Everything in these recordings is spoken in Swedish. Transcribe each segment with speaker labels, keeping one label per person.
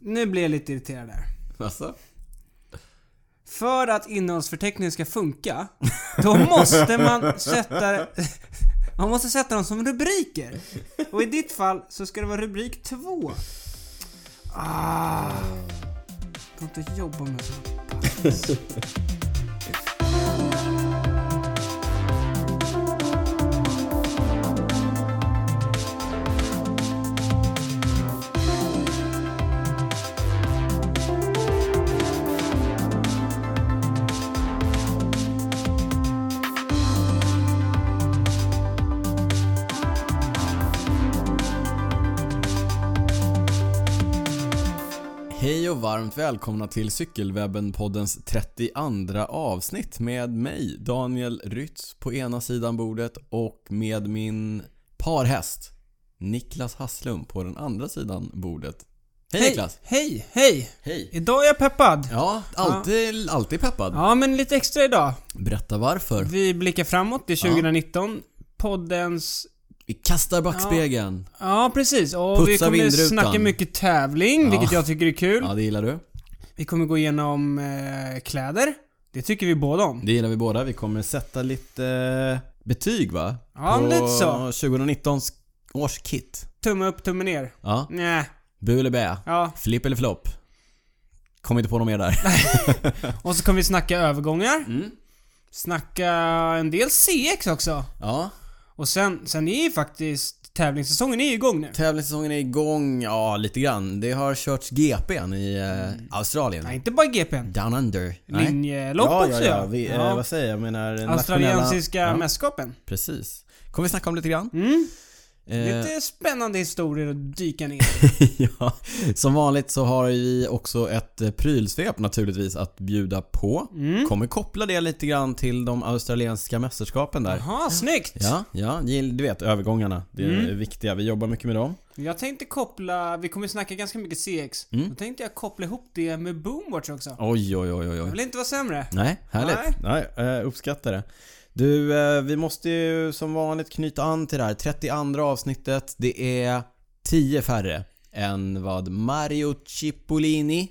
Speaker 1: Nu blir jag lite irriterad där.
Speaker 2: Alltså?
Speaker 1: För att innehållsförteckningen ska funka, då måste man sätta... Man måste sätta dem som rubriker. Och i ditt fall så ska det vara rubrik två. Ah. Jag kan inte jobba med sånt.
Speaker 2: Hej och varmt välkomna till Cykelwebben-poddens 32 avsnitt med mig, Daniel Rytz, på ena sidan bordet och med min parhäst, Niklas Hasslum, på den andra sidan bordet. Hej, Niklas!
Speaker 1: Hej, hej!
Speaker 2: Hej!
Speaker 1: Idag är jag peppad.
Speaker 2: Ja, alltid, alltid peppad.
Speaker 1: Ja, men lite extra idag.
Speaker 2: Berätta varför.
Speaker 1: Vi blickar framåt, det är 2019. Poddens...
Speaker 2: Vi kastar backspegeln.
Speaker 1: Ja, precis. Och vi
Speaker 2: Putsa
Speaker 1: kommer
Speaker 2: vindrutan.
Speaker 1: snacka mycket tävling, vilket jag tycker är kul.
Speaker 2: Ja, det gillar du.
Speaker 1: Vi kommer gå igenom eh, kläder. Det tycker vi båda om.
Speaker 2: Det gillar vi båda. Vi kommer sätta lite eh, betyg va?
Speaker 1: Ja,
Speaker 2: på
Speaker 1: lite så.
Speaker 2: 2019 års kit.
Speaker 1: Tumme upp, tumme ner.
Speaker 2: Ja.
Speaker 1: Nej.
Speaker 2: Bu eller bä?
Speaker 1: Ja.
Speaker 2: Flipp eller flopp? Kom inte på något mer där.
Speaker 1: Och så kommer vi snacka övergångar.
Speaker 2: Mm.
Speaker 1: Snacka en del CX också.
Speaker 2: Ja,
Speaker 1: Och sen, sen är ju faktiskt tävlingssäsongen är ju igång nu.
Speaker 2: tävlingssäsongen är igång, ja lite grann. Det har körts GP'n i eh, Australien.
Speaker 1: Mm. Nej, inte bara GPn.
Speaker 2: Down under. Nej.
Speaker 1: Linjelopp också
Speaker 2: ja. Vi, eh, Vad säger jag? jag menar nationella-
Speaker 1: Australiensiska
Speaker 2: Ja,
Speaker 1: mästerskapen.
Speaker 2: Precis. Kommer vi snacka om lite grann.
Speaker 1: Mm.
Speaker 2: Eh,
Speaker 1: Lite spännande historier att dyka ner i.
Speaker 2: ja. Som vanligt så har vi också ett eh, prylsvep naturligtvis att bjuda på.
Speaker 1: Mm.
Speaker 2: Kommer koppla det lite grann till de australiensiska mästerskapen där.
Speaker 1: Jaha, snyggt!
Speaker 2: Ja, ja, gill- du vet övergångarna. Det är
Speaker 1: Mm.
Speaker 2: viktiga. Vi jobbar mycket med dem.
Speaker 1: Jag tänkte koppla, vi kommer snacka ganska mycket CX.
Speaker 2: Mm.
Speaker 1: Då tänkte jag koppla ihop det med Boomwatch också.
Speaker 2: Oj, oj, oj, oj.
Speaker 1: Jag
Speaker 2: oj.
Speaker 1: vill inte vara sämre.
Speaker 2: Nej, härligt. Nej. eh, uppskattar det. Du, eh, vi måste ju som vanligt knyta an till det här. 32 avsnittet. Det är 10 färre än vad Mario Cipollini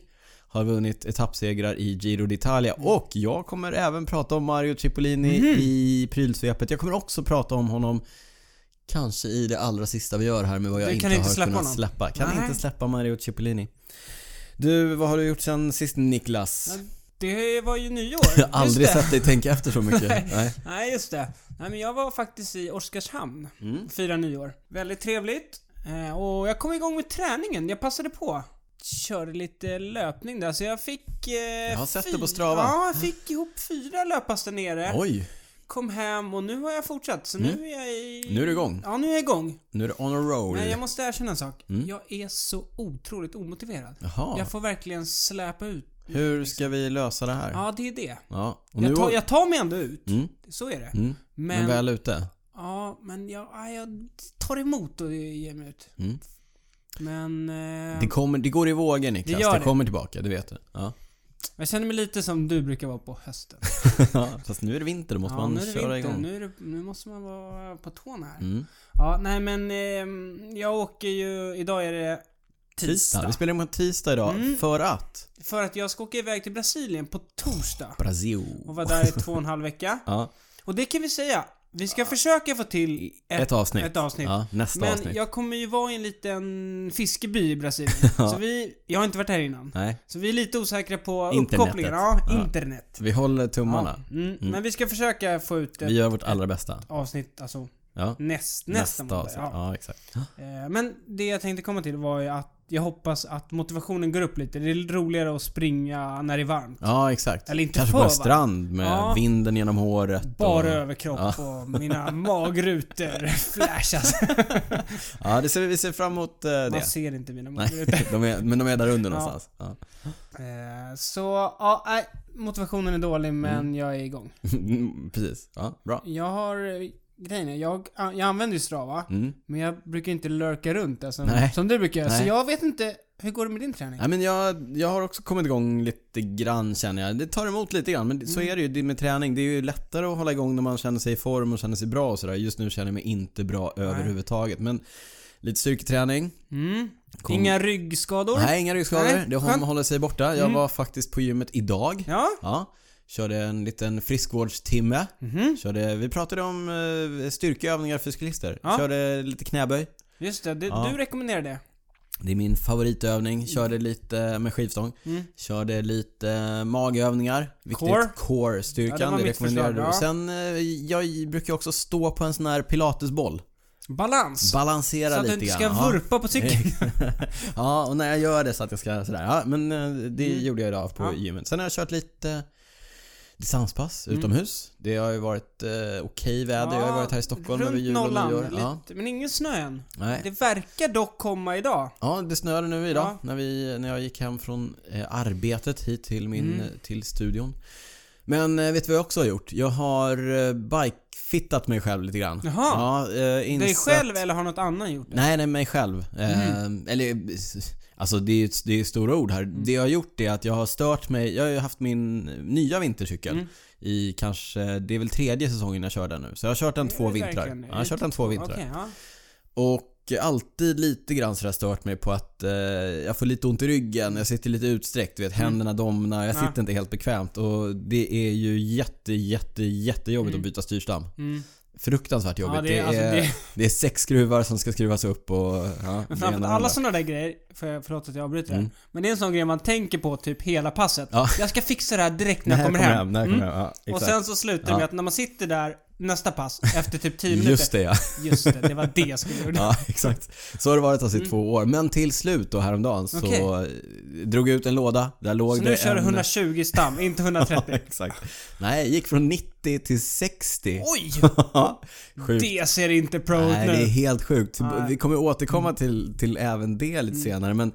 Speaker 2: har vunnit etappsegrar i Giro d'Italia. Och jag kommer även prata om Mario Cipollini
Speaker 1: Mhm.
Speaker 2: i prylsvepet. Jag kommer också prata om honom kanske i det allra sista vi gör här med vad jag
Speaker 1: Du
Speaker 2: inte
Speaker 1: kan
Speaker 2: har
Speaker 1: inte släppa
Speaker 2: kunnat
Speaker 1: honom.
Speaker 2: släppa. Kan
Speaker 1: Nej.
Speaker 2: inte släppa Mario Cipollini. Du, vad har du gjort sen sist Niklas?
Speaker 1: Det var ju nyår.
Speaker 2: Jag har aldrig
Speaker 1: Just det.
Speaker 2: sett dig tänka efter så mycket. Nej.
Speaker 1: Nej, just det. Nej, men jag var faktiskt i Oskarshamn.
Speaker 2: Mm.
Speaker 1: Fyra nyår. Väldigt trevligt. Eh, och jag kom igång med träningen. Jag passade på. Körde lite löpning där, så jag fick... Eh, jag
Speaker 2: har sett det på Strava.
Speaker 1: Ja, jag fick ihop fyra löppass där nere.
Speaker 2: Oj,
Speaker 1: Kom hem och nu har jag fortsatt. Så nu är jag i...
Speaker 2: nu är du igång.
Speaker 1: Ja, nu är jag igång.
Speaker 2: Nu är du on a roll.
Speaker 1: Men jag måste erkänna en sak. Jag är så otroligt omotiverad.
Speaker 2: Mm. Jaha,
Speaker 1: Jag får verkligen släpa ut.
Speaker 2: hur ska vi lösa det här?
Speaker 1: Ja, det är det.
Speaker 2: Ja, och nu
Speaker 1: Jag tar, jag tar mig ändå ut.
Speaker 2: Mm.
Speaker 1: Så är det.
Speaker 2: Mm.
Speaker 1: Men,
Speaker 2: men väl ute.
Speaker 1: ja, men jag, ja, jag tar emot och ger mig ut.
Speaker 2: Mm.
Speaker 1: Men... Eh,
Speaker 2: Det, kommer, det går i vågor Niklas,
Speaker 1: Det gör
Speaker 2: det,
Speaker 1: det.
Speaker 2: kommer tillbaka, det vet du. Ja.
Speaker 1: jag känner mig lite som du brukar vara på hösten.
Speaker 2: Fast nu är det vinter, då måste
Speaker 1: ja, nu
Speaker 2: man
Speaker 1: är det
Speaker 2: köra
Speaker 1: vinter.
Speaker 2: igång.
Speaker 1: Nu, är det, nu måste man vara på tårna här.
Speaker 2: Mm.
Speaker 1: Ja, nej men eh, jag åker ju... Idag är det
Speaker 2: Tisdag.
Speaker 1: tisdag. Mm.
Speaker 2: Vi spelar in på tisdag idag, för att
Speaker 1: För att jag ska åka iväg till Brasilien på torsdag.
Speaker 2: Brasil.
Speaker 1: Och vara där i två och en halv vecka.
Speaker 2: Ja,
Speaker 1: Och det kan vi säga. Vi ska försöka få till
Speaker 2: ett, avsnitt.
Speaker 1: Ett avsnitt.
Speaker 2: Ja, nästa
Speaker 1: Men
Speaker 2: avsnitt.
Speaker 1: jag kommer ju vara i en liten fiskeby i Brasilien. Så vi, jag har inte varit här innan.
Speaker 2: Nej,
Speaker 1: Så vi är lite osäkra på
Speaker 2: Internetet.
Speaker 1: uppkopplingen. Ja,
Speaker 2: Ja.
Speaker 1: internet.
Speaker 2: vi håller
Speaker 1: Ja.
Speaker 2: tummarna.
Speaker 1: Mm. Men vi ska försöka få ut ett
Speaker 2: Vi gör vårt allra bästa.
Speaker 1: avsnitt, alltså
Speaker 2: Ja.
Speaker 1: näst, nästa, måndag.
Speaker 2: avsnitt.
Speaker 1: Ja.
Speaker 2: Ja, exakt.
Speaker 1: Eh, Men det jag tänkte komma till var ju att jag hoppas att motivationen går upp lite. Det är roligare att springa när det är varmt.
Speaker 2: Ja, exakt.
Speaker 1: Eller inte
Speaker 2: Kanske
Speaker 1: för
Speaker 2: på en
Speaker 1: varmt.
Speaker 2: strand med
Speaker 1: Ja.
Speaker 2: vinden genom håret.
Speaker 1: Bara
Speaker 2: och...
Speaker 1: överkropp och mina magrutor flashas.
Speaker 2: Ja, det ser, vi ser fram emot eh, det.
Speaker 1: Man ser inte mina magrutor.
Speaker 2: Nej, de är, men de är där under
Speaker 1: Ja.
Speaker 2: någonstans. Ja.
Speaker 1: Eh, Så, ja, nej, motivationen är dålig men jag är igång.
Speaker 2: Mm, Precis. Ja, bra.
Speaker 1: Jag har, eh, grejen är, jag, jag använder ju Strava,
Speaker 2: Mm.
Speaker 1: men jag brukar inte lurka runt där som,
Speaker 2: Nej.
Speaker 1: som du brukar göra. Så
Speaker 2: Nej.
Speaker 1: jag vet inte, hur går det med din träning?
Speaker 2: Ja, men jag, jag har också kommit igång lite grann känner jag. Det tar emot lite grann men så
Speaker 1: Mm.
Speaker 2: är det ju det med träning. Det är ju lättare att hålla igång när man känner sig i form och känner sig bra och sådär. Just nu känner jag mig inte bra överhuvudtaget. Men Lite styrketräning.
Speaker 1: Mm. Inga ryggskador.
Speaker 2: Nej, inga ryggskador.
Speaker 1: Nej,
Speaker 2: Det
Speaker 1: skönt. Mm.
Speaker 2: håller sig borta. Jag var faktiskt på gymmet idag.
Speaker 1: Ja.
Speaker 2: Ja. Körde en liten friskvårdstimme.
Speaker 1: Mhm.
Speaker 2: Körde, vi pratade om eh, styrkeövningar för cyklister.
Speaker 1: Ja.
Speaker 2: Körde lite knäböj.
Speaker 1: Just det, det
Speaker 2: Ja.
Speaker 1: du rekommenderar det.
Speaker 2: Det är min favoritövning.
Speaker 1: Mm.
Speaker 2: Körde lite med skivstång. Körde lite eh, magövningar. Viktigt.
Speaker 1: Core.
Speaker 2: Core-styrkan.
Speaker 1: Ja, det var
Speaker 2: det
Speaker 1: mitt
Speaker 2: rekommenderar
Speaker 1: förslag,
Speaker 2: du.
Speaker 1: ja.
Speaker 2: Sen, eh, jag brukar också stå på en sån här pilatesboll.
Speaker 1: Balans.
Speaker 2: Balansera
Speaker 1: så att du
Speaker 2: lite
Speaker 1: inte
Speaker 2: grann.
Speaker 1: ska
Speaker 2: Ja.
Speaker 1: vurpa på cykeln.
Speaker 2: ja, och när jag gör det så att jag ska sådär. Ja, men eh, det gjorde jag idag på
Speaker 1: Mm. Ja.
Speaker 2: gymmet. Sen har jag kört lite distanspass
Speaker 1: Mm.
Speaker 2: utomhus. Det har ju varit eh, okej väder. jag har ju varit här i Stockholm
Speaker 1: runt
Speaker 2: över jul och
Speaker 1: nollan,
Speaker 2: nyår.
Speaker 1: lite,
Speaker 2: Ja.
Speaker 1: Men ingen snö än.
Speaker 2: Nej.
Speaker 1: Det verkar dock komma idag.
Speaker 2: ja, det snöade nu idag
Speaker 1: Ja.
Speaker 2: när, vi, när jag gick hem från eh, arbetet hit till, min,
Speaker 1: Mm.
Speaker 2: eh, till studion. Men eh, vet du vad jag också har gjort? Jag har eh, bikefittat mig själv lite grann.
Speaker 1: Jaha.
Speaker 2: Ja, eh,
Speaker 1: Dig
Speaker 2: insatt-
Speaker 1: själv eller har något annan gjort det?
Speaker 2: Nej, nej, mig själv.
Speaker 1: Mm.
Speaker 2: Eh, eller, s- alltså det är, ju ett- det är stora ord här.
Speaker 1: Mm.
Speaker 2: Det jag har gjort är att jag har stört mig. Jag har ju haft min nya vintercykel
Speaker 1: Mm.
Speaker 2: i kanske, det är väl tredje säsongen jag kör den nu. Så jag har kört den
Speaker 1: Det är
Speaker 2: två
Speaker 1: det
Speaker 2: vintrar.
Speaker 1: verkligen.
Speaker 2: Ja, jag har kört den två vintrar.
Speaker 1: Okej, ja.
Speaker 2: Och alltid lite grann sådär stört mig på att eh, jag får lite ont i ryggen, jag sitter lite utsträckt, du vet händerna domnar, jag
Speaker 1: Mm. Ja.
Speaker 2: sitter inte helt bekvämt. Och det är ju jätte, jätte, jättejobbigt att byta styrstam.
Speaker 1: Mm.
Speaker 2: Fruktansvärt jobbigt.
Speaker 1: Ja, det
Speaker 2: det,
Speaker 1: är-
Speaker 2: är,
Speaker 1: alltså,
Speaker 2: det...
Speaker 1: det-
Speaker 2: är, sex skruvar som ska skruvas upp och... Ja, det ena
Speaker 1: Men
Speaker 2: och det
Speaker 1: framför allt
Speaker 2: andra. Mm.
Speaker 1: alla sådana där grejer, för jag, förlåt att jag avbryter här. Men det är en sån grej man tänker på typ hela passet.
Speaker 2: Ja.
Speaker 1: Jag ska fixa det här direkt när jag kommer hem.
Speaker 2: När jag
Speaker 1: Mm.
Speaker 2: kommer hem. Ja,
Speaker 1: Och
Speaker 2: exakt.
Speaker 1: sen så slutar det
Speaker 2: Ja.
Speaker 1: med att när man sitter där nästa pass, efter typ 10 minuter.
Speaker 2: Just det ja.
Speaker 1: Just det, det var det jag skulle göra.
Speaker 2: ja. Exakt. Så har det varit alltså i två år. Men till slut då häromdagen så
Speaker 1: Mm. Okej.
Speaker 2: eh, drog jag ut en låda. Där låg
Speaker 1: Så
Speaker 2: det
Speaker 1: nu kör du
Speaker 2: en...
Speaker 1: 120 stam, inte
Speaker 2: Ja,
Speaker 1: 130.
Speaker 2: exakt. Nej, gick från 90 till 60.
Speaker 1: Oj!
Speaker 2: Sjukt.
Speaker 1: Det ser inte pro ut
Speaker 2: Nej, det är
Speaker 1: nu.
Speaker 2: helt sjukt. Typ,
Speaker 1: Nej. Mm.
Speaker 2: Vi kommer återkomma till, till även det lite senare. Men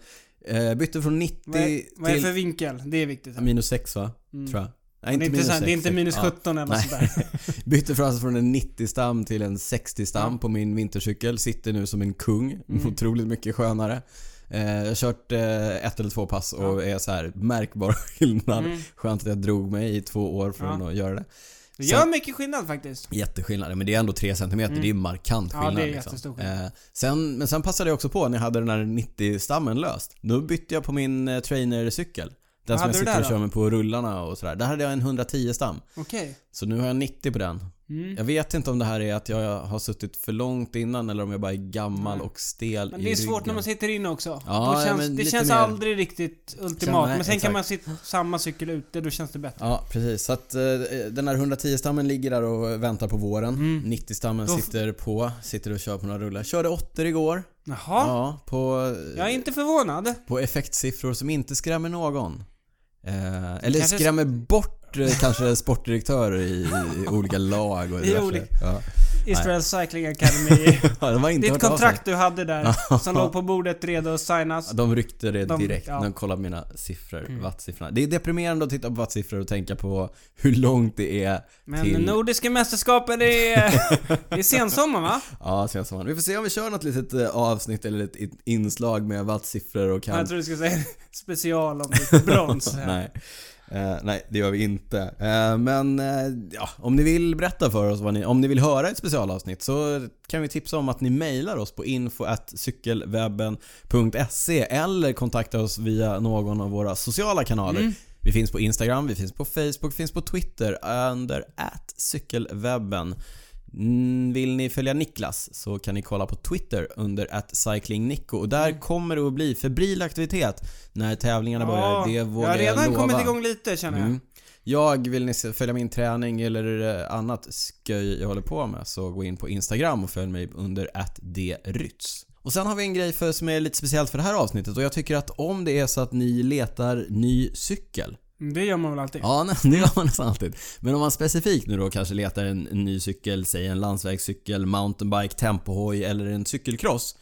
Speaker 2: eh, bytte från 90
Speaker 1: Vad är, vad är det
Speaker 2: till...
Speaker 1: för vinkel? Det är viktigt. Här.
Speaker 2: Minus 6 va? Tror jag. Nej,
Speaker 1: Det är inte, så här, det är inte
Speaker 2: sex.
Speaker 1: minus
Speaker 2: Ja.
Speaker 1: 17 eller något
Speaker 2: Nej.
Speaker 1: sånt där.
Speaker 2: Bytte från, alltså från en 90-stam till en 60-stam på min vintercykel. Sitter nu som en kung.
Speaker 1: Mm.
Speaker 2: Otroligt mycket skönare. Eh, jag har kört eh, ett eller två pass och är så här märkbar skillnad. Skönt att jag drog mig i två år från
Speaker 1: Mm. Ja.
Speaker 2: att göra det.
Speaker 1: Det gör mycket skillnad faktiskt.
Speaker 2: Jätteskillnad, men det är ändå 3 cm. Det är markant
Speaker 1: Mm. Ja,
Speaker 2: skillnad.
Speaker 1: det är jättestor skillnad.
Speaker 2: Eh, sen, men sen passade jag också på när jag hade den här 90-stammen löst. Då bytte jag på min eh, trainercykel. Den
Speaker 1: Vad
Speaker 2: som
Speaker 1: hade du
Speaker 2: jag sitter
Speaker 1: där
Speaker 2: och
Speaker 1: då?
Speaker 2: kör med på rullarna och sådär. Där hade jag en 110-stam.
Speaker 1: Okej.
Speaker 2: Så nu har jag 90 på den.
Speaker 1: Mm.
Speaker 2: Jag vet inte om det här är att jag har suttit för långt innan eller om jag bara är gammal och stel
Speaker 1: Men
Speaker 2: i
Speaker 1: det är svårt
Speaker 2: ryggen.
Speaker 1: när man sitter inne också.
Speaker 2: Ja,
Speaker 1: Då
Speaker 2: ja,
Speaker 1: känns,
Speaker 2: men
Speaker 1: det
Speaker 2: lite
Speaker 1: känns
Speaker 2: mer.
Speaker 1: aldrig riktigt ultimat.
Speaker 2: nej,
Speaker 1: men sen kan man
Speaker 2: exakt.
Speaker 1: sitta samma cykel ute, då känns det bättre.
Speaker 2: Ja, precis. Så att eh, den här 110-stammen ligger där och väntar på våren. 90-stammen
Speaker 1: Mm. Då f-
Speaker 2: sitter på, sitter och kör på några rullar. Körde 80 igår.
Speaker 1: Jaha.
Speaker 2: Ja, på, eh,
Speaker 1: Jag är inte förvånad.
Speaker 2: på effektsiffror som inte skrämmer någon. Eh, eller
Speaker 1: Kanske-
Speaker 2: skrämmer bort eh, kanske sportdirektörer i, i olika lag och
Speaker 1: I
Speaker 2: diverse.
Speaker 1: olika-
Speaker 2: Ja.
Speaker 1: Israel Cycling Academy.
Speaker 2: Ja, de har inte
Speaker 1: Ditt
Speaker 2: hört av sig.
Speaker 1: kontrakt du hade där, som låg på bordet redo att signas.
Speaker 2: Ja, De ryckte det
Speaker 1: De-
Speaker 2: direkt
Speaker 1: ja. Mm.
Speaker 2: när de kollade mina siffror, wattsiffrorna. Det är deprimerande att titta på wattsiffror och tänka på hur långt det är
Speaker 1: Men
Speaker 2: till...
Speaker 1: Nordiska mästerskapen är... Det är sensommar va?
Speaker 2: Ja, sen som han. Vi får se om vi kör något litet eh, avsnitt eller ett ett inslag med wattsiffror och kan...
Speaker 1: Jag tror du ska säga special om ditt brons. här.
Speaker 2: nej. Eh, nej, det gör vi inte. Eh, men eh, ja, om ni vill berätta för oss vad ni... Om ni vill höra ett specialavsnitt så kan vi tipsa om att ni mejlar oss på info.cykelwebben.se eller kontakta oss via någon av våra sociala kanaler.
Speaker 1: Mm.
Speaker 2: Vi finns på Instagram, vi finns på Facebook, vi finns på Twitter under cykelwebben. Mm, Vill ni följa Niklas så kan ni kolla på Twitter under att cyclingnico och
Speaker 1: Mm.
Speaker 2: där kommer det att bli febril aktivitet när tävlingarna
Speaker 1: Ja,
Speaker 2: börjar. Det
Speaker 1: jag
Speaker 2: vågar
Speaker 1: har
Speaker 2: jag,
Speaker 1: redan
Speaker 2: lova.
Speaker 1: kommit igång lite känner jag.
Speaker 2: Mm. Jag, vill ni se- följa min träning eller eh, annat sköj jag håller på med så gå in på Instagram och följ mig under attdrytz. Och sen har vi en grej för, som är lite speciellt för det här avsnittet och jag tycker att om det är så att ni letar ny cykel
Speaker 1: Mm, Det gör man väl alltid?
Speaker 2: Ja, nej, det gör man nästan alltid. Men om man specifikt nu då kanske letar en, en ny cykel, säg en landsvägscykel, mountainbike, tempohoj eller en cykelcross.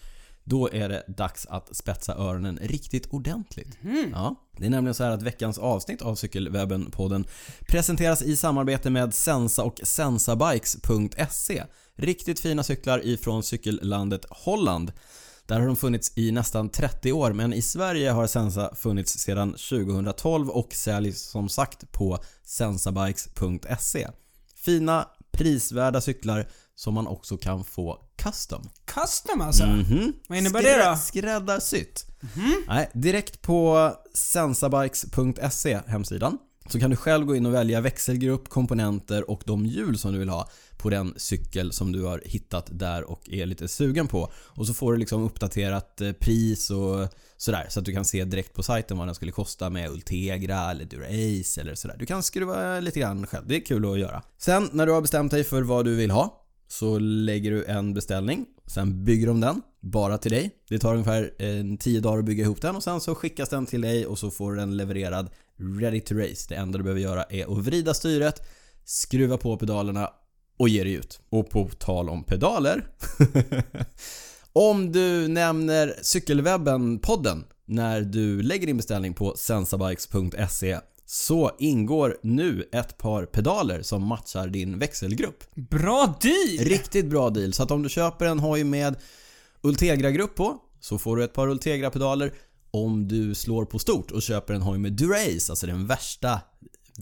Speaker 2: Då är det dags att spetsa öronen riktigt ordentligt. Ja, det är nämligen så här att veckans avsnitt av Cykelwebben-podden presenteras i samarbete med Sensa och Sensabikes.se. E. Riktigt fina cyklar ifrån cykellandet Holland. Där har de funnits i nästan 30 år men i Sverige har Sensa funnits sedan 2012 och säljs som sagt på sensabikes.se. Fina, prisvärda cyklar som man också kan få custom.
Speaker 1: Custom alltså?
Speaker 2: Mhm.
Speaker 1: Vad innebär det då? Mhm.
Speaker 2: Skräddarsytt. Nej, direkt på sensabikes.se hemsidan så kan du själv gå in och välja växelgrupp, komponenter och de hjul som du vill ha på den cykel som du har hittat där och är lite sugen på. Och så får du liksom uppdaterat eh, pris och sådär så att du kan se direkt på sajten vad den skulle kosta med Ultegra eller Durace eller sådär. Du kan skruva lite grann själv. Det är kul att göra. Sen när du har bestämt dig för vad du vill ha så lägger du en beställning, sen bygger de den, bara till dig. Det tar ungefär eh, 10 dagar att bygga ihop den och sen så skickas den till dig och så får du den levererad ready to race. Det enda du behöver göra är att vrida styret, skruva på pedalerna och ge dig ut. Och på tal om pedaler. om du nämner Cykelwebben-podden när du lägger din beställning på sensabikes.se så ingår nu ett par pedaler som matchar din växelgrupp.
Speaker 1: Bra deal!
Speaker 2: Riktigt bra deal. Så att om du köper en hoj med Ultegra-grupp på så får du ett par Ultegra-pedaler. Om du slår på stort och köper en hoj med Durace, alltså den värsta,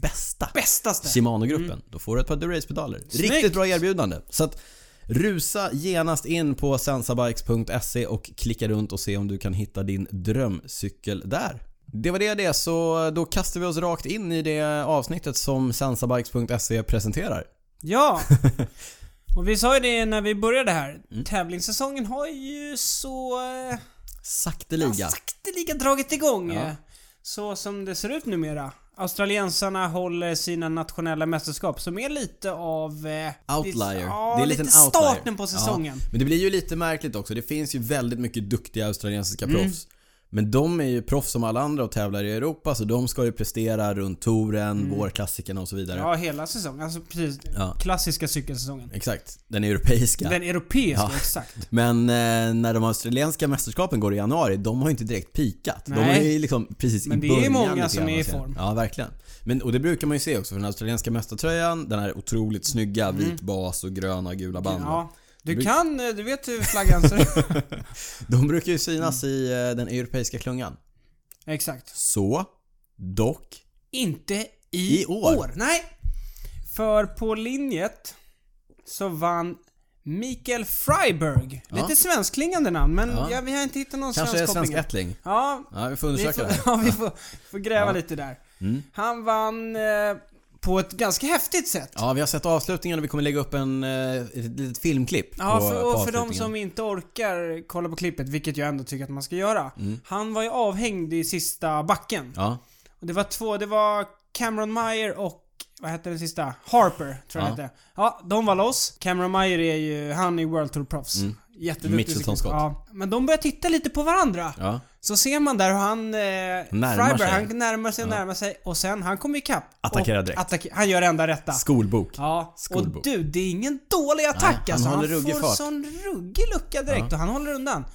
Speaker 2: bästa
Speaker 1: Bästaste! Mm.
Speaker 2: Shimano-gruppen. Då får du ett par Durace-pedaler.
Speaker 1: Snyggt!
Speaker 2: Riktigt bra erbjudande. Så att rusa genast in på sensabikes.se och klicka runt och se om du kan hitta din drömcykel där. Det var det det, så då kastar vi oss rakt in i det avsnittet som sensabikes.se presenterar.
Speaker 1: Ja! Och vi sa ju det när vi började här.
Speaker 2: Mm.
Speaker 1: Tävlingssäsongen har ju så... eh,
Speaker 2: Sakteliga.
Speaker 1: sakteliga dragit igång.
Speaker 2: Ja.
Speaker 1: Så som det ser ut numera. Australiensarna håller sina nationella mästerskap som är lite av... eh,
Speaker 2: Outlier.
Speaker 1: Ja,
Speaker 2: det är
Speaker 1: lite
Speaker 2: lite
Speaker 1: starten på säsongen.
Speaker 2: Ja, men det blir ju lite märkligt också. Det finns ju väldigt mycket duktiga australiensiska
Speaker 1: Mm.
Speaker 2: proffs. Men de är ju proffs som alla andra och tävlar i Europa så de ska ju prestera runt touren, vårklassikerna och så vidare.
Speaker 1: Mm. Ja, hela säsongen. Alltså precis.
Speaker 2: Ja.
Speaker 1: Klassiska cykelsäsongen.
Speaker 2: Exakt, den europeiska.
Speaker 1: Den europeiska,
Speaker 2: Ja.
Speaker 1: exakt.
Speaker 2: Men eh, när de australiensiska mästerskapen går i januari, de har ju inte direkt peakat. De
Speaker 1: Nej.
Speaker 2: är ju liksom precis
Speaker 1: Men
Speaker 2: i
Speaker 1: det är
Speaker 2: början.
Speaker 1: ju många
Speaker 2: lite grann,
Speaker 1: som är i
Speaker 2: man ser.
Speaker 1: form.
Speaker 2: Ja, verkligen. Men, och det brukar man ju se också för den australiensiska mästartröjan, den här otroligt snygga vit bas och gröna och gula band.
Speaker 1: Mm. Ja. Du
Speaker 2: Det-
Speaker 1: kan, eh, du vet hur flaggan ser ut.
Speaker 2: De brukar ju synas i eh, den europeiska klungan.
Speaker 1: Exakt.
Speaker 2: Så, dock,
Speaker 1: Inte i,
Speaker 2: I år.
Speaker 1: Nej! För på linjet så vann Mikael Freiberg. Lite svenskklingande namn, men ja.
Speaker 2: Ja.
Speaker 1: vi har inte hittat någon
Speaker 2: kanske är
Speaker 1: svensk
Speaker 2: svensk
Speaker 1: koppling.
Speaker 2: ättling.
Speaker 1: Ja,
Speaker 2: Ja, vi får
Speaker 1: vi
Speaker 2: undersöka
Speaker 1: får,
Speaker 2: det här. Mm.
Speaker 1: ja, vi får, får gräva lite där. Han vann eh, på ett ganska häftigt sätt.
Speaker 2: Ja, vi har sett avslutningen och vi kommer lägga upp en, eh, ett litet filmklipp
Speaker 1: Ja,
Speaker 2: på,
Speaker 1: för,
Speaker 2: på
Speaker 1: och för de
Speaker 2: avslutningen.
Speaker 1: som inte orkar kolla på klippet, vilket jag ändå tycker att man ska göra.
Speaker 2: Mm.
Speaker 1: Han var ju avhängd i sista backen.
Speaker 2: Ja,
Speaker 1: Och det var två, det var Cameron Meyer och vad hette den sista? Harper, tror jag
Speaker 2: Ja.
Speaker 1: ja. hette. Ja, de var loss. Cameron Meyer är ju, han är World Tour-proffs.
Speaker 2: Mm.
Speaker 1: Jätteduktig.
Speaker 2: Mitchelton
Speaker 1: cyklist.
Speaker 2: Scott.
Speaker 1: Ja. Men de börjar titta lite på varandra.
Speaker 2: ja.
Speaker 1: Så ser man där hur han... Eh,
Speaker 2: Närmar
Speaker 1: närmar
Speaker 2: sig.
Speaker 1: sig. Han närmar sig och närmar sig och sen han kommer ikapp.
Speaker 2: Attackerar
Speaker 1: Och
Speaker 2: direkt.
Speaker 1: attacke- han gör det enda rätta.
Speaker 2: Skolbok.
Speaker 1: Ja,
Speaker 2: Skolbok.
Speaker 1: och du, det är ingen dålig attack
Speaker 2: han
Speaker 1: alltså. Han,
Speaker 2: håller ruggig
Speaker 1: får
Speaker 2: fart.
Speaker 1: sån ruggig lucka direkt och han håller undan.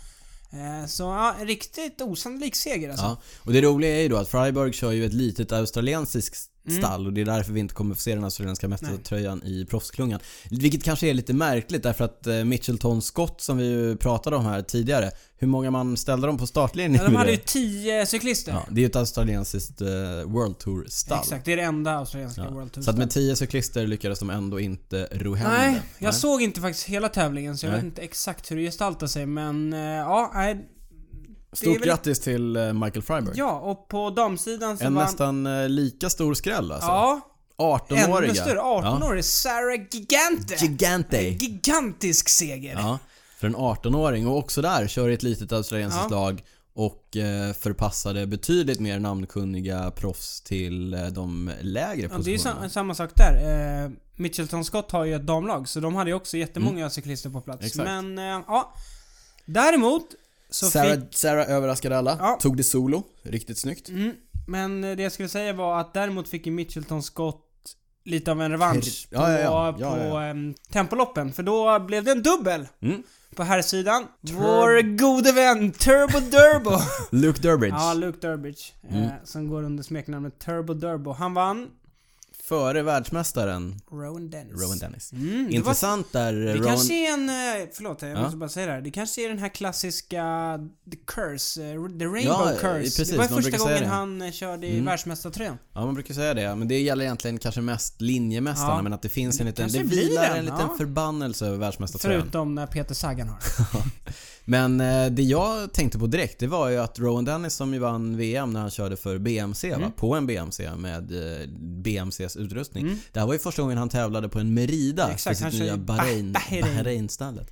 Speaker 1: Eh, så ja, en riktigt osannolik seger alltså.
Speaker 2: Ja. Och det roliga är ju då att Freiburg kör ju ett litet australiensiskt
Speaker 1: Mm.
Speaker 2: stall och det är därför vi inte kommer få se den australienska mästartröjan i proffsklungan. Vilket kanske är lite märkligt därför att eh, Mitchelton Scott som vi ju pratade om här tidigare, hur många man ställde dem på startlinjen?
Speaker 1: Ja, de hade ju 10 cyklister.
Speaker 2: ja, det är ju ett australiensiskt eh, World Tour-stall.
Speaker 1: Exakt, det är det enda australienska
Speaker 2: Ja.
Speaker 1: World Tour.
Speaker 2: Så att med 10 cyklister lyckades de ändå inte ro hem
Speaker 1: Nej,
Speaker 2: det.
Speaker 1: jag såg inte faktiskt hela tävlingen så jag
Speaker 2: Nej.
Speaker 1: vet inte exakt hur det gestaltar sig men eh, ja, nej. det är
Speaker 2: Stort
Speaker 1: väl-
Speaker 2: grattis till eh, Michael Freiberg.
Speaker 1: Ja, och på damsidan så
Speaker 2: en
Speaker 1: vann...
Speaker 2: nästan eh, lika stor skräll alltså.
Speaker 1: Ja,
Speaker 2: 18-åriga.
Speaker 1: ännu större. 18-årig Sarah Gigante.
Speaker 2: Ja. Gigante.
Speaker 1: Gigantisk seger.
Speaker 2: Ja, för en 18-åring och också där kör i ett litet australiensiskt
Speaker 1: Ja.
Speaker 2: lag och eh, förpassade betydligt mer namnkunniga proffs till eh, de lägre
Speaker 1: Ja, det är ju
Speaker 2: positionerna.
Speaker 1: sam- samma sak där. Eh, Mitchelton Scott har ju ett damlag, så de hade ju också jättemånga cyklister på plats.
Speaker 2: Mm. Exakt.
Speaker 1: Men, eh, ja. Däremot så
Speaker 2: Sarah,
Speaker 1: fick...
Speaker 2: Sarah överraskade alla,
Speaker 1: Ja.
Speaker 2: tog det solo, riktigt snyggt.
Speaker 1: Mm, men eh, det jag skulle säga var att däremot fick ju Mitchelton Scott lite av en revansch
Speaker 2: Ja, ja, ja.
Speaker 1: på,
Speaker 2: Ja, ja, ja.
Speaker 1: på ehm, Tempoloppen. För då blev det en dubbel
Speaker 2: Mm.
Speaker 1: på här sidan.
Speaker 2: Tur-
Speaker 1: Vår gode vän Turbo Durbo.
Speaker 2: Luke Durbridge. Mm.
Speaker 1: ja, Luke Durbridge. Eh, som går under smeknamnet Turbo Durbo. Han vann.
Speaker 2: före världsmästaren
Speaker 1: Rowan Dennis.
Speaker 2: Rowan Dennis.
Speaker 1: Mm, det var
Speaker 2: Intressant där
Speaker 1: Det
Speaker 2: Rowan...
Speaker 1: kanske är en, eh, förlåt jag
Speaker 2: Ja.
Speaker 1: måste bara säga det här. Det kanske är den här klassiska The Curse, eh, The Rainbow
Speaker 2: Ja, eh,
Speaker 1: Curse.
Speaker 2: precis,
Speaker 1: det var
Speaker 2: de brukar
Speaker 1: första
Speaker 2: säga
Speaker 1: gången
Speaker 2: det. Mm.
Speaker 1: han eh, körde i världsmästartröjan.
Speaker 2: Ja, man brukar säga det. Men det gäller egentligen kanske mest linjemästarna.
Speaker 1: Ja.
Speaker 2: Men att det finns en liten...
Speaker 1: kanske
Speaker 2: Det
Speaker 1: blir
Speaker 2: vilar
Speaker 1: den,
Speaker 2: en liten
Speaker 1: ja.
Speaker 2: förbannelse över världsmästartröjan.
Speaker 1: Förutom när Peter Sagan har.
Speaker 2: Men eh, det jag tänkte på direkt, det var ju att Rowan Dennis som ju vann VM när han körde för BMC,
Speaker 1: Mm.
Speaker 2: va? på en BMC med eh, BMCs utrustning. Det här var ju första gången han tävlade på en Merida
Speaker 1: Mm. Exakt,
Speaker 2: för
Speaker 1: han
Speaker 2: sitt
Speaker 1: kör
Speaker 2: nya
Speaker 1: ju
Speaker 2: Bahrain,
Speaker 1: Bah- Bahrain.
Speaker 2: Bahrain-stallet.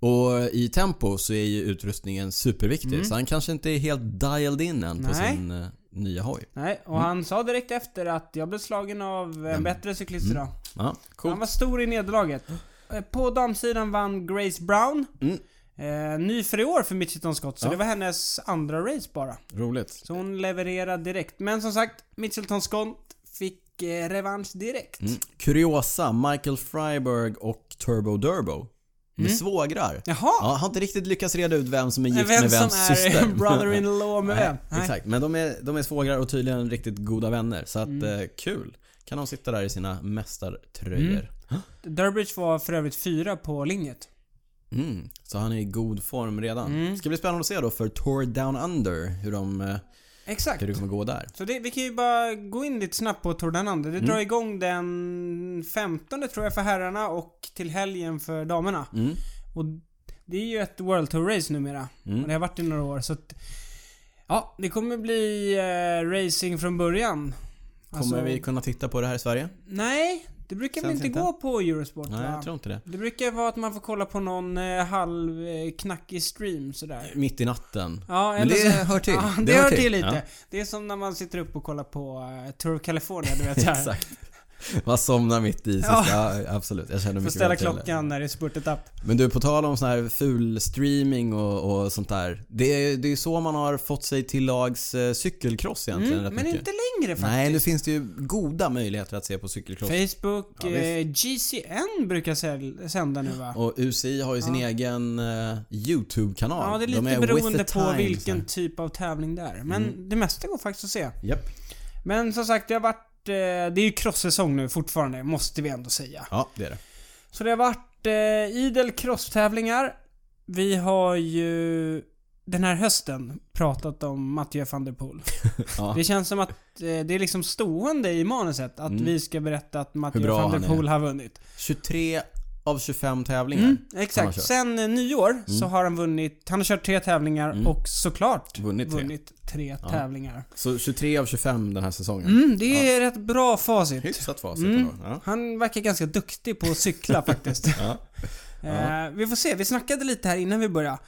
Speaker 2: Och i tempo så är ju utrustningen superviktig, så han kanske inte är helt dialed in än på
Speaker 1: Mm. Nej.
Speaker 2: sin eh, nya hoj.
Speaker 1: Nej, och
Speaker 2: Mm.
Speaker 1: han sa direkt efter att jag blev slagen av en bättre cyklist
Speaker 2: Mm.
Speaker 1: idag.
Speaker 2: Ja,
Speaker 1: Han
Speaker 2: cool.
Speaker 1: var stor i nederlaget. Eh, På damsidan vann Grace Brown.
Speaker 2: Mm.
Speaker 1: Eh, ny för i år för Mitchelton Scott, så
Speaker 2: Ja.
Speaker 1: det var hennes andra race bara.
Speaker 2: Roligt.
Speaker 1: Så hon levererade direkt. Men som sagt, Mitchelton Scott fick eh, revansch direkt.
Speaker 2: Mm. Kuriosa, Michael Freiberg och Turbo Durbo. Med
Speaker 1: Mm.
Speaker 2: svågrar.
Speaker 1: Jaha!
Speaker 2: Ja, har inte riktigt lyckats reda ut vem som är gift
Speaker 1: vem
Speaker 2: med
Speaker 1: som
Speaker 2: vems syster.
Speaker 1: är brother-in-law med
Speaker 2: Nej,
Speaker 1: vem? Nej.
Speaker 2: Exakt, men de är, de är svågrar och tydligen riktigt goda vänner. Så att
Speaker 1: Mm.
Speaker 2: eh, kul. Kan de sitta där i sina mästartröjor.
Speaker 1: Durbridge var för övrigt fyra på linjet.
Speaker 2: Mm. Så han är i god form redan.
Speaker 1: Mm.
Speaker 2: Ska bli spännande att se då för Tour Down Under hur, de, eh,
Speaker 1: Exakt.
Speaker 2: hur det kommer gå där.
Speaker 1: Så det, vi kan ju bara gå in lite snabbt på Tour Down Under. Det
Speaker 2: Mm.
Speaker 1: drar igång den 15 tror jag för herrarna och till helgen för damerna.
Speaker 2: Mm.
Speaker 1: Och det är ju ett World Tour-race numera.
Speaker 2: Mm.
Speaker 1: Och det har varit i några år så att... Ja, det kommer bli eh, racing från början.
Speaker 2: Kommer
Speaker 1: Alltså-
Speaker 2: vi kunna titta på det här i Sverige?
Speaker 1: Nej, det brukar väl
Speaker 2: Känns
Speaker 1: inte
Speaker 2: inte.
Speaker 1: gå på Eurosport
Speaker 2: Nej,
Speaker 1: va?
Speaker 2: jag tror inte det.
Speaker 1: Det brukar vara att man får kolla på någon eh, halv eh, knackig stream sådär.
Speaker 2: Mitt i natten.
Speaker 1: Ja,
Speaker 2: Men
Speaker 1: eller
Speaker 2: det
Speaker 1: så-
Speaker 2: hör till.
Speaker 1: Ja, det,
Speaker 2: Det hör
Speaker 1: hör,
Speaker 2: till.
Speaker 1: till, lite.
Speaker 2: Ja.
Speaker 1: Det är som när man sitter upp och kollar på eh, Tour of California, du vet såhär.
Speaker 2: Exakt. Man somnar mitt i sista. Ja. absolut. Jag känner
Speaker 1: Får
Speaker 2: mycket
Speaker 1: ställa
Speaker 2: väl till det.
Speaker 1: klockan när det är spurtet upp.
Speaker 2: Men du, på tal om sån här ful streaming och, och sånt där. Det, är- det är ju så man har fått sig till lags eh, cykelcross egentligen
Speaker 1: Mm,
Speaker 2: rätt
Speaker 1: men
Speaker 2: mycket.
Speaker 1: inte längre faktiskt.
Speaker 2: Nej, nu finns det ju goda möjligheter att se på cykelcross.
Speaker 1: Facebook,
Speaker 2: Ja,
Speaker 1: eh, GCN brukar säl- sända nu va?
Speaker 2: Och UCI har ju sin egen eh, YouTube-kanal.
Speaker 1: Ja, det är lite
Speaker 2: De with
Speaker 1: beroende
Speaker 2: the
Speaker 1: på
Speaker 2: times
Speaker 1: vilken
Speaker 2: här. Mm.
Speaker 1: typ av tävling det är. Men det mesta går faktiskt att se.
Speaker 2: Japp.
Speaker 1: Men som sagt, det har varit... eh, Det är ju cross-säsong nu fortfarande, måste vi ändå säga.
Speaker 2: Ja, det är det.
Speaker 1: Så det har varit eh, idel crosstävlingar. Vi har ju den här hösten pratat om Mathieu van der Poel.
Speaker 2: Ja.
Speaker 1: Det känns som att eh, det är liksom stående i manuset att vi ska berätta att Mathieu
Speaker 2: Mm. Hur bra
Speaker 1: van der
Speaker 2: han är.
Speaker 1: Poel har vunnit.
Speaker 2: 23 av 25 tävlingar.
Speaker 1: Mm,
Speaker 2: Han har
Speaker 1: exakt.
Speaker 2: kört. Mm.
Speaker 1: Sen eh, nyår så har han vunnit, han har kört tre tävlingar och såklart
Speaker 2: Vunnit tre.
Speaker 1: vunnit tre tävlingar.
Speaker 2: Så 23 av 25 den här säsongen.
Speaker 1: Mm, det är rätt bra facit.
Speaker 2: Hyfsat facit ändå. Ja.
Speaker 1: Han verkar ganska duktig på att cykla faktiskt.
Speaker 2: Ja.
Speaker 1: Eh, vi får se, vi snackade lite här innan vi började.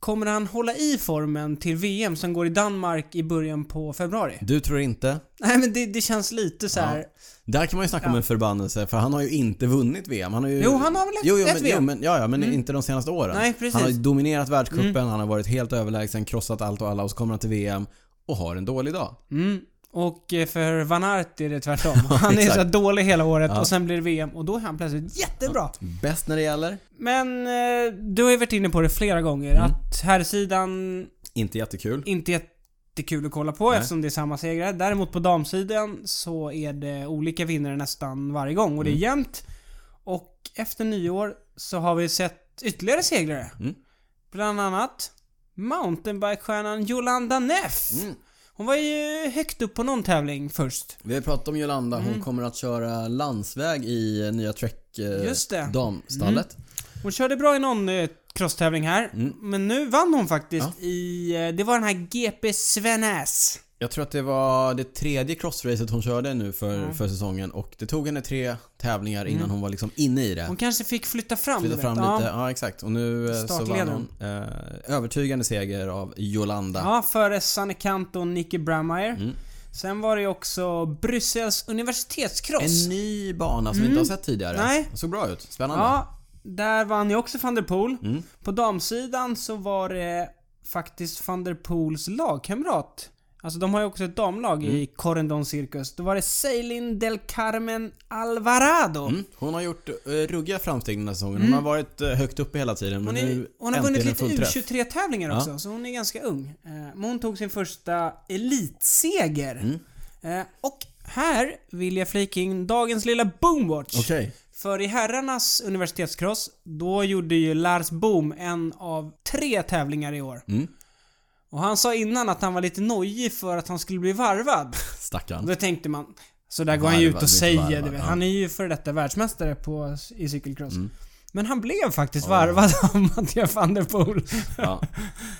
Speaker 1: Kommer han hålla i formen till VM som går i Danmark i början på februari?
Speaker 2: Du tror inte?
Speaker 1: Nej men det, det känns lite så här.
Speaker 2: Där kan man ju snacka om en förbannelse för han har ju inte vunnit VM. Han har ju...
Speaker 1: Jo, han har väl ett-
Speaker 2: jo, jo,
Speaker 1: ett
Speaker 2: men, Jo,
Speaker 1: VM?
Speaker 2: men, ja, ja, men inte de senaste åren.
Speaker 1: Nej, precis. Mm.
Speaker 2: Han har ju dominerat världscupen, han har varit helt överlägsen, krossat allt och alla och så kommer han till VM och har en dålig dag.
Speaker 1: Mm. Och eh, för Van Aert är det tvärtom. Han är så här dålig hela året och sen blir det VM och då är han plötsligt jättebra.
Speaker 2: Bäst när det gäller,
Speaker 1: Men eh, du har ju varit inne på det flera gånger att här sidan
Speaker 2: inte jättekul.
Speaker 1: inte jättekul att kolla på eftersom det är samma segrare. Däremot på damsidan så är det olika vinnare nästan varje gång och det är
Speaker 2: Mm.
Speaker 1: jämnt. Och efter nyår så har vi sett ytterligare segrare.
Speaker 2: Mm.
Speaker 1: Bland annat mountainbikestjärnan Jolanda Neff.
Speaker 2: Mm.
Speaker 1: Hon var ju högt upp på någon tävling först.
Speaker 2: Vi har pratat om Jolanda, hon kommer att köra landsväg i eh, nya Trek eh,
Speaker 1: Mm. Just Mm. det.
Speaker 2: damstallet.
Speaker 1: Hon körde bra i någon eh, crosstävling här,
Speaker 2: Mm.
Speaker 1: men nu vann hon faktiskt i... eh, Det var den här GP Svenäs.
Speaker 2: Jag tror att det var det tredje crossracet hon körde nu för, för säsongen och det tog henne tre tävlingar innan
Speaker 1: Mm.
Speaker 2: hon var liksom inne i det.
Speaker 1: Hon kanske fick flytta fram,
Speaker 2: Flytta
Speaker 1: du
Speaker 2: fram
Speaker 1: vet. Ja.
Speaker 2: lite, ja exakt. Och nu eh, så vann
Speaker 1: Startledaren.
Speaker 2: hon eh, övertygande seger av Jolanda.
Speaker 1: Ja, före Sanne Kant och Nicky Brammeyer. Sen var det ju också Bryssels universitetskross.
Speaker 2: En ny bana som vi inte har sett tidigare.
Speaker 1: Mm. Nej.
Speaker 2: Det såg bra ut. Spännande.
Speaker 1: Ja, där vann ju också van der Poel. På damsidan så var det faktiskt van der Poels lagkamrat. Alltså de har ju också ett damlag i Corendon Circus. Då var det Celine del Carmen Alvarado.
Speaker 2: Mm. Hon har gjort eh, ruggiga framsteg den här säsongen. Hon har varit eh, högt uppe hela tiden.
Speaker 1: Mm. Hon,
Speaker 2: Men
Speaker 1: är,
Speaker 2: nu
Speaker 1: hon har
Speaker 2: äntligen
Speaker 1: vunnit
Speaker 2: en
Speaker 1: lite
Speaker 2: full träff.
Speaker 1: U23-tävlingar också, så hon är
Speaker 2: Mm.
Speaker 1: ganska ung. Eh, Men hon tog sin första elitseger. Eh, Och Här vill jag flika in dagens lilla boomwatch.
Speaker 2: Okej.
Speaker 1: För i herrarnas universitetskross, då gjorde ju Lars Boom en av tre tävlingar i år.
Speaker 2: Mm.
Speaker 1: Och han sa innan att han var lite nojig för att han skulle bli varvad. Och
Speaker 2: Stackarn.
Speaker 1: Då tänkte man, så där går han ju ut
Speaker 2: Varvad,
Speaker 1: och
Speaker 2: inte
Speaker 1: säger
Speaker 2: varvad,
Speaker 1: du vet.
Speaker 2: ja. Mm.
Speaker 1: Han är ju före detta världsmästare på, i cykelcross. Men han blev faktiskt varvad av Mattias van der Poel.
Speaker 2: Ja.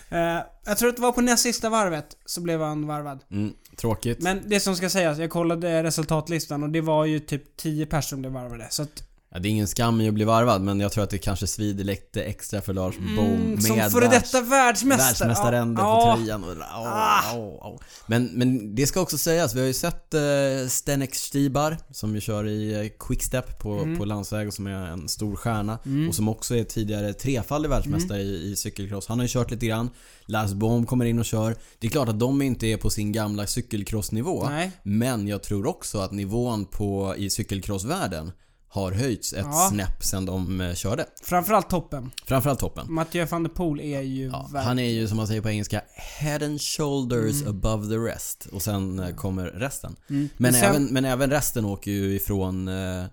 Speaker 1: Eh, jag tror att det var på näst sista varvet så blev han varvad.
Speaker 2: Mm. Tråkigt.
Speaker 1: Men det som ska sägas, jag kollade resultatlistan och det var ju typ 10 personer som blev varvade. Så att
Speaker 2: Ja, det är ingen skam i att bli varvad men jag tror att det kanske svider lite extra för Lars Boom med
Speaker 1: Mm, Som före
Speaker 2: världs-
Speaker 1: detta världsmästare.
Speaker 2: Världsmästaränden
Speaker 1: ja, Ah.
Speaker 2: på tröjan och, au, au, au. Men, men det ska också sägas, vi har ju sett eh, Stenek Stibar som ju kör i eh, Quickstep på,
Speaker 1: Mm.
Speaker 2: på landsväg och som är en stor stjärna och som också är tidigare trefaldig världsmästare
Speaker 1: Mm.
Speaker 2: i, i cykelcross. Han har ju kört lite grann. Lars Bohm kommer in och kör. Det är klart att de inte är på sin gamla cykelcrossnivå
Speaker 1: Nej.
Speaker 2: men jag tror också att nivån på, i cykelcrossvärlden har höjts ett
Speaker 1: Ja.
Speaker 2: snäpp sen de eh, körde.
Speaker 1: Framförallt toppen.
Speaker 2: Framförallt toppen.
Speaker 1: Mathieu van der Poel är ju
Speaker 2: Ja,
Speaker 1: värd-
Speaker 2: han är ju som man säger på engelska head and shoulders above the rest och sen eh, kommer resten. Men,
Speaker 1: Mm. Men sen-
Speaker 2: även, men även resten åker ju ifrån eh, eh,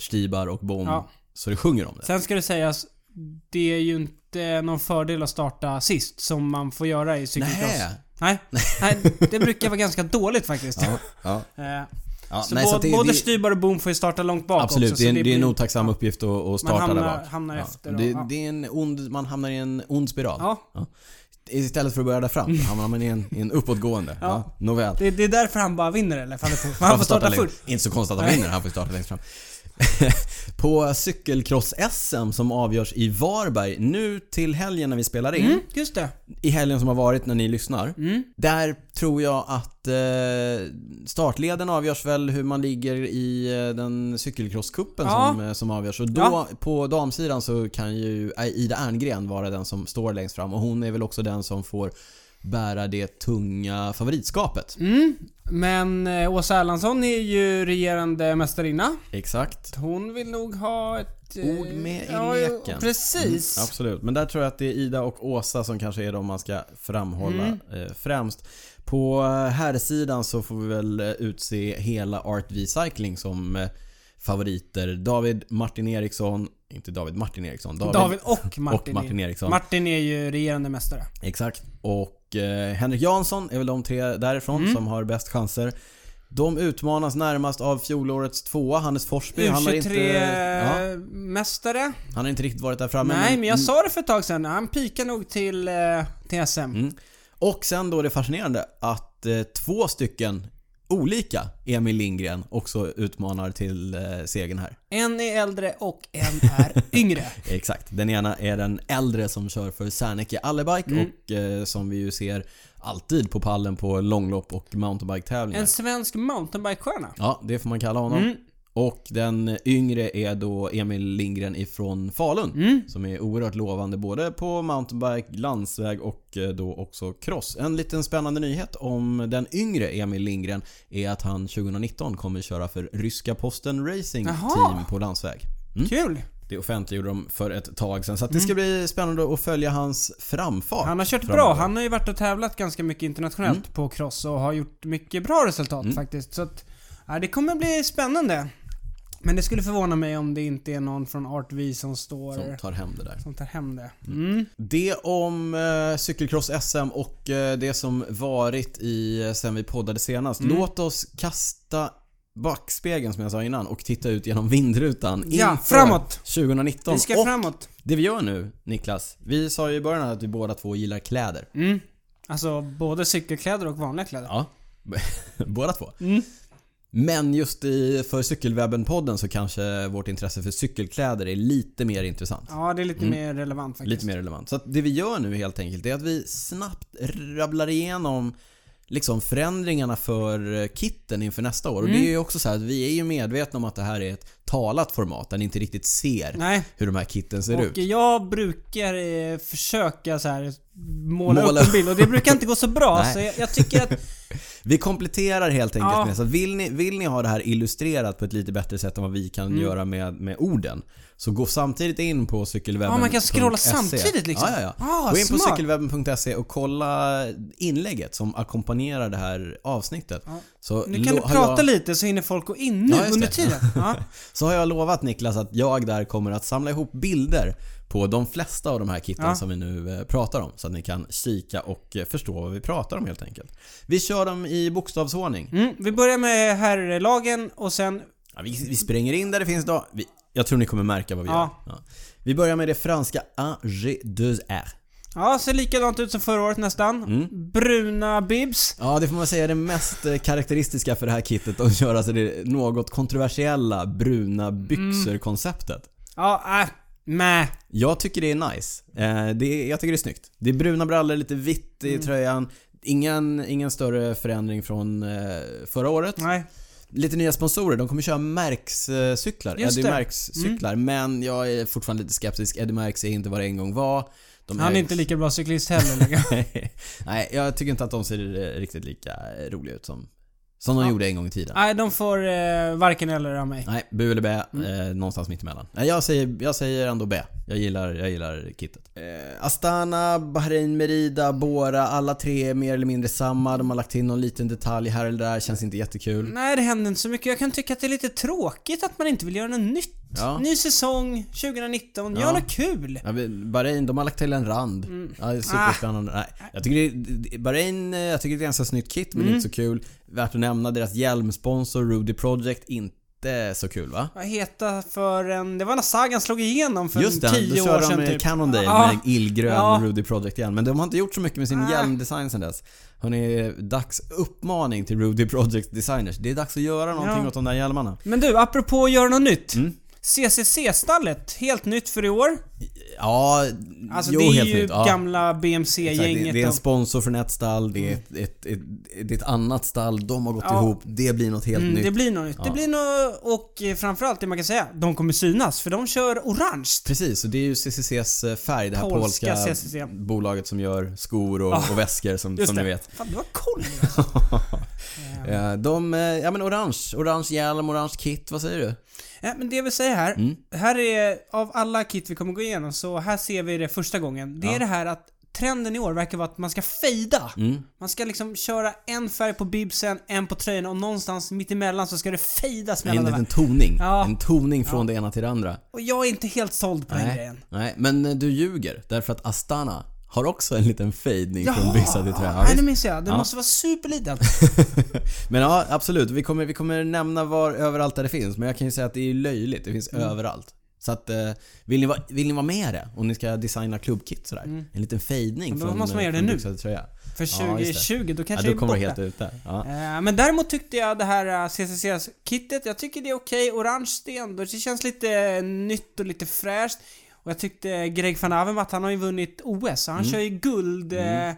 Speaker 2: Stibar och Bom
Speaker 1: Ja.
Speaker 2: så det sjunger om det.
Speaker 1: Sen ska det sägas, det är ju inte någon fördel att starta sist som man får göra i cykelcross.
Speaker 2: Nähä.
Speaker 1: Nej. Nej, det brukar vara ganska dåligt faktiskt.
Speaker 2: Ja, ja.
Speaker 1: Eh,
Speaker 2: Ja,
Speaker 1: så
Speaker 2: nej,
Speaker 1: bo-
Speaker 2: så att det-
Speaker 1: både
Speaker 2: det-
Speaker 1: Stybar och Boom får ju starta långt bak
Speaker 2: Absolut,
Speaker 1: också.
Speaker 2: det är,
Speaker 1: så
Speaker 2: en- det är en
Speaker 1: blir-
Speaker 2: otacksam uppgift att, att starta där
Speaker 1: hamnar-
Speaker 2: bak.
Speaker 1: eh, hamnar
Speaker 2: ja.
Speaker 1: efter och-
Speaker 2: det,
Speaker 1: ja.
Speaker 2: det är en ond, man hamnar i en ond spiral.
Speaker 1: Ja. Mm.
Speaker 2: Istället för att börja där fram så hamnar man i en, i en uppåtgående. Ja. Nåväl.
Speaker 1: Det, det är därför han bara vinner eller? För han, är på- för han får starta
Speaker 2: längst-
Speaker 1: först.
Speaker 2: Inte så konstigt att han vinner, han får starta längst fram. på cykelcross-SM som avgörs i Varberg nu till helgen när vi spelar in.
Speaker 1: Mm, just det.
Speaker 2: I helgen som har varit när ni lyssnar. Där tror jag att eh, startleden avgörs väl hur man ligger i eh, den cykelcrosscupen
Speaker 1: Ja.
Speaker 2: som, eh, som avgörs. Och då
Speaker 1: Ja.
Speaker 2: på damsidan så kan ju Ida Erngren vara den som står längst fram och hon är väl också den som får bära det tunga favoritskapet.
Speaker 1: Mm. Men eh, Åsa Erlandsson är ju regerande mästarinna.
Speaker 2: Exakt.
Speaker 1: Hon vill nog ha ett... eh,
Speaker 2: Ord med i
Speaker 1: ja,
Speaker 2: leken.
Speaker 1: Precis.
Speaker 2: Mm, absolut, men där tror jag att det är Ida och Åsa som kanske är de man ska framhålla
Speaker 1: Mm.
Speaker 2: eh, främst. På eh, herrsidan så får vi väl eh, utse hela Art V Cycling som eh, favoriter. David Martin Eriksson, inte David Martin Eriksson, David,
Speaker 1: David och Martin,
Speaker 2: och Martin
Speaker 1: är,
Speaker 2: Eriksson.
Speaker 1: Martin är ju regerande mästare.
Speaker 2: Exakt. Och eh, Henrik Jansson är väl de tre därifrån
Speaker 1: Mm.
Speaker 2: som har bäst chanser. De utmanas närmast av fjolårets tvåa, Hannes Forsby. Han har inte, ja, mm.
Speaker 1: U23-mästare.
Speaker 2: han har inte riktigt varit där framme.
Speaker 1: eh, Nej, men jag sa det för ett tag sedan. Han pikar nog till, eh, till SM.
Speaker 2: Mm. Och sen då det fascinerande att eh, två stycken olika Emil Lindgren också utmanar till eh, segern här.
Speaker 1: En är äldre och en är yngre.
Speaker 2: Exakt. Den ena är den äldre som kör för Serneke Allebike och eh, som vi ju ser alltid på pallen på långlopp och mountainbike-tävlingar.
Speaker 1: En svensk mountainbikestjärna.
Speaker 2: Ja, det får man kalla honom.
Speaker 1: Mm.
Speaker 2: Och den yngre är då Emil Lindgren ifrån Falun.
Speaker 1: Mm.
Speaker 2: Som är oerhört lovande både på mountainbike, landsväg och eh, då också cross. En liten spännande nyhet om den yngre Emil Lindgren är att han 2019 kommer köra för ryska posten racing
Speaker 1: Jaha.
Speaker 2: team på landsväg. Mm.
Speaker 1: Kul!
Speaker 2: Det offentliggjorde de för ett tag sedan. Så att det ska bli spännande att följa hans framfart.
Speaker 1: Mm. Han har kört bra.
Speaker 2: framöver.
Speaker 1: Han har ju varit och tävlat ganska mycket internationellt
Speaker 2: Mm.
Speaker 1: på cross och har gjort mycket bra resultat faktiskt. Så att, ja, det kommer bli spännande. Men det skulle förvåna mig om det inte är någon från Art V som står...
Speaker 2: Som
Speaker 1: Som,
Speaker 2: tar hem det där.
Speaker 1: tar hem det. Mm.
Speaker 2: Det om eh, cykelcross-SM och eh, det som varit i eh, sen vi poddade senast.
Speaker 1: Mm.
Speaker 2: Låt oss kasta backspegeln som jag sa innan och titta ut genom vindrutan
Speaker 1: Ja,
Speaker 2: inför
Speaker 1: framåt.
Speaker 2: 2019.
Speaker 1: Vi ska
Speaker 2: och
Speaker 1: framåt.
Speaker 2: det vi gör nu, Niklas. Vi sa ju i början här att vi båda två gillar kläder.
Speaker 1: Mm. Alltså både cykelkläder och vanliga kläder.
Speaker 2: Ja, båda två.
Speaker 1: Mm.
Speaker 2: Men just i, för Cykelwebben-podden så kanske vårt intresse för cykelkläder är lite mer intressant.
Speaker 1: Ja, det är lite mer relevant faktiskt.
Speaker 2: Mm. Lite mer relevant. Så att det vi gör nu helt enkelt är att vi snabbt rabblar igenom liksom förändringarna för eh, kitten inför nästa år.
Speaker 1: Mm.
Speaker 2: Och det är ju också så här att vi är ju medvetna om att det här är ett talat format där ni inte riktigt ser
Speaker 1: Nej.
Speaker 2: hur de här kitten ser ut.
Speaker 1: Och jag brukar eh, försöka så här måla,
Speaker 2: Måla
Speaker 1: upp en bild och det brukar inte gå så bra.
Speaker 2: Nej.
Speaker 1: så jag, jag tycker att
Speaker 2: Vi kompletterar helt enkelt
Speaker 1: Ja.
Speaker 2: med så vill ni, vill ni ha det här illustrerat på ett lite bättre sätt än vad vi kan
Speaker 1: Mm.
Speaker 2: göra med, med orden så gå samtidigt in på cykelwebben.
Speaker 1: Ja, man kan scrolla
Speaker 2: .se.
Speaker 1: samtidigt liksom.
Speaker 2: Ja, ja, ja.
Speaker 1: Ah,
Speaker 2: gå in på
Speaker 1: smart.
Speaker 2: cykelwebben.se E och kolla inlägget som ackompanjerar det här avsnittet. Så,
Speaker 1: Nu kan du
Speaker 2: lo- har
Speaker 1: prata
Speaker 2: jag,
Speaker 1: lite så hinner folk gå in
Speaker 2: Ja,
Speaker 1: nu
Speaker 2: just
Speaker 1: under
Speaker 2: det.
Speaker 1: tiden. Ja.
Speaker 2: så har jag lovat Niklas att jag där kommer att samla ihop bilder på de flesta av de här kitten
Speaker 1: Ja.
Speaker 2: som vi nu eh, pratar om. Så att ni kan kika och eh, förstå vad vi pratar om helt enkelt. Vi kör dem i bokstavsordning.
Speaker 1: Mm, vi börjar med herrlagen och sen...
Speaker 2: Ja, vi, vi spränger in där det finns då. Vi, jag tror ni kommer märka vad vi
Speaker 1: Ja.
Speaker 2: gör. Ja. Vi börjar med det franska Angers deux R.
Speaker 1: Ja, ser likadant ut som förra året nästan.
Speaker 2: Mm.
Speaker 1: Bruna bibs.
Speaker 2: Ja, det får man säga är det mest eh, karaktäristiska för det här kittet att göra sig det något kontroversiella bruna byxor-konceptet.
Speaker 1: Ja, äh, meh.
Speaker 2: Jag tycker det är nice. Eh, det, är- jag tycker det är snyggt. Det är bruna brallor, lite vitt i tröjan. Ingen, ingen större förändring från eh, förra året.
Speaker 1: Nej.
Speaker 2: Lite nya sponsorer. De kommer köra Merx-cyklar.
Speaker 1: Just
Speaker 2: Eddie
Speaker 1: det.
Speaker 2: Merx-cyklar. Men jag är fortfarande lite skeptisk. Eddie Merx är inte vad det en gång var. De
Speaker 1: Han är
Speaker 2: ägs-
Speaker 1: inte lika bra cyklist heller. lägger-
Speaker 2: Nej, jag tycker inte att de ser eh, riktigt lika eh, roliga ut som, som de gjorde en gång i tiden.
Speaker 1: Nej, de får eh, varken eller av mig.
Speaker 2: Nej, bu eller bä. Eh, någonstans mittemellan. Nej, jag säger, jag säger ändå bä. Jag gillar, jag gillar kittet. Eh, Astana, Bahrain, Merida, Bora. Alla tre är mer eller mindre samma. De har lagt in någon liten detalj här eller där. Känns inte jättekul.
Speaker 1: Nej, det händer inte så mycket. Jag kan tycka att det är lite tråkigt att man inte vill göra något nytt.
Speaker 2: Ja.
Speaker 1: Ny säsong 2019. Gör
Speaker 2: Ja.
Speaker 1: något kul.
Speaker 2: Ja, men Bahrain, de har lagt till en rand.
Speaker 1: Mm.
Speaker 2: Ja, det är
Speaker 1: Ah.
Speaker 2: superspännande. Nej, jag tycker det, det- Bahrain, eh, jag tycker det är ett ganska snyggt kit
Speaker 1: Mm.
Speaker 2: men inte så kul. Värt att nämna deras hjälmsponsor Rudy Project, inte så kul va?
Speaker 1: Vad heta för en... Det var när Sagan slog igenom för
Speaker 2: Just det, då
Speaker 1: Mm, tio år
Speaker 2: kör de
Speaker 1: sedan
Speaker 2: med
Speaker 1: typ.
Speaker 2: Cannondale
Speaker 1: Ja.
Speaker 2: med illgrön
Speaker 1: Ja.
Speaker 2: Rudy Project igen. Men de har inte gjort så mycket med sin
Speaker 1: Ah.
Speaker 2: hjälmdesign sedan dess. Hörrni, dags uppmaning till Rudy Project designers. Det är dags att göra någonting
Speaker 1: Ja.
Speaker 2: åt de där hjälmarna.
Speaker 1: Men du, apropå att göra något nytt.
Speaker 2: Mm.
Speaker 1: CCC-stallet, helt nytt för i år.
Speaker 2: Ja,
Speaker 1: Alltså
Speaker 2: jo
Speaker 1: det är
Speaker 2: helt
Speaker 1: ju
Speaker 2: nytt. Ja.
Speaker 1: gamla
Speaker 2: Exakt, Det,
Speaker 1: BMC-gänget.
Speaker 2: det är en
Speaker 1: och-
Speaker 2: sponsor från ett stall, det är ett, ett, ett, det är ett annat stall, de har gått
Speaker 1: Mm. Ja.
Speaker 2: ihop, det blir något helt
Speaker 1: Mm,
Speaker 2: nytt.
Speaker 1: Det blir något nytt. Det blir något, och eh, framförallt det man kan säga, de kommer synas för de kör orange.
Speaker 2: Precis, och det är ju CCCs eh, färg, det här
Speaker 1: Polska
Speaker 2: polska,
Speaker 1: CCC.
Speaker 2: bolaget som gör skor och, och väskor som,
Speaker 1: Just
Speaker 2: som
Speaker 1: det.
Speaker 2: ni vet.
Speaker 1: Fan, du har koll nu.
Speaker 2: Eh, De, eh, ja men orange, orange hjälm, orange kit, vad säger du?
Speaker 1: Ja, men det vi säger här,
Speaker 2: Mm.
Speaker 1: här är av alla kit vi kommer gå igenom så här ser vi det första gången. Det är det här att trenden i år verkar vara att man ska fejda.
Speaker 2: Mm.
Speaker 1: Man ska liksom köra en färg på bibsen, en på tröjan och någonstans mittemellan så ska det fejdas
Speaker 2: En
Speaker 1: mellan de
Speaker 2: liten
Speaker 1: här.
Speaker 2: toning.
Speaker 1: Ja.
Speaker 2: En toning från det ena till det andra.
Speaker 1: Och jag är inte helt såld på den
Speaker 2: Nej.
Speaker 1: grejen.
Speaker 2: Nej, men eh, du ljuger. Därför att Astana har också en liten fejdning från
Speaker 1: Jaha!
Speaker 2: byxa till tröja. Ja,
Speaker 1: Nej,
Speaker 2: visst.
Speaker 1: det minns jag. Den måste vara superliten.
Speaker 2: Men ja, absolut. Vi kommer, vi kommer nämna var överallt där det finns. Men jag kan ju säga att det är löjligt. Det finns
Speaker 1: Mm.
Speaker 2: överallt. Så att, eh, vill, ni va, vill ni vara med i det? Om ni ska designa klubbkit sådär. En liten fejdning
Speaker 1: Mm. Men då
Speaker 2: från, eh,
Speaker 1: måste man göra det
Speaker 2: från
Speaker 1: nu.
Speaker 2: byxa till tröja.
Speaker 1: För
Speaker 2: Ja, just det.
Speaker 1: 2020, då
Speaker 2: Ja,
Speaker 1: kanske
Speaker 2: då
Speaker 1: det är
Speaker 2: kommer
Speaker 1: borta.
Speaker 2: det helt ute. Ja.
Speaker 1: Eh, Men däremot tyckte jag det här eh, CCC-kittet, jag tycker det är okej. Orange sten, det känns lite nytt och lite fräscht. Och jag tyckte Greg van Avermaet, han har ju vunnit OS, så han
Speaker 2: Mm.
Speaker 1: kör ju guld... Eh,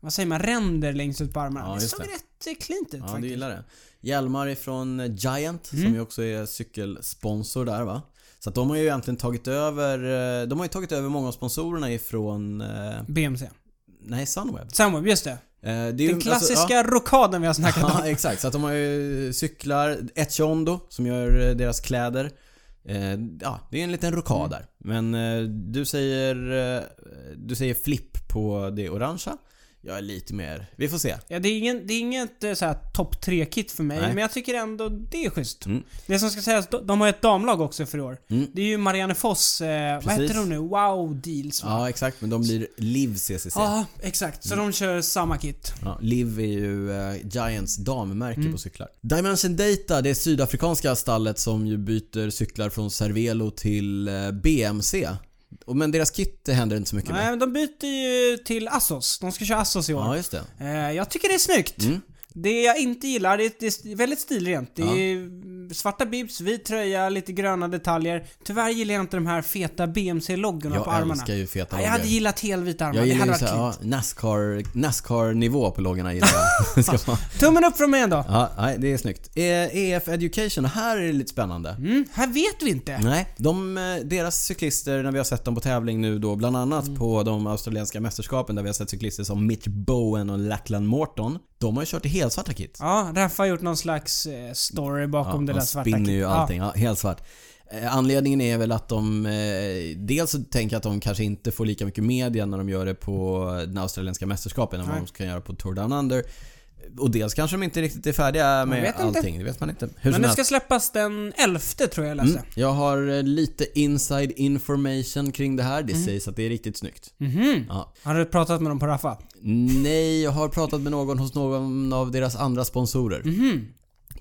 Speaker 1: vad säger man? Ränder längst ut på armarna.
Speaker 2: Ja,
Speaker 1: det
Speaker 2: just
Speaker 1: såg
Speaker 2: det.
Speaker 1: rätt eh, cleant ut
Speaker 2: Ja, du
Speaker 1: faktiskt. Mm.
Speaker 2: gillar det. Hjälmar ifrån eh, Giant, som ju också är cykelsponsor där va? Så att de har ju egentligen tagit över, eh, de har ju tagit över många av sponsorerna ifrån, eh,
Speaker 1: BMC.
Speaker 2: nej Sunweb.
Speaker 1: Samweb, just det.
Speaker 2: Eh, Det är ju,
Speaker 1: Den klassiska
Speaker 2: Alltså, ja.
Speaker 1: rockaden vi har snackat om.
Speaker 2: Ja, exakt. Så att de har ju eh, cyklar, Echondo som gör eh, deras kläder. Eh, Ja, det är en liten
Speaker 1: Mm.
Speaker 2: rokad där. Men eh, du säger, eh, du säger flipp på det orangea. Jag är lite mer, vi får se.
Speaker 1: Ja, det, är ingen, det är inget eh, så här topp 3-kit för mig,
Speaker 2: Nej.
Speaker 1: men jag tycker ändå det är schysst.
Speaker 2: Mm.
Speaker 1: Det som ska sägas, de de har ju ett damlag också för i år.
Speaker 2: Mm.
Speaker 1: Det är ju Marianne Foss, eh, vad
Speaker 2: Precis.
Speaker 1: heter hon nu? Wow Deals va?
Speaker 2: Ja, Mm. exakt. Men de blir Liv CCC.
Speaker 1: Ja, exakt. Så de kör samma kit.
Speaker 2: Ja, Liv är ju eh, Giants dammärke
Speaker 1: Mm.
Speaker 2: på cyklar. Dimension Data, det är sydafrikanska stallet som ju byter cyklar från Cervelo till eh, BMC. Och, men deras kit det händer inte så mycket
Speaker 1: Nej,
Speaker 2: med.
Speaker 1: men de byter ju till Assos. De ska köra Assos i år.
Speaker 2: Ja, just det.
Speaker 1: Eh, jag tycker det är snyggt. Det jag inte gillar, det är, det är st- väldigt stilrent. Det
Speaker 2: Ja.
Speaker 1: är mm, svarta bibs, vit tröja, lite gröna detaljer. Tyvärr gillar jag inte de här feta BMC-loggorna på
Speaker 2: Jag
Speaker 1: armarna.
Speaker 2: älskar ju feta
Speaker 1: Ja, jag hade
Speaker 2: loggor.
Speaker 1: gillat helvita armar.
Speaker 2: Jag
Speaker 1: Det
Speaker 2: gillar
Speaker 1: hade
Speaker 2: ju
Speaker 1: varit
Speaker 2: såhär,
Speaker 1: kul.
Speaker 2: ja, Nascar, Nascar-nivå på loggorna gillar jag. Ska man-
Speaker 1: Tummen upp från mig ändå.
Speaker 2: ja, nej, det är snyggt. Eh, EF Education, här är det lite spännande.
Speaker 1: Mm, här vet vi inte.
Speaker 2: Nej, de, eh, deras cyklister när vi har sett dem på tävling nu då
Speaker 1: Mm.
Speaker 2: bland annat på de australienska mästerskapen där vi har sett cyklister som Mitch Bowen och Lachlan Morton. De har ju kört i helsvarta kit.
Speaker 1: Ja, Raffa har gjort någon slags eh, story bakom det
Speaker 2: de
Speaker 1: där svarta
Speaker 2: spinner ju
Speaker 1: kit-
Speaker 2: allting. Ja. helt svart. Eh, Anledningen är väl att de... eh, Dels så tänker jag att de kanske inte får lika mycket media när de gör det på den australienska mästerskapen än vad
Speaker 1: Nej.
Speaker 2: de kan göra på Tour Down Under. Och dels kanske de inte riktigt är färdiga med
Speaker 1: vet inte.
Speaker 2: allting. Det vet man inte. Hur
Speaker 1: Men
Speaker 2: som
Speaker 1: det
Speaker 2: helst.
Speaker 1: ska släppas den 11 tror jag jag läste.
Speaker 2: Mm. Jag har eh, lite inside information kring det här. Det sägs att det är riktigt snyggt.
Speaker 1: Mhm.
Speaker 2: Ja.
Speaker 1: Har du pratat med dem på Raffa?
Speaker 2: Nej, jag har pratat med någon hos någon av deras andra sponsorer.
Speaker 1: Mhm.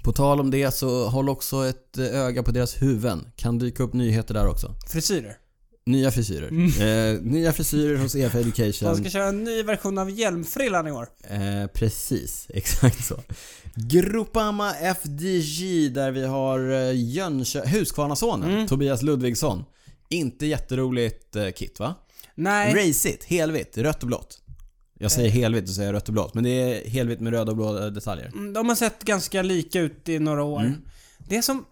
Speaker 2: På tal om det så håll också ett eh, öga på deras huvuden. Kan dyka upp nyheter där också.
Speaker 1: Frisyrer.
Speaker 2: Nya frisyrer. Eh, nya frisyrer hos EFA Education.
Speaker 1: De Mm. ska köra en ny version av hjälmfrillan i år.
Speaker 2: Eh, precis, exakt så. Gruppama FDG där vi har eh, Jönköping, Huskvarnasonen,
Speaker 1: Mm.
Speaker 2: Tobias Ludvigsson. Inte jätteroligt eh, kit va?
Speaker 1: Nej. Eh.
Speaker 2: Racigt, helvitt, rött och blått. Jag säger helvitt och säger rött och blått, men det är helvitt med röda och blå detaljer.
Speaker 1: Mm, De har sett ganska lika ut i några år.
Speaker 2: Mm.
Speaker 1: Det som...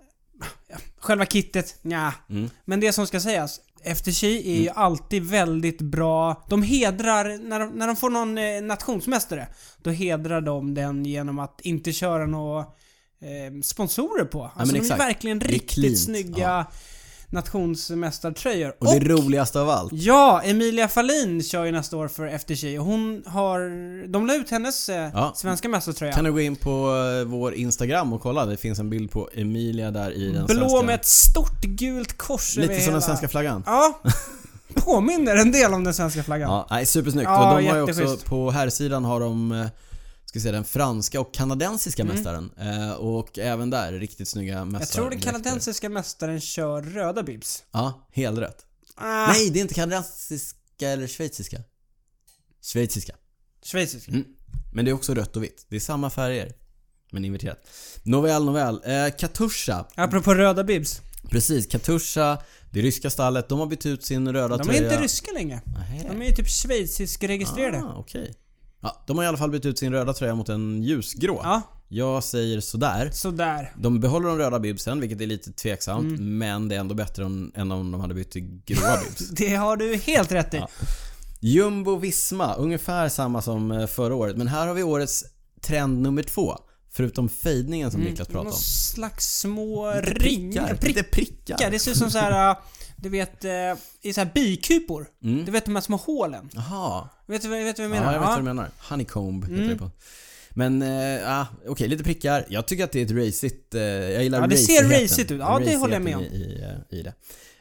Speaker 1: ja, Själva kittet, nja.
Speaker 2: Mm.
Speaker 1: Men det som ska sägas. FTC är ju alltid väldigt bra. De hedrar, när de, när de får någon eh, nationsmästare, då hedrar de den genom att inte köra några eh, sponsorer på. Alltså de
Speaker 2: exakt.
Speaker 1: är verkligen
Speaker 2: Det är
Speaker 1: riktigt
Speaker 2: cleant,
Speaker 1: snygga
Speaker 2: ja.
Speaker 1: nationsmästartröjor.
Speaker 2: Och det roligaste av allt.
Speaker 1: Ja, Emilia Fahlin kör ju nästa år för FTC och hon har... De la ut hennes eh,
Speaker 2: Ja.
Speaker 1: svenska mästartröja.
Speaker 2: Kan du gå in på eh, vår Instagram och kolla? Det finns en bild på Emilia där i den
Speaker 1: Blå
Speaker 2: svenska...
Speaker 1: med ett stort gult kors över
Speaker 2: Lite som
Speaker 1: hela.
Speaker 2: den svenska flaggan.
Speaker 1: Ja. Påminner en del om den svenska flaggan.
Speaker 2: Ja, nej, supersnyggt.
Speaker 1: Ja,
Speaker 2: och de har ju också,
Speaker 1: jätteschysst.
Speaker 2: på här sidan har de eh, ska vi säga, den franska och kanadensiska mästaren. Eh, Och även där, riktigt snygga mästare.
Speaker 1: Mm. Jag tror den kanadensiska mästaren kör röda bibs.
Speaker 2: Ja, helrätt.
Speaker 1: Ah,
Speaker 2: Nej, det är inte kanadensiska eller schweiziska. Schweiziska.
Speaker 1: Schweizisk.
Speaker 2: Mm. Men det är också rött och vitt. Det är samma färger. Men inverterat. Nåväl, nåväl. Eh, Katusha.
Speaker 1: Apropå röda bibs.
Speaker 2: Precis, Katusha, det ryska stallet, de har bytt ut sin röda
Speaker 1: De är
Speaker 2: tröja.
Speaker 1: inte ryska längre.
Speaker 2: Nej.
Speaker 1: De är ju typ schweizisk registrerade.
Speaker 2: Ah, okej. Ja, de har i alla fall bytt ut sin röda tröja mot en ljusgrå.
Speaker 1: Ja,
Speaker 2: Jag säger sådär.
Speaker 1: sådär.
Speaker 2: De behåller de röda bibsen, vilket är lite tveksamt.
Speaker 1: Mm.
Speaker 2: Men det är ändå bättre än, än om de hade bytt till gråa bibs.
Speaker 1: Det har du helt rätt i.
Speaker 2: Jumbo Visma, ungefär samma som eh, förra året. Men här har vi årets trend nummer två. Förutom fejdningen som Niklas pratade
Speaker 1: Mm. Någon
Speaker 2: om.
Speaker 1: slags små ringar.
Speaker 2: Lite
Speaker 1: Prickar.
Speaker 2: prickar.
Speaker 1: Det ser ut som så här. äh, Du vet, äh, i så här bikupor. Du vet de här små hålen.
Speaker 2: Jaha.
Speaker 1: Vet du, vad- vet du vad jag
Speaker 2: Mm. Ja,
Speaker 1: menar? Mm.
Speaker 2: jag vet vad du menar. Honeycomb heter det på. Men, eh, ah, okej, lite prickar. Jag tycker att det är ett racigt... Eh, jag gillar
Speaker 1: Ja, det ser
Speaker 2: racigheten.
Speaker 1: racigt ut. Ja, det håller jag med om.
Speaker 2: Racigheten I, i, eh, i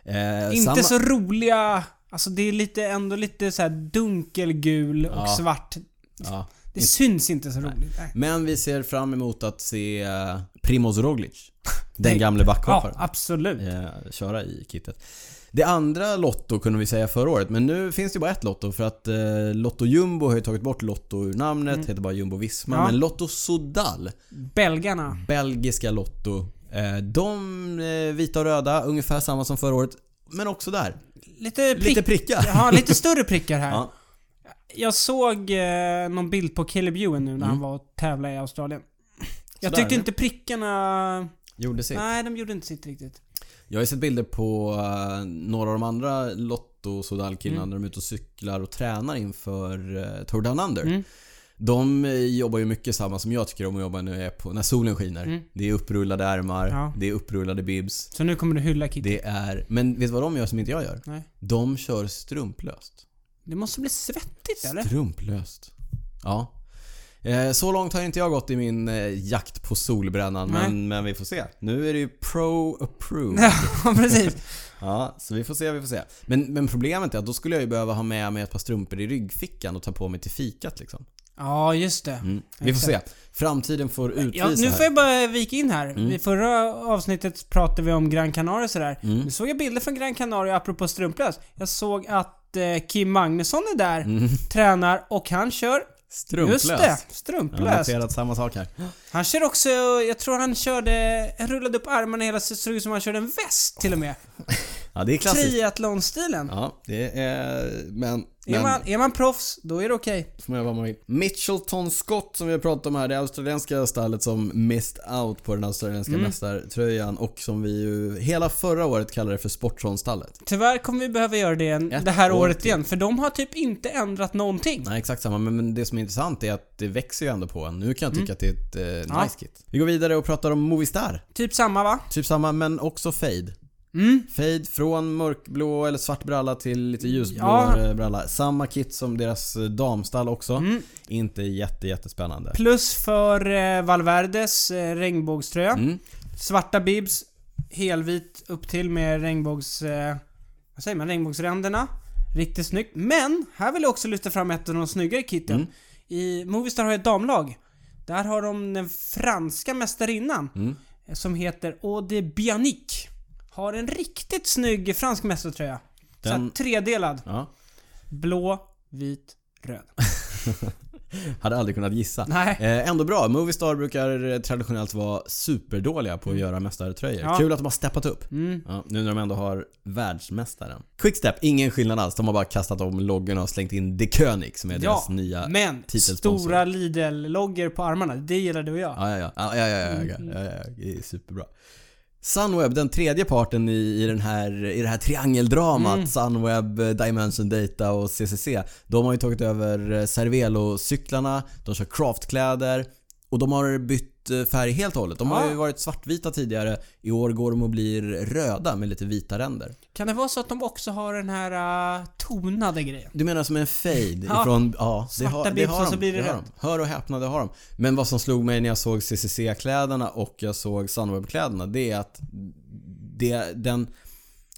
Speaker 2: det. Eh,
Speaker 1: Inte
Speaker 2: samma-
Speaker 1: så roliga, alltså det är lite, ändå lite så här dunkelgul och
Speaker 2: Ja.
Speaker 1: svart.
Speaker 2: Ja.
Speaker 1: Det syns inte så roligt. Nej.
Speaker 2: Men vi ser fram emot att se eh, Primoz Roglic. Den
Speaker 1: Nej.
Speaker 2: gamle
Speaker 1: Ja,
Speaker 2: backhopparen.
Speaker 1: absolut.
Speaker 2: eh, köra i kittet. Det andra Lotto kunde vi säga förra året, men nu finns det bara ett Lotto för att eh, Lotto Jumbo har ju tagit bort Lotto ur namnet, heter bara Jumbo Visma.
Speaker 1: Mm. Ja.
Speaker 2: Men Lotto Sodal, Mm.
Speaker 1: Belgarna.
Speaker 2: belgiska Lotto, eh, de eh, vita och röda, ungefär samma som förra året. Men också där,
Speaker 1: Lite prick.
Speaker 2: lite prickar.
Speaker 1: Ja, lite större prickar här.
Speaker 2: Ja.
Speaker 1: Jag såg eh, någon bild på Caleb Ewan nu när han var och tävlade i Australien. Jag
Speaker 2: Mm. Sådär, Typ.
Speaker 1: tyckte
Speaker 2: eller?
Speaker 1: inte prickarna...
Speaker 2: Gjorde sitt.
Speaker 1: Nej, de gjorde inte sitt riktigt.
Speaker 2: Jag har ju sett bilder på eh, några av de andra Lotto Sodal killarna
Speaker 1: Mm.
Speaker 2: när de är ute och cyklar och tränar inför uh, Tour Down Under.
Speaker 1: Mm.
Speaker 2: De eh, jobbar ju mycket samma som jag tycker om att jobba när, jag är på, när solen skiner. Det är upprullade ärmar,
Speaker 1: Mm. Ja.
Speaker 2: det är upprullade bibs.
Speaker 1: Så nu kommer du hylla Kitty.
Speaker 2: Det är... Men vet du vad de gör som inte jag gör?
Speaker 1: Nej.
Speaker 2: De kör strumplöst.
Speaker 1: Det måste bli svettigt eller?
Speaker 2: Strumplöst. Ja. Eh, Så långt har inte jag gått i min eh, jakt på solbrännan,
Speaker 1: Nej.
Speaker 2: men, men vi får se. Nu är det ju pro-approved.
Speaker 1: Ja, precis.
Speaker 2: Ja, så vi får se, vi får se. Men, men problemet är att då skulle jag ju behöva ha med mig ett par strumpor i ryggfickan och ta på mig till fikat liksom.
Speaker 1: Ja, just det.
Speaker 2: Mm. Vi får se. Framtiden får
Speaker 1: Ja,
Speaker 2: utvisa
Speaker 1: nu får
Speaker 2: här.
Speaker 1: jag bara vika in här.
Speaker 2: Mm.
Speaker 1: I förra avsnittet pratade vi om Gran Canaria och sådär.
Speaker 2: Mm.
Speaker 1: Nu såg jag bilder från Gran Canaria apropå strumplös. Jag såg att eh, Kim Magnusson är där,
Speaker 2: Mm.
Speaker 1: tränar och han kör...
Speaker 2: Strumplöst.
Speaker 1: Just det,
Speaker 2: Jag har
Speaker 1: strumplöst.
Speaker 2: noterat samma sak här.
Speaker 1: han kör också, jag tror han körde, han rullade upp armarna hela så såg ut som han körde en väst till och med.
Speaker 2: Ja, det är klassiskt.
Speaker 1: Triathlon-stilen.
Speaker 2: Ja, det är... Men
Speaker 1: Är,
Speaker 2: Men-
Speaker 1: man, är man proffs, då är det okej.
Speaker 2: Får man göra vad man vill. Mitchelton Scott som vi har pratat om här, det australienska stallet som missed out på den australienska
Speaker 1: Mm.
Speaker 2: mästartröjan och som vi ju hela förra året kallade för Sportson-stallet.
Speaker 1: Tyvärr kommer vi behöva göra det en,
Speaker 2: Ett
Speaker 1: det här
Speaker 2: år
Speaker 1: året
Speaker 2: till.
Speaker 1: igen, för de har typ inte ändrat någonting.
Speaker 2: Nej, exakt samma. Men, men det som är intressant är att det växer ju ändå på en. Nu kan jag tycka att det är ett eh,
Speaker 1: Mm. Ja.
Speaker 2: nice kit. Vi går vidare och pratar om Movistar.
Speaker 1: Typ samma va?
Speaker 2: Typ samma, men också fade.
Speaker 1: Mm.
Speaker 2: Fade från mörkblå eller svart bralla till lite ljusblå eh,
Speaker 1: Ja.
Speaker 2: bralla. Samma kit som deras eh, damstall också.
Speaker 1: Mm.
Speaker 2: Inte jätte, jättespännande.
Speaker 1: Plus för eh, Valverdes eh, regnbågströja.
Speaker 2: Mm.
Speaker 1: Svarta bibs, helvit upp till med regnbågs... Eh, vad säger man? Regnbågsränderna. Riktigt snyggt. Men, här vill jag också lyfta fram ett av de snyggare kitten.
Speaker 2: Mm.
Speaker 1: I Movistar har jag ett damlag. Där har de den franska mästarinnan.
Speaker 2: Mm.
Speaker 1: eh, Som heter Aude Bianic. Har en riktigt snygg fransk mästartröja. Så
Speaker 2: Den-
Speaker 1: här, tredelad.
Speaker 2: Ja.
Speaker 1: Blå, vit, röd.
Speaker 2: Hade aldrig kunnat gissa.
Speaker 1: Nej.
Speaker 2: Eh, ändå bra. Movistar brukar eh, traditionellt vara superdåliga på att göra mästartröjor.
Speaker 1: Mm. Ja.
Speaker 2: Kul att de har steppat upp.
Speaker 1: Mm.
Speaker 2: Ja, nu när de ändå har världsmästaren. Quickstep, ingen skillnad alls. De har bara kastat om loggen och slängt in De König som är
Speaker 1: Ja,
Speaker 2: deras nya...
Speaker 1: Men
Speaker 2: titelsponsor.
Speaker 1: stora Lidl-loggor på armarna, det gillar du och jag.
Speaker 2: Ja, ja, ja. Ja, ja, ja, ja, ja, ja, ja, ja. Det är superbra. Sunweb, den tredje parten i, i, den här, i det här triangeldramat Sunweb, eh, Dimension Data och CCC. De har ju tagit över eh, Cervelo-cyklarna, de kör craftkläder och de har bytt eh, färg helt och hållet. De har
Speaker 1: Ja.
Speaker 2: ju varit svartvita tidigare. I år går de och blir röda med lite vita ränder.
Speaker 1: Kan det vara så att de också har den här ah, tonade grejen?
Speaker 2: Du menar som en fade
Speaker 1: Ja.
Speaker 2: ifrån... Ja, det
Speaker 1: Svarta
Speaker 2: har, det
Speaker 1: bibs
Speaker 2: har
Speaker 1: och
Speaker 2: de.
Speaker 1: så blir det
Speaker 2: har
Speaker 1: rätt.
Speaker 2: de. Hör och häpna, det har de. Men vad som slog mig när jag såg CCC-kläderna och jag såg Sunweb-kläderna, det är att det, den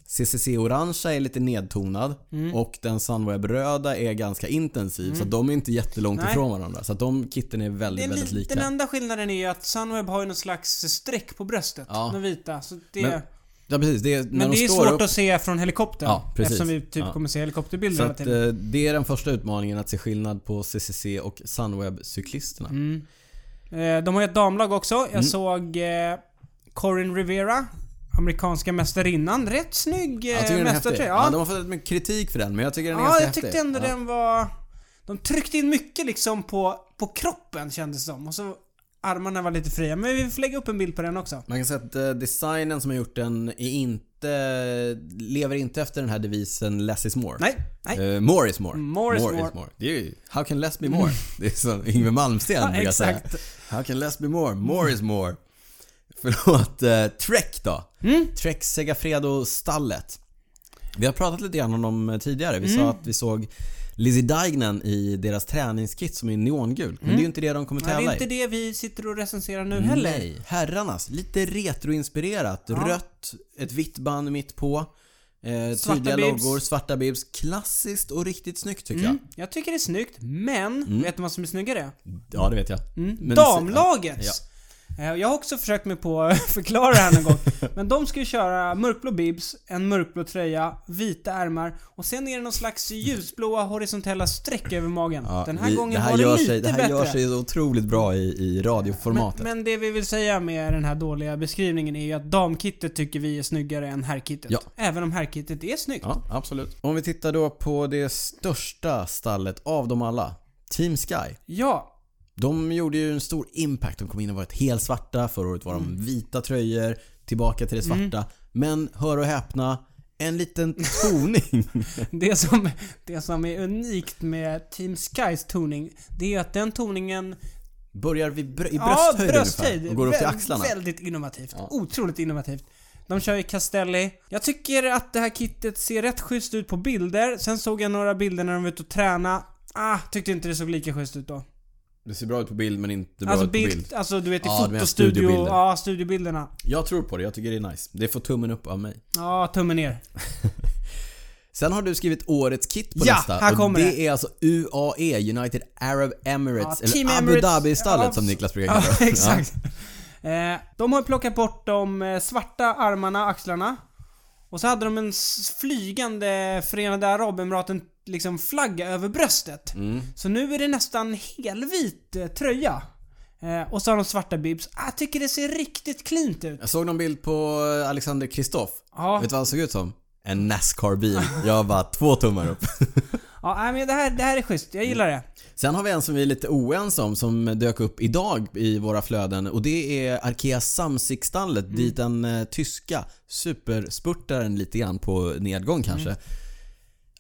Speaker 2: CCC-orangea är lite nedtonad
Speaker 1: Mm.
Speaker 2: och den Sunweb-röda är ganska intensiv. Så att de är inte jättelångt
Speaker 1: Nej.
Speaker 2: ifrån varandra. Så att de kitten är väldigt,
Speaker 1: Den,
Speaker 2: väldigt
Speaker 1: li-
Speaker 2: lika.
Speaker 1: den enda skillnaden är ju att Sunweb har ju någon slags streck på bröstet,
Speaker 2: Ja.
Speaker 1: den vita. Så det,
Speaker 2: Men-
Speaker 1: men
Speaker 2: Ja, precis. Det är, när de
Speaker 1: det är
Speaker 2: står
Speaker 1: svårt
Speaker 2: upp,
Speaker 1: att se från helikoptern.
Speaker 2: Ja, precis.
Speaker 1: eftersom vi typ
Speaker 2: Ja.
Speaker 1: kommer se helikopterbilder
Speaker 2: Så
Speaker 1: hela
Speaker 2: att,
Speaker 1: tiden.
Speaker 2: eh, det är den första utmaningen, att se skillnad på CCC och Sunweb-cyklisterna.
Speaker 1: Mm. Eh, de har ju ett damlag också. Jag
Speaker 2: Mm.
Speaker 1: såg eh, Corin Rivera, amerikanska mästarinnan. Rätt snygg
Speaker 2: Jag tycker
Speaker 1: eh,
Speaker 2: den är häftig.
Speaker 1: mästartröja.
Speaker 2: Ja.
Speaker 1: Ja,
Speaker 2: de har fått rätt mycket kritik för den men jag tycker den är
Speaker 1: ja
Speaker 2: ganska
Speaker 1: jag tyckte
Speaker 2: häftig.
Speaker 1: ändå
Speaker 2: ja.
Speaker 1: den var... De tryckte in mycket liksom på, på kroppen kändes det som. Och så armarna var lite fria. Men vi får lägga upp en bild på den också.
Speaker 2: Man kan säga att eh, designen som har gjort den är inte, lever inte efter den här devisen less is more.
Speaker 1: Nej, nej.
Speaker 2: Eh, more is more.
Speaker 1: More is more. Mm.
Speaker 2: Det är ju, how can less be more? Det är som Yngwie Malmsteen
Speaker 1: Ja,
Speaker 2: brukar säga.
Speaker 1: exakt.
Speaker 2: How can less be more? More is more. Förlåt, eh, Trek då.
Speaker 1: Mm.
Speaker 2: Trek Segafredo-stallet. Vi har pratat lite grann om dem eh, tidigare. Vi
Speaker 1: Mm.
Speaker 2: sa att vi såg Lizzie Deignan i deras träningskit som är neongul. Men det är ju inte det de kommer
Speaker 1: Mm. Nej,
Speaker 2: tävla
Speaker 1: det är
Speaker 2: i.
Speaker 1: inte det vi sitter och recenserar nu heller.
Speaker 2: Nej, herrarnas. Lite retroinspirerat. Rött, ett vitt band mitt på. Eh,
Speaker 1: Svarta
Speaker 2: tydliga
Speaker 1: bibs. Mm.
Speaker 2: loggor, svarta bibs. Klassiskt och riktigt snyggt tycker jag.
Speaker 1: Jag tycker det är snyggt, men vet du vad som är snyggare?
Speaker 2: Ja, det vet jag. Mm.
Speaker 1: Mm.
Speaker 2: Men- Ja.
Speaker 1: Damlagets! Eh, Jag har också försökt mig på att förklara det här någon gång. Men de ska ju köra mörkblå bibs, en mörkblå tröja, vita ärmar och sen är det någon slags ljusblåa horisontella streck över magen.
Speaker 2: Ja,
Speaker 1: Den här
Speaker 2: vi-
Speaker 1: gången
Speaker 2: det här
Speaker 1: var
Speaker 2: gör
Speaker 1: det lite
Speaker 2: sig, Det här
Speaker 1: bättre.
Speaker 2: gör sig så otroligt bra i, i radioformatet.
Speaker 1: Men det vi vill säga med den här dåliga beskrivningen är ju att damkittet tycker vi är snyggare än herrkittet.
Speaker 2: Ja.
Speaker 1: Även om herrkittet är snyggt.
Speaker 2: Ja, absolut. Om vi tittar då på det största stallet av dem alla. Team Sky.
Speaker 1: ja.
Speaker 2: De gjorde ju en stor impact. De kom in och var ett helt svarta. Förra året var de
Speaker 1: Mm.
Speaker 2: vita tröjor. Tillbaka till det svarta. Men hör och häpna. En liten toning.
Speaker 1: Det som, det som är unikt med Team Skys toning, det är att den toningen...
Speaker 2: Börjar vid brö- i
Speaker 1: Ja,
Speaker 2: brösthöjd,
Speaker 1: brösthöjd.
Speaker 2: ungefär. Och går upp till
Speaker 1: Väl-
Speaker 2: axlarna.
Speaker 1: Väldigt innovativt. Otroligt innovativt. De kör ju Castelli. Jag tycker att det här kittet ser rätt schysst ut på bilder. Sen såg jag några bilder när de var ute och tränade. Ah, tyckte inte det såg lika schysst ut då.
Speaker 2: Det ser bra ut på bild men inte bra
Speaker 1: Alltså
Speaker 2: ut på
Speaker 1: bild,
Speaker 2: bild.
Speaker 1: alltså du vet i
Speaker 2: Ja, du menar
Speaker 1: fotostudio...
Speaker 2: studiobilder.
Speaker 1: Ja, studiobilderna.
Speaker 2: Jag tror på det. Jag tycker det är nice. Det får tummen upp av mig.
Speaker 1: Ja, tummen ner.
Speaker 2: Sen har du skrivit årets kit på
Speaker 1: Ja,
Speaker 2: nästa.
Speaker 1: här
Speaker 2: och
Speaker 1: kommer
Speaker 2: det.
Speaker 1: det.
Speaker 2: är alltså UAE, United Arab Emirates.
Speaker 1: Ja,
Speaker 2: eller
Speaker 1: Team
Speaker 2: Abu
Speaker 1: Emirates.
Speaker 2: Dhabi-stallet
Speaker 1: Ja,
Speaker 2: som Niklas brukar
Speaker 1: Ja,
Speaker 2: kalla det.
Speaker 1: exakt. Eh, de har plockat bort de eh, svarta armarna, axlarna. Och så hade de en s- flygande Förenade Arabemiraten liksom flagga över bröstet. Så nu är det nästan helvit eh, tröja. Eh, och så har de svarta bibs. Ah, Jag tycker det ser riktigt cleant ut.
Speaker 2: Jag såg någon bild på eh, Alexander Kristoff.
Speaker 1: Ja,
Speaker 2: Vet du vad han såg ut som? En Nascar-bil. Jag bara två tummar upp.
Speaker 1: Ja, nej, men det här, det här är schysst. Jag gillar det.
Speaker 2: Sen har vi en som vi är lite oense om som dök upp idag i våra flöden och det är Arkea Samsikstallet
Speaker 1: Mm.
Speaker 2: dit den eh, tyska superspurtaren lite grann på nedgång kanske.
Speaker 1: Mm.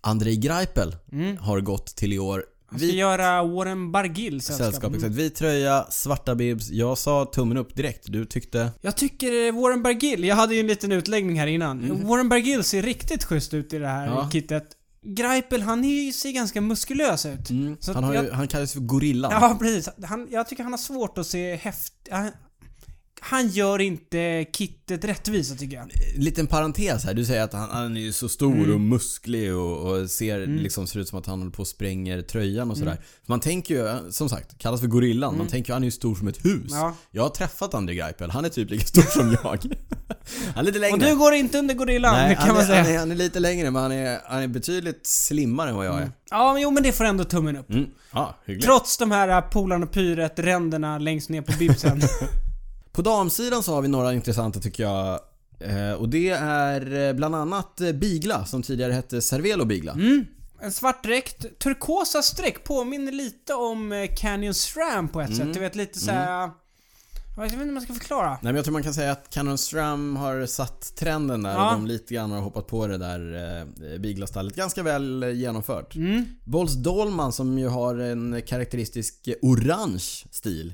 Speaker 2: Andrei Greipel har gått till i år.
Speaker 1: Han ska göra Warren Bargill sällskap.
Speaker 2: Sällskap, exakt. Vit tröja, svarta bibs. Jag sa tummen upp direkt. Du tyckte...
Speaker 1: Jag tycker eh, Warren Bargill, jag hade ju en liten utläggning här innan. Warren Bargill ser riktigt schysst ut i det här
Speaker 2: Mm. Ja.
Speaker 1: kittet. Greipel, han är ju, ser ganska muskulös ut. Så att
Speaker 2: Mm, Han, har
Speaker 1: jag,
Speaker 2: ju, han kallas för Gorillan.
Speaker 1: Ja, precis. Han, jag tycker han har svårt att se häftig... Han, han gör inte kittet rättvisa tycker jag.
Speaker 2: Liten parentes här. Du säger att han, han är ju så stor
Speaker 1: Mm.
Speaker 2: och musklig och, och ser, liksom, ser ut som att han håller på och spränger tröjan och sådär.
Speaker 1: Mm.
Speaker 2: Man tänker ju, som sagt, kallas för Gorillan. Man tänker ju han är ju stor som ett hus.
Speaker 1: Ja.
Speaker 2: Jag har träffat André Greipel. Han är typ lika stor som jag. han är lite längre.
Speaker 1: Och du går inte under gorillan, det
Speaker 2: Nej,
Speaker 1: kan
Speaker 2: han,
Speaker 1: man
Speaker 2: är,
Speaker 1: säga.
Speaker 2: Han, är, han är lite längre men han är, han är betydligt slimmare än vad jag är.
Speaker 1: Ja, men jo men det får ändå tummen upp.
Speaker 2: Mm. Ja, hyggligt.
Speaker 1: Trots de här äh, Polarn och Pyret-ränderna längst ner på bibsen.
Speaker 2: På damsidan så har vi några intressanta tycker jag. Eh, och det är eh, bland annat eh, Bigla som tidigare hette Cervelo
Speaker 1: Mm.
Speaker 2: Bigla.
Speaker 1: En svart dräkt, turkosa streck, påminner lite om eh, Canyon Stram på ett
Speaker 2: Mm.
Speaker 1: sätt. Du vet lite såhär... Jag vet inte hur man ska förklara.
Speaker 2: Nej men jag tror man kan säga att Canon Stram har satt trenden där
Speaker 1: Ja.
Speaker 2: och de lite grann har hoppat på det där eh, Bigla-stallet. Ganska väl eh, genomfört. Mm. Bolls Dolman som ju har en karaktäristisk eh, orange stil.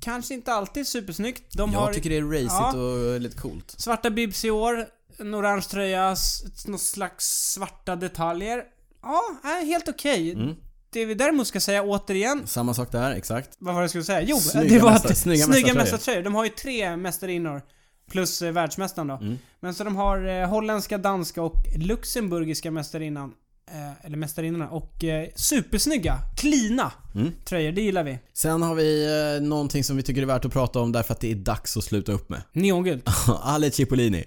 Speaker 1: Kanske inte alltid supersnyggt. Mm. De
Speaker 2: Jag
Speaker 1: har
Speaker 2: tycker det är racigt
Speaker 1: Ja.
Speaker 2: och lite coolt.
Speaker 1: svarta bibs i år, en orange tröja, s- någon slags svarta detaljer. Ja, nej, helt okej.
Speaker 2: Mm.
Speaker 1: Det vi däremot ska säga återigen,
Speaker 2: Samma sak där, exakt.
Speaker 1: vad var det jag skulle säga? Jo,
Speaker 2: Snygga
Speaker 1: det var
Speaker 2: mästar-
Speaker 1: att
Speaker 2: snygga
Speaker 1: snygga,
Speaker 2: mästartröjor.
Speaker 1: mästartröjor. De har ju tre mästarinnor. Plus eh, världsmästaren då.
Speaker 2: Mm.
Speaker 1: Men så de har eh, holländska, danska och luxemburgiska mästarinnan. Eh, eller mästarinnorna. Och eh, supersnygga, klina
Speaker 2: Mm.
Speaker 1: tröjor. Det gillar vi.
Speaker 2: Sen har vi eh, någonting som vi tycker är värt att prata om därför att det är dags att sluta upp med.
Speaker 1: Neongult.
Speaker 2: Ale Cipollini.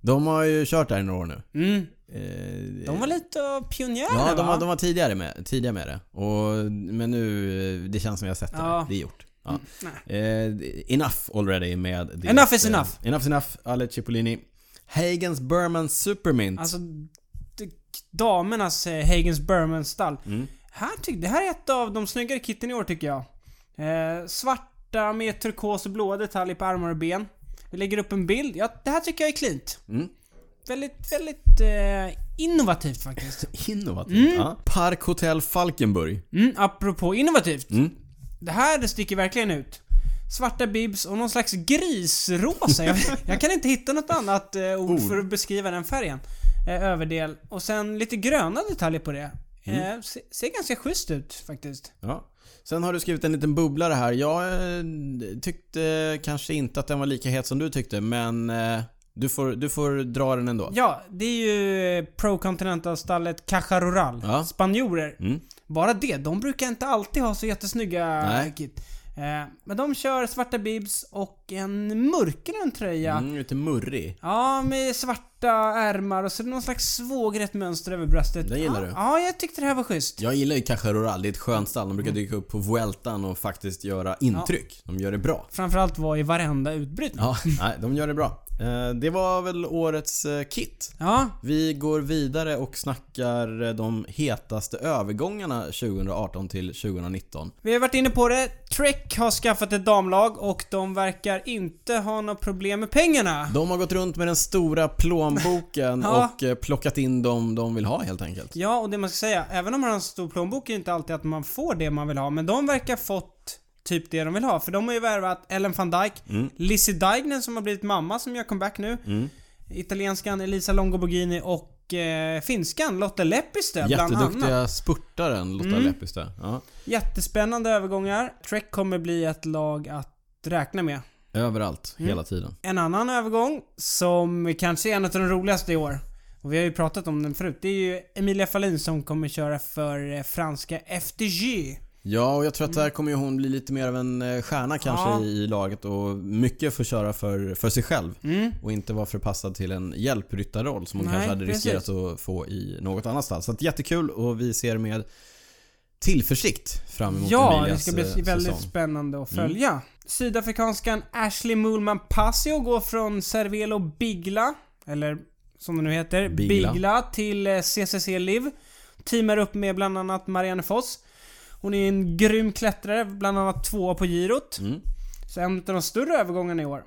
Speaker 2: De har ju kört där i några år nu.
Speaker 1: Mm.
Speaker 2: Eh,
Speaker 1: De var lite av pionjärer
Speaker 2: Ja, de
Speaker 1: va?
Speaker 2: var, de var tidigare, med, tidigare med det. Och, men nu, eh, det känns som jag har sett det.
Speaker 1: Ja. Mm,
Speaker 2: Det är gjort. Ja. Eh, enough already med det.
Speaker 1: Enough is
Speaker 2: Eh,
Speaker 1: enough.
Speaker 2: Enough is enough, Ale Cipollini. Hagens Burman Supermint.
Speaker 1: Alltså d- damernas eh, Hagens Berman stall. Här tyck, det här är ett av de snyggare kitten i år tycker jag. Eh, svarta med turkos och blåa detaljer på armar och ben. Vi lägger upp en bild. Ja, det här tycker jag är klint.
Speaker 2: Mm.
Speaker 1: Väldigt, väldigt eh, innovativt faktiskt.
Speaker 2: Innovativt. Ja. Park Hotel Falkenburg.
Speaker 1: Mm, apropå innovativt.
Speaker 2: Mm.
Speaker 1: Det här det sticker verkligen ut. Svarta bibs och någon slags grisrosa. jag, jag kan inte hitta något annat eh, ord för att beskriva den färgen. Eh, överdel. Och sen lite gröna detaljer på det.
Speaker 2: Mm.
Speaker 1: Eh, se, ser ganska schysst ut faktiskt.
Speaker 2: Ja. Sen har du skrivit en liten bubblare här. Jag eh, tyckte kanske inte att den var lika het som du tyckte, men eh, du, får, du får dra den ändå.
Speaker 1: Ja, det är ju eh, Pro Continental-stallet Cajarural.
Speaker 2: Ja.
Speaker 1: Spanjorer.
Speaker 2: Mm.
Speaker 1: Bara det, de brukar inte alltid ha så jättesnygga
Speaker 2: Nej.
Speaker 1: kit. Eh, men de kör svarta bibs och en mörkgrön tröja.
Speaker 2: Mm, lite murrig.
Speaker 1: Ja, med svarta ärmar och så är det någon slags svågrätt mönster över bröstet.
Speaker 2: Den gillar
Speaker 1: ja,
Speaker 2: du.
Speaker 1: Ja, jag tyckte det här var schysst.
Speaker 2: Jag gillar ju Cajarural, det är ett skönt stall. De
Speaker 1: Mm.
Speaker 2: brukar dyka upp på Vueltan och faktiskt göra intryck. De gör det bra.
Speaker 1: Framförallt var i varenda utbrytning.
Speaker 2: Ja, nej, de gör det bra. Eh, Det var väl årets eh, kit.
Speaker 1: Ja.
Speaker 2: Vi går vidare och snackar eh, de hetaste övergångarna 2018 till 2019.
Speaker 1: Vi har varit inne på det. Trek har skaffat ett damlag och de verkar inte ha några problem med pengarna.
Speaker 2: De har gått runt med den stora plånboken
Speaker 1: Ja.
Speaker 2: och eh, plockat in dem de vill ha helt enkelt.
Speaker 1: Ja, och det man ska säga, även om man har en stor plånbok är det inte alltid att man får det man vill ha, men de verkar fått typ det de vill ha. För de har ju värvat Ellen van Dijk, Lizzie Deignen som har blivit mamma som gör comeback nu, italienskan Elisa Longoborghini och eh, finskan Lotta Leppistö bland annat. Mm.
Speaker 2: Jätteduktiga spurtaren Lotta Leppistö. Ja.
Speaker 1: Jättespännande övergångar. Trek kommer bli ett lag att räkna med.
Speaker 2: Överallt,
Speaker 1: Mm.
Speaker 2: hela tiden.
Speaker 1: En annan övergång som kanske är en av de roligaste i år. Och vi har ju pratat om den förut. Det är ju Emilia Fahlin som kommer köra för eh, franska FDG.
Speaker 2: Ja, och jag tror att där kommer ju hon bli lite mer av en eh, stjärna kanske
Speaker 1: Mm. Ja.
Speaker 2: i i laget och mycket får köra för, för sig själv. Och inte vara förpassad till en hjälpryttarroll som hon
Speaker 1: Mm. Nej,
Speaker 2: kanske hade
Speaker 1: precis.
Speaker 2: riskerat att få i något annat stall. Så att jättekul och vi ser med tillförsikt fram emot
Speaker 1: Ja, det
Speaker 2: Emilias
Speaker 1: ska bli
Speaker 2: eh,
Speaker 1: väldigt
Speaker 2: säsong. Mm.
Speaker 1: spännande att följa. Sydafrikanskan Ashley Mulman Pasio går från Cervelo Bigla, eller som det nu heter,
Speaker 2: Bigla.
Speaker 1: Bigla, till eh, CCC Liv. Teamar upp med bland annat Marianne Foss. Hon är en grym klättrare, bland annat tvåa på girot.
Speaker 2: Mm.
Speaker 1: Så en av de större övergångarna i år.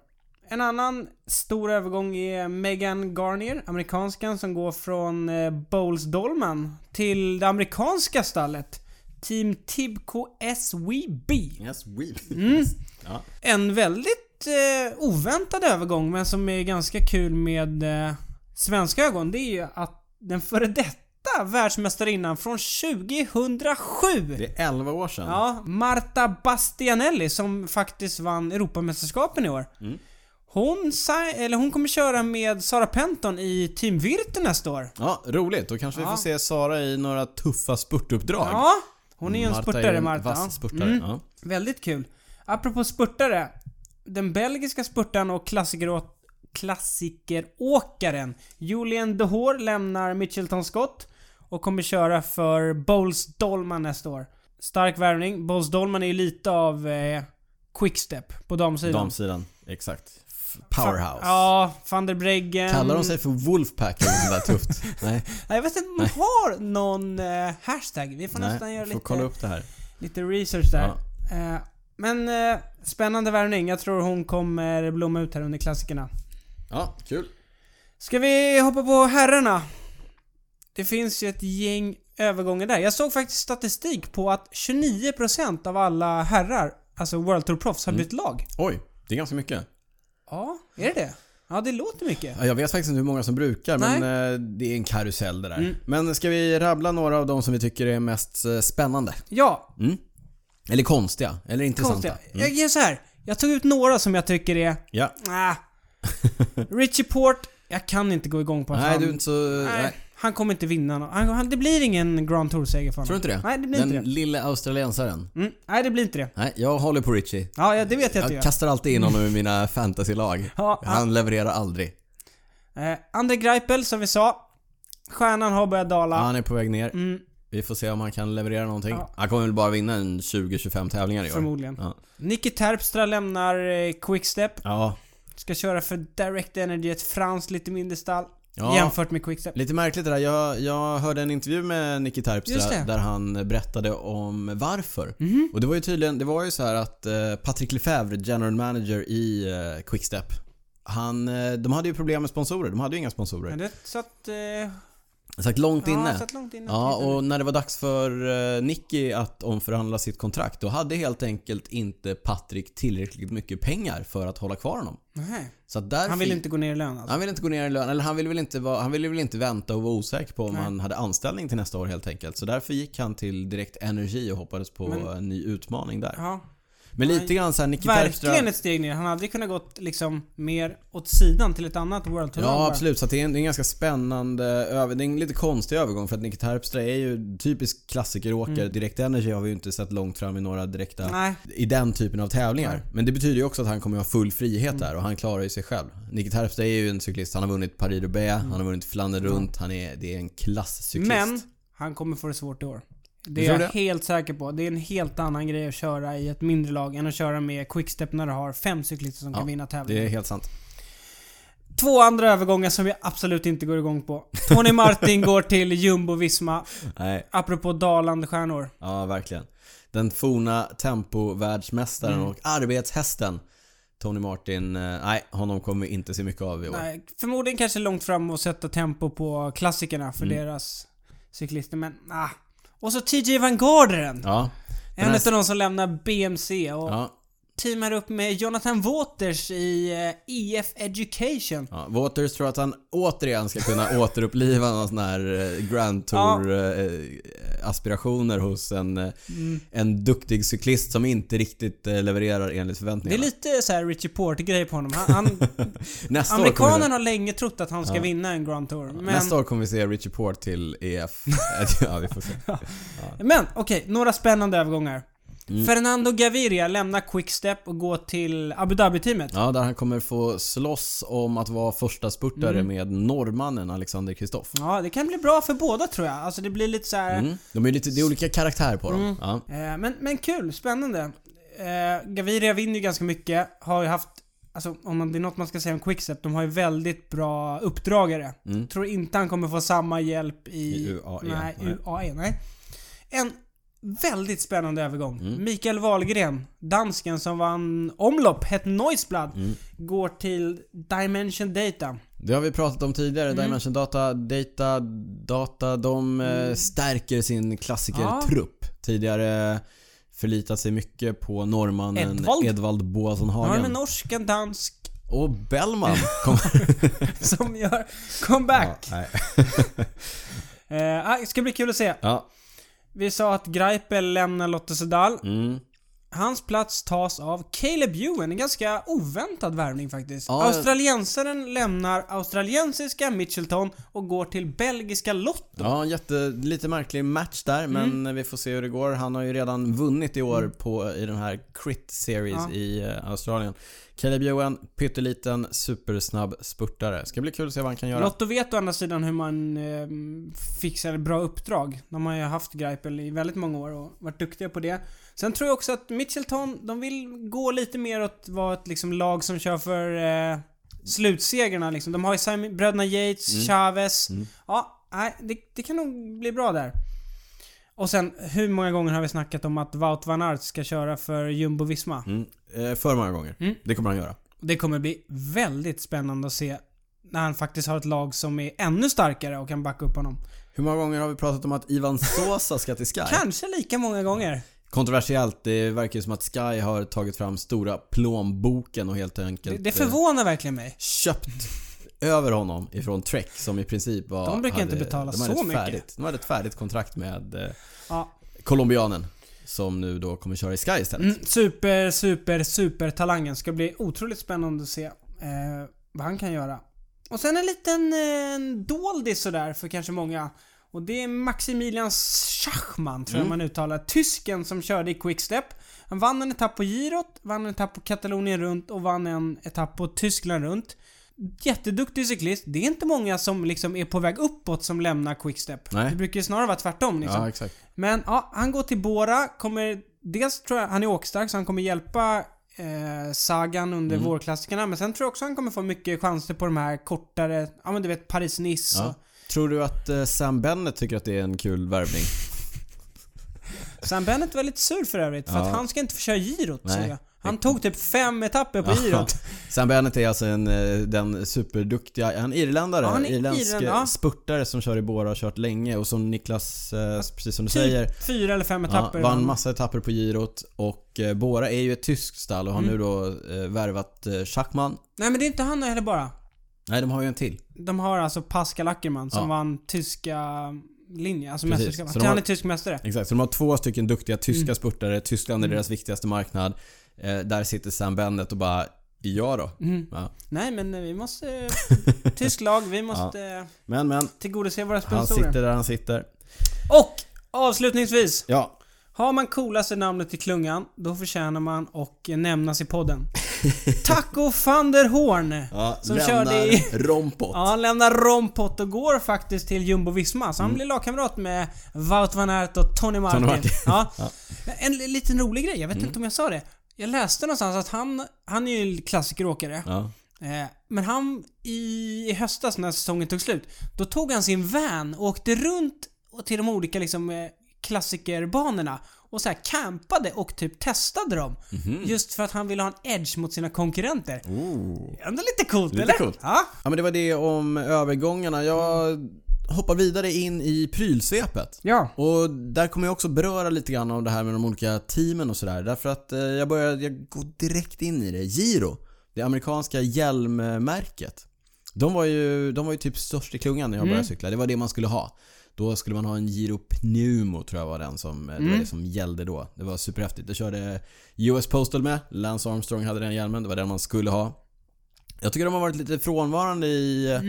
Speaker 1: En annan stor övergång är Megan Garnier, amerikanskan som går från eh, Bowles Dolman till det amerikanska stallet. Team Tibco SWB.
Speaker 2: Yes, weep.
Speaker 1: Mm.
Speaker 2: Ja.
Speaker 1: En väldigt eh, oväntad övergång men som är ganska kul med eh, svenska ögon det är ju att den före detta världsmästarinnan från 2007
Speaker 2: Det är 11 år sedan.
Speaker 1: Ja, Marta Bastianelli som faktiskt vann Europamästerskapen i år.
Speaker 2: Mm.
Speaker 1: Hon, sa- eller hon kommer köra med Sara Penton i Team Virtu nästa år.
Speaker 2: Ja, roligt. Då kanske vi får se Sara i några tuffa spurtuppdrag.
Speaker 1: Ja, hon är ju en
Speaker 2: är
Speaker 1: spurtare
Speaker 2: en
Speaker 1: Marta. Mm.
Speaker 2: Vass spurtare. Ja.
Speaker 1: Väldigt kul. Apropå spurtare. Den belgiska spurtaren och klassiker klassikeråkaren Julien Dehor lämnar Mitchelton Scott och kommer köra för Bowles Dolman nästa år. Stark värvning. Bowles Dolman är ju lite av eh, quickstep på damsidan.
Speaker 2: Damsidan. Exakt. F- Powerhouse.
Speaker 1: Ja, van der Breggen.
Speaker 2: Kallar de sig för Wolfpack eller något sånt där tufft? Nej,
Speaker 1: Nej, jag vet inte om de har någon eh, hashtag. Vi får nästan
Speaker 2: nej.
Speaker 1: göra
Speaker 2: Får
Speaker 1: lite...
Speaker 2: kolla upp det här.
Speaker 1: Lite research där. Eh, men eh, spännande värvning. Jag tror hon kommer blomma ut här under klassikerna.
Speaker 2: Ja, kul.
Speaker 1: Ska vi hoppa på herrarna? Det finns ju ett gäng övergångar där. Jag såg faktiskt statistik på att 29% av alla herrar, alltså World Tour Proffs,
Speaker 2: Mm.
Speaker 1: har bytt lag.
Speaker 2: Oj, det är ganska mycket.
Speaker 1: Ja, är det det? Ja, det låter mycket.
Speaker 2: Ja, Jag vet faktiskt inte hur många som brukar, men eh, det är en karusell det där. Men ska vi rabbla några av de som vi tycker är mest eh, spännande?
Speaker 1: Ja,
Speaker 2: Mm. Eller konstiga, eller intressanta.
Speaker 1: konstigt. Jag gör så här. Jag tog ut några som jag tycker är...
Speaker 2: Ja.
Speaker 1: Ah. Richie Port. Jag kan inte gå igång på att
Speaker 2: Nej,
Speaker 1: han-
Speaker 2: du är inte så... Nej.
Speaker 1: Nej, han kommer inte vinna nå- han, han, Det blir ingen Grand Tour-seger för honom.
Speaker 2: Tror du inte det?
Speaker 1: Nej, det blir
Speaker 2: Den
Speaker 1: inte det.
Speaker 2: lille australiensaren.
Speaker 1: Mm, nej, det blir inte det.
Speaker 2: Nej, jag håller på Richie.
Speaker 1: Ja, ja det vet jag att du
Speaker 2: Jag
Speaker 1: gör.
Speaker 2: kastar alltid in honom i mina fantasylag.
Speaker 1: Ja,
Speaker 2: Han levererar aldrig.
Speaker 1: Eh, André Greipel, som vi sa. Stjärnan har börjat dala.
Speaker 2: Ja, Han är på väg ner.
Speaker 1: Mm.
Speaker 2: Vi får se om han kan leverera någonting.
Speaker 1: Ja.
Speaker 2: Han kommer väl bara vinna en 20-25 tävlingar i år.
Speaker 1: Förmodligen.
Speaker 2: Ja.
Speaker 1: Nicky Terpstra lämnar eh, Quickstep.
Speaker 2: ja.
Speaker 1: Ska köra för Direct Energy, ett franskt lite mindre stall.
Speaker 2: Ja.
Speaker 1: Jämfört med Quickstep.
Speaker 2: Lite märkligt det där. Jag, jag hörde en intervju med Nicky
Speaker 1: Just
Speaker 2: Terpstra
Speaker 1: det. Mhm.
Speaker 2: där han berättade om varför. Och det var ju tydligen, det var ju så här att eh, Patrick Lefebvre, general manager i eh, Quickstep, han, eh, de hade ju problem med sponsorer. De hade ju inga sponsorer.
Speaker 1: Men det satt... Eh,
Speaker 2: Så att långt
Speaker 1: ja,
Speaker 2: inne.
Speaker 1: satt långt inne.
Speaker 2: Ja, och när det var dags för eh, Nicky att omförhandla sitt kontrakt då hade helt enkelt inte Patrick tillräckligt mycket pengar för att hålla kvar honom.
Speaker 1: Nej.
Speaker 2: Så att där
Speaker 1: Han vill
Speaker 2: fick-
Speaker 1: inte gå ner i lön alltså.
Speaker 2: han ville inte gå ner i lön, eller han ville väl inte, vara, han ville väl inte vänta och vara osäker på om
Speaker 1: Nej.
Speaker 2: han hade anställning till nästa år helt enkelt. Så därför gick han till Direkt Energy och hoppades på
Speaker 1: Men-
Speaker 2: en ny utmaning där.
Speaker 1: Ja.
Speaker 2: Men lite grann såhär Nicky Terpstra...
Speaker 1: Verkligen ett steg ner. Han hade kunnat gått liksom mer åt sidan till ett annat World Tour.
Speaker 2: Ja
Speaker 1: bara.
Speaker 2: absolut, så att det är en, det är en ganska spännande över, det är en lite konstig övergång för att Nicky Terpstra är ju typisk klassikeråkare. Direkt Energy har vi ju inte sett långt fram i några direkta
Speaker 1: Mm. Nej.
Speaker 2: i den typen av tävlingar. Men det betyder ju också att han kommer ha full frihet
Speaker 1: Mm.
Speaker 2: där och han klarar ju sig själv. Nicky Terpstra är ju en cyklist. Han har vunnit Paris-Roubaix, han har vunnit Flandern runt. Han är, det är en klasscyklist.
Speaker 1: Mm. Men han kommer få det svårt i år. Det
Speaker 2: tror
Speaker 1: är jag
Speaker 2: det?
Speaker 1: helt säker på. Det är en helt annan grej att köra i ett mindre lag än att köra med quickstep när du har fem cyklister som kan vinna tävlingen.
Speaker 2: Det är helt sant.
Speaker 1: Två andra övergångar som jag absolut inte går igång på. Tony Martin går till Jumbo Visma.
Speaker 2: Nej,
Speaker 1: Apropå dalande stjärnor.
Speaker 2: ja verkligen. Den forna tempovärldsmästaren
Speaker 1: Mm.
Speaker 2: och arbetshästen Tony Martin, eh, nej honom kommer vi inte se mycket av i år.
Speaker 1: Nej, förmodligen kanske långt fram och sätta tempo på klassikerna för
Speaker 2: Mm.
Speaker 1: deras cyklister, men ah. Och så TJ Van Garderen.
Speaker 2: Ja,
Speaker 1: en av de som lämnar BMC och
Speaker 2: ja,
Speaker 1: teamar upp med Jonathan Waters i eh, EF Education.
Speaker 2: ja. Waters tror att han återigen ska kunna återuppliva någon sån här eh, Grand Tour eh, aspirationer hos en, eh, en duktig cyklist som inte riktigt eh, levererar enligt
Speaker 1: Det är
Speaker 2: förväntningarna.
Speaker 1: lite så här Richie Porter-grej på honom. Han, han,
Speaker 2: Nästa år, kommer
Speaker 1: amerikanen
Speaker 2: vi,
Speaker 1: har länge trott att han ska vinna en Grand Tour. Men,
Speaker 2: nästa år kommer vi se Richie Port till EF. ja, vi får se.
Speaker 1: men okej, några spännande övergångar.
Speaker 2: Mm.
Speaker 1: Fernando Gaviria lämnar Quickstep och går till Abu Dhabi-teamet.
Speaker 2: Ja, där han kommer få slåss om att vara första spurtare med norrmannen Alexander Kristoff.
Speaker 1: Ja, det kan bli bra för båda tror jag. Alltså det blir lite så här.
Speaker 2: Mm. De är lite, det är olika karaktär på dem. Ja.
Speaker 1: Eh, men, men kul, spännande. Eh, Gaviria vinner ju ganska mycket. Har ju haft Alltså om man, det är något man ska säga om Quickstep, de har ju väldigt bra uppdragare.
Speaker 2: Mm.
Speaker 1: Tror inte han kommer få samma hjälp i...
Speaker 2: I UAE,
Speaker 1: Nej,
Speaker 2: nej.
Speaker 1: UAE, nej. En väldigt spännande övergång.
Speaker 2: Mm.
Speaker 1: Mikael Wahlgren, dansken som vann omlopp, hett Noisblad,
Speaker 2: Mm.
Speaker 1: går till Dimension Data.
Speaker 2: Det har vi pratat om tidigare.
Speaker 1: Mm.
Speaker 2: Dimension Data, Data, Data. De eh,
Speaker 1: Mm.
Speaker 2: stärker sin klassikertrupp. Tidigare förlitat sig mycket på norrmannen
Speaker 1: Edvald.
Speaker 2: Edvald, Edvald Boasson
Speaker 1: Nu har de
Speaker 2: Hagen.
Speaker 1: en norsk, en dansk
Speaker 2: Och Bellman kommer...
Speaker 1: som gör comeback.
Speaker 2: nej.
Speaker 1: Eh, ah, det ska bli kul att se.
Speaker 2: ja.
Speaker 1: Vi sa att Greipel lämnar Lotto Sedal.
Speaker 2: Mm.
Speaker 1: Hans plats tas av Caleb Ewan. En ganska oväntad värvning faktiskt.
Speaker 2: Ja.
Speaker 1: Australiensaren lämnar australiensiska Mitchelton och går till belgiska Lotto.
Speaker 2: Ja, en jätte, lite märklig match där men
Speaker 1: Mm.
Speaker 2: vi får se hur det går. Han har ju redan vunnit i år på, i den här Crit Series
Speaker 1: Ja.
Speaker 2: i eh, Australien. Caleb Ewan, pytteliten supersnabb spurtare. Ska bli kul att se vad han kan göra.
Speaker 1: Lotto vet å andra sidan hur man eh, fixar bra uppdrag. De har ju haft Greipel i väldigt många år och varit duktiga på det. Sen tror jag också att Mitchelton, de vill gå lite mer åt vad ett liksom, lag som kör för eh, slutsegrarna liksom. De har ju Simon, bröderna Yates,
Speaker 2: Mm.
Speaker 1: Chavez. Ja, nej, det, det kan nog bli bra där. Och sen, hur många gånger har vi snackat om att Wout van Aert ska köra för Jumbo Visma?
Speaker 2: Mm. Eh, för många gånger.
Speaker 1: Mm.
Speaker 2: Det kommer han göra.
Speaker 1: Det kommer bli väldigt spännande att se när han faktiskt har ett lag som är ännu starkare och kan backa upp honom.
Speaker 2: Hur många gånger har vi pratat om att Ivan Sosa ska till Sky?
Speaker 1: Kanske lika många gånger.
Speaker 2: Kontroversiellt. Det verkar ju som att Sky har tagit fram stora plånboken och helt
Speaker 1: Det,
Speaker 2: enkelt
Speaker 1: det
Speaker 2: eh,
Speaker 1: förvånar verkligen mig.
Speaker 2: köpt över honom ifrån Trek som i princip var...
Speaker 1: De brukar inte betala
Speaker 2: de hade
Speaker 1: så
Speaker 2: ett
Speaker 1: mycket.
Speaker 2: Färdigt, de hade ett färdigt kontrakt med eh,
Speaker 1: Ja.
Speaker 2: colombianen. Som nu då kommer köra i Sky istället.
Speaker 1: Mm, super, super, super talangen. Ska bli otroligt spännande att se eh, vad han kan göra. Och sen en liten eh, en doldis sådär för kanske många. Och det är Maximilian Schachmann tror jag
Speaker 2: Mm.
Speaker 1: man uttalar. Tysken som körde i Quickstep. Han vann en etapp på Girot, vann en etapp på Katalonien runt och vann en etapp på Tyskland runt. Jätteduktig cyklist. Det är inte många som liksom är på väg uppåt som lämnar Quickstep.
Speaker 2: Nej.
Speaker 1: Det brukar ju snarare vara tvärtom liksom.
Speaker 2: Ja, exakt.
Speaker 1: Men ja, han går till Bora, kommer... Dels tror jag han är åkstark så han kommer hjälpa eh, Sagan under
Speaker 2: Mm.
Speaker 1: vårklassikerna. Men sen tror jag också han kommer få mycket chanser på de här kortare, ja men du vet Paris-Nice
Speaker 2: Ja. Tror du att eh, Sam Bennett tycker att det är en kul värvning?
Speaker 1: och... Sam Bennett var lite sur för övrigt för
Speaker 2: Ja.
Speaker 1: att han ska inte få köra girot
Speaker 2: Nej.
Speaker 1: såg jag. Han tog typ fem etapper på
Speaker 2: Ja. typ
Speaker 1: girot.
Speaker 2: Sam Bennett är alltså en, eh, den superduktiga, är han irländare?
Speaker 1: Ja, han är
Speaker 2: Irländsk
Speaker 1: irländare,
Speaker 2: eh,
Speaker 1: ja.
Speaker 2: spurtare som kör i Bora och har kört länge och som Niklas, eh, precis som du säger,
Speaker 1: Typ fyra eller fem etapper.
Speaker 2: Ja, vann massa etapper på girot och eh, Bora är ju ett tyskt stall och har
Speaker 1: Mm.
Speaker 2: nu då eh, värvat eh, Schackman.
Speaker 1: Nej men det är inte han heller bara.
Speaker 2: Nej, de har ju en till.
Speaker 1: De har alltså Pascal Ackermann som
Speaker 2: Ja.
Speaker 1: vann tyska linjen, alltså
Speaker 2: Precis.
Speaker 1: mästerskapet.
Speaker 2: Så de har-
Speaker 1: Han är tysk mästare.
Speaker 2: Exakt, så de har två stycken duktiga tyska
Speaker 1: Mm.
Speaker 2: spurtare. Tyskland är deras viktigaste marknad. Eh, där sitter Sam Bennett och bara Ja då. Ja.
Speaker 1: Nej men eh, vi måste... tysk lag, vi måste... eh,
Speaker 2: Men men,
Speaker 1: tillgodose våra
Speaker 2: han
Speaker 1: sponsorer.
Speaker 2: sitter där han sitter.
Speaker 1: Och avslutningsvis.
Speaker 2: Ja,
Speaker 1: Har man coolaste namnet i klungan, då förtjänar man och nämnas i podden. Taco van der Horn.
Speaker 2: ja
Speaker 1: Som
Speaker 2: lämnar
Speaker 1: körde i-
Speaker 2: Rompot.
Speaker 1: Ja, han lämnar Rompot och går faktiskt till Jumbo Visma. Så han blir lagkamrat med Wout van Aert och Tony Martin.
Speaker 2: Mm. Martin. Mm.
Speaker 1: Ja. En li- liten rolig grej, jag vet inte om jag sa det. Jag läste någonstans att han, han är ju klassikeråkare.
Speaker 2: Ja.
Speaker 1: Eh, Men han, i, i höstas när säsongen tog slut, då tog han sin van och åkte runt och till de olika liksom, eh, klassikerbanorna och så här campade och typ testade dem.
Speaker 2: Mhm.
Speaker 1: Just för att han ville ha en edge mot sina konkurrenter. Ändå lite coolt
Speaker 2: Lite
Speaker 1: eller?
Speaker 2: coolt.
Speaker 1: Ja.
Speaker 2: ja, men det var det om övergångarna. Jag hoppar vidare in i prylsvepet.
Speaker 1: ja.
Speaker 2: Och där kommer jag också beröra lite grann om det här med de olika teamen och sådär. Därför att eh, jag börjar, jag går direkt in i det. Giro, det amerikanska hjälmmärket. De var ju, de var ju typ störst i klungan när jag började cykla. Det var det man skulle ha. Då skulle man ha en Giro Pneumo tror jag var den som, eh, det var det som gällde då. Det var superhäftigt. Det körde US Postal med. Lance Armstrong hade den hjälmen. Det var den man skulle ha. Jag tycker de har varit lite frånvarande i eh,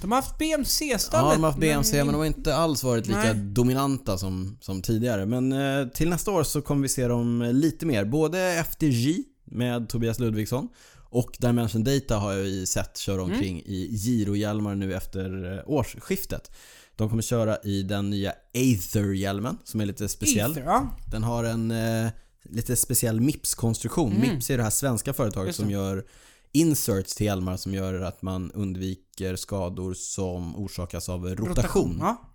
Speaker 1: De har haft BMC-stallet.
Speaker 2: Ja, de har haft BMC men, de har inte alls varit lika
Speaker 1: Nej.
Speaker 2: dominanta som, som tidigare. Men eh, till nästa år så kommer vi se dem lite mer. Både FDJ med Tobias Ludvigsson och Dimension Data har jag ju sett köra omkring i Giro-hjälmar nu efter eh, årsskiftet. De kommer köra i den nya Aether-hjälmen som är lite speciell.
Speaker 1: Ether, ja.
Speaker 2: Den har en eh, lite speciell Mips-konstruktion. Mips är Mm. det här svenska företaget som gör inserts till hjälmar som gör att man undviker skador som orsakas av rotation.
Speaker 1: Ja.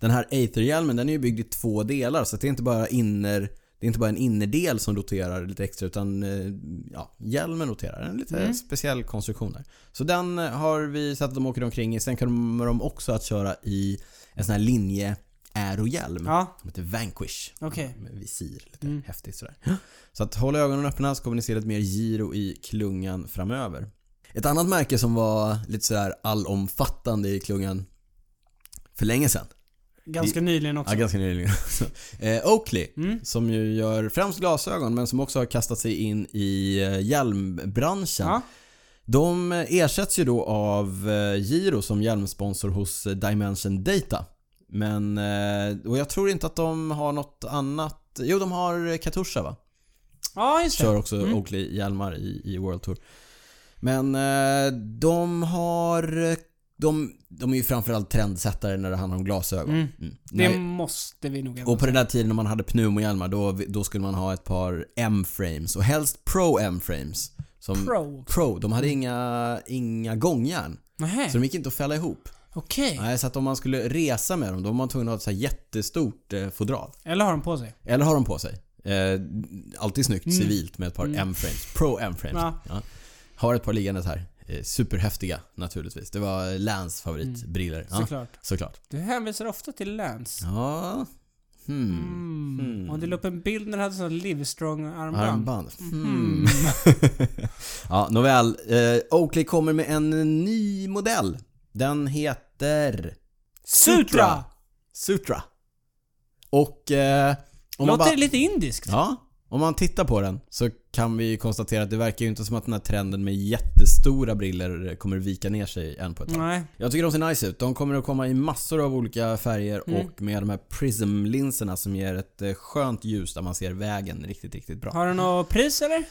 Speaker 2: Den här Aether-hjälmen den är ju byggd i två delar så att det är inte bara inner det är inte bara en innerdel som roterar lite extra utan eh, ja, hjälmen roterar. En lite speciell konstruktion där. Så den eh, har vi sett att de åker omkring i. Sen kommer de också att köra i en sån här linje aerohjälm.
Speaker 1: Ja,
Speaker 2: Som heter Vanquish.
Speaker 1: Okej. Mm.
Speaker 2: Med visir. Lite häftigt sådär. Så att håll ögonen öppna så kommer ni se lite mer giro i klungan framöver. Ett annat märke som var lite sådär allomfattande i klungan för länge sedan.
Speaker 1: ganska nyligen också. Mm.
Speaker 2: Ja, ganska nyligen. eh, Oakley, som ju gör främst glasögon men som också har kastat sig in i eh, hjälmbranschen.
Speaker 1: Ja.
Speaker 2: De ersätts ju då av eh, Giro som hjälmsponsor hos eh, Dimension Data. Men, eh, och jag tror inte att de har något annat. Jo, de har eh, Katusha va?
Speaker 1: Ja, just
Speaker 2: Kör
Speaker 1: det.
Speaker 2: också Oakley-hjälmar i, i World Tour. Men eh, de har... eh, De, de är ju framförallt trendsättare när det handlar om glasögon.
Speaker 1: Mm.
Speaker 2: Mm.
Speaker 1: Det
Speaker 2: När-
Speaker 1: måste vi nog ändå
Speaker 2: och på den där tiden när man hade pneumohjälmar då, då skulle man ha ett par M-frames och helst Pro M-frames. Som
Speaker 1: Pro.
Speaker 2: Pro. De hade inga, inga gångjärn.
Speaker 1: Nähä,
Speaker 2: Så de gick inte att fälla ihop.
Speaker 1: okej.
Speaker 2: Nej, så att om man skulle resa med dem då var man tvungen att ha ett så här jättestort eh, fodral.
Speaker 1: Eller har de på sig?
Speaker 2: Eller har de på sig. Eh, alltid snyggt civilt med ett par M-frames. Pro M-frames.
Speaker 1: Mm. Ja.
Speaker 2: Ja. Har ett par liggandes här. Eh, superhäftiga naturligtvis. Det var Lans favoritbriller. Ja,
Speaker 1: Mm. Såklart.
Speaker 2: såklart.
Speaker 1: Du hänvisar ofta till Lance.
Speaker 2: Ja. Hmm.
Speaker 1: Mm. Och du la upp en bild när du hade sån här Livestrong-armband.
Speaker 2: Armband.
Speaker 1: Mm-hmm.
Speaker 2: Hmm. ja, nåväl. Eh, Oakley kommer med en ny modell. Den heter
Speaker 1: Sutra!
Speaker 2: Sutra. Och eh, om man
Speaker 1: Låter
Speaker 2: bara...
Speaker 1: lite indiskt.
Speaker 2: Ja, om man tittar på den så kan vi ju konstatera att det verkar ju inte som att den här trenden med jättestora briller kommer vika ner sig än på ett tag.
Speaker 1: Nej.
Speaker 2: Jag tycker de ser nice ut. De kommer att komma i massor av olika färger
Speaker 1: Mm.
Speaker 2: och med de här prismlinserna som ger ett eh, skönt ljus där man ser vägen riktigt, riktigt bra.
Speaker 1: Har du något pris eller?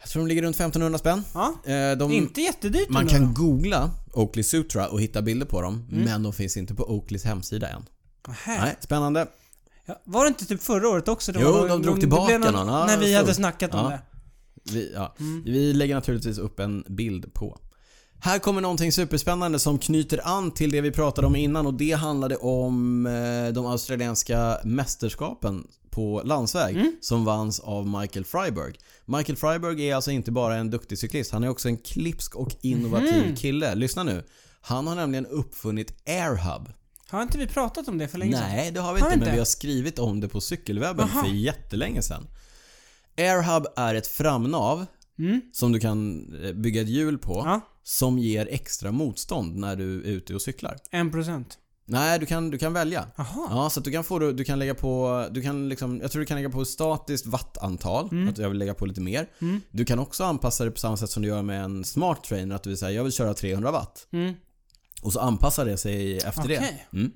Speaker 2: Jag tror de ligger runt 1500 spänn.
Speaker 1: Ja.
Speaker 2: Eh, de,
Speaker 1: Inte jättedyrt
Speaker 2: man
Speaker 1: ändå
Speaker 2: kan
Speaker 1: då.
Speaker 2: googla Oakley Sutra och hitta bilder på dem,
Speaker 1: Mm.
Speaker 2: men de finns inte på Oakleys hemsida än.
Speaker 1: Nähä.
Speaker 2: Nej, spännande.
Speaker 1: Ja, var det inte typ förra året också? Det
Speaker 2: Jo,
Speaker 1: var-
Speaker 2: de drog
Speaker 1: det
Speaker 2: tillbaka
Speaker 1: blev
Speaker 2: någon. Ja,
Speaker 1: när vi
Speaker 2: jag
Speaker 1: hade
Speaker 2: såg.
Speaker 1: snackat om
Speaker 2: Ja.
Speaker 1: det.
Speaker 2: Vi, ja. vi lägger naturligtvis upp en bild på. Här kommer någonting superspännande som knyter an till det vi pratade om innan och det handlade om eh, de australienska mästerskapen på landsväg som vanns av Michael Freiberg. Michael Freiberg är alltså inte bara en duktig cyklist, han är också en klipsk och innovativ kille. Lyssna nu. Han har nämligen uppfunnit AirHub.
Speaker 1: Har inte vi pratat om det för länge sedan?
Speaker 2: Nej, det har vi
Speaker 1: Har
Speaker 2: inte,
Speaker 1: vi inte?
Speaker 2: men vi har skrivit om det på cykelwebben
Speaker 1: Aha.
Speaker 2: för jättelänge sedan. AirHub är ett framnav som du kan eh, bygga ett hjul på
Speaker 1: Mm. Ja.
Speaker 2: som ger extra motstånd när du är ute och cyklar.
Speaker 1: En procent.
Speaker 2: Nej, du kan, du kan välja.
Speaker 1: Jaha.
Speaker 2: Ja, så att du kan få, du kan lägga på, du kan liksom, jag tror du kan lägga på ett statiskt wattantal.
Speaker 1: Mm.
Speaker 2: Att jag vill lägga på lite mer. Du kan också anpassa det på samma sätt som du gör med en smart trainer. Att du vill säga, jag vill köra 300 watt.
Speaker 1: Mm.
Speaker 2: Och så anpassar det sig efter
Speaker 1: Okej.
Speaker 2: det. Mm.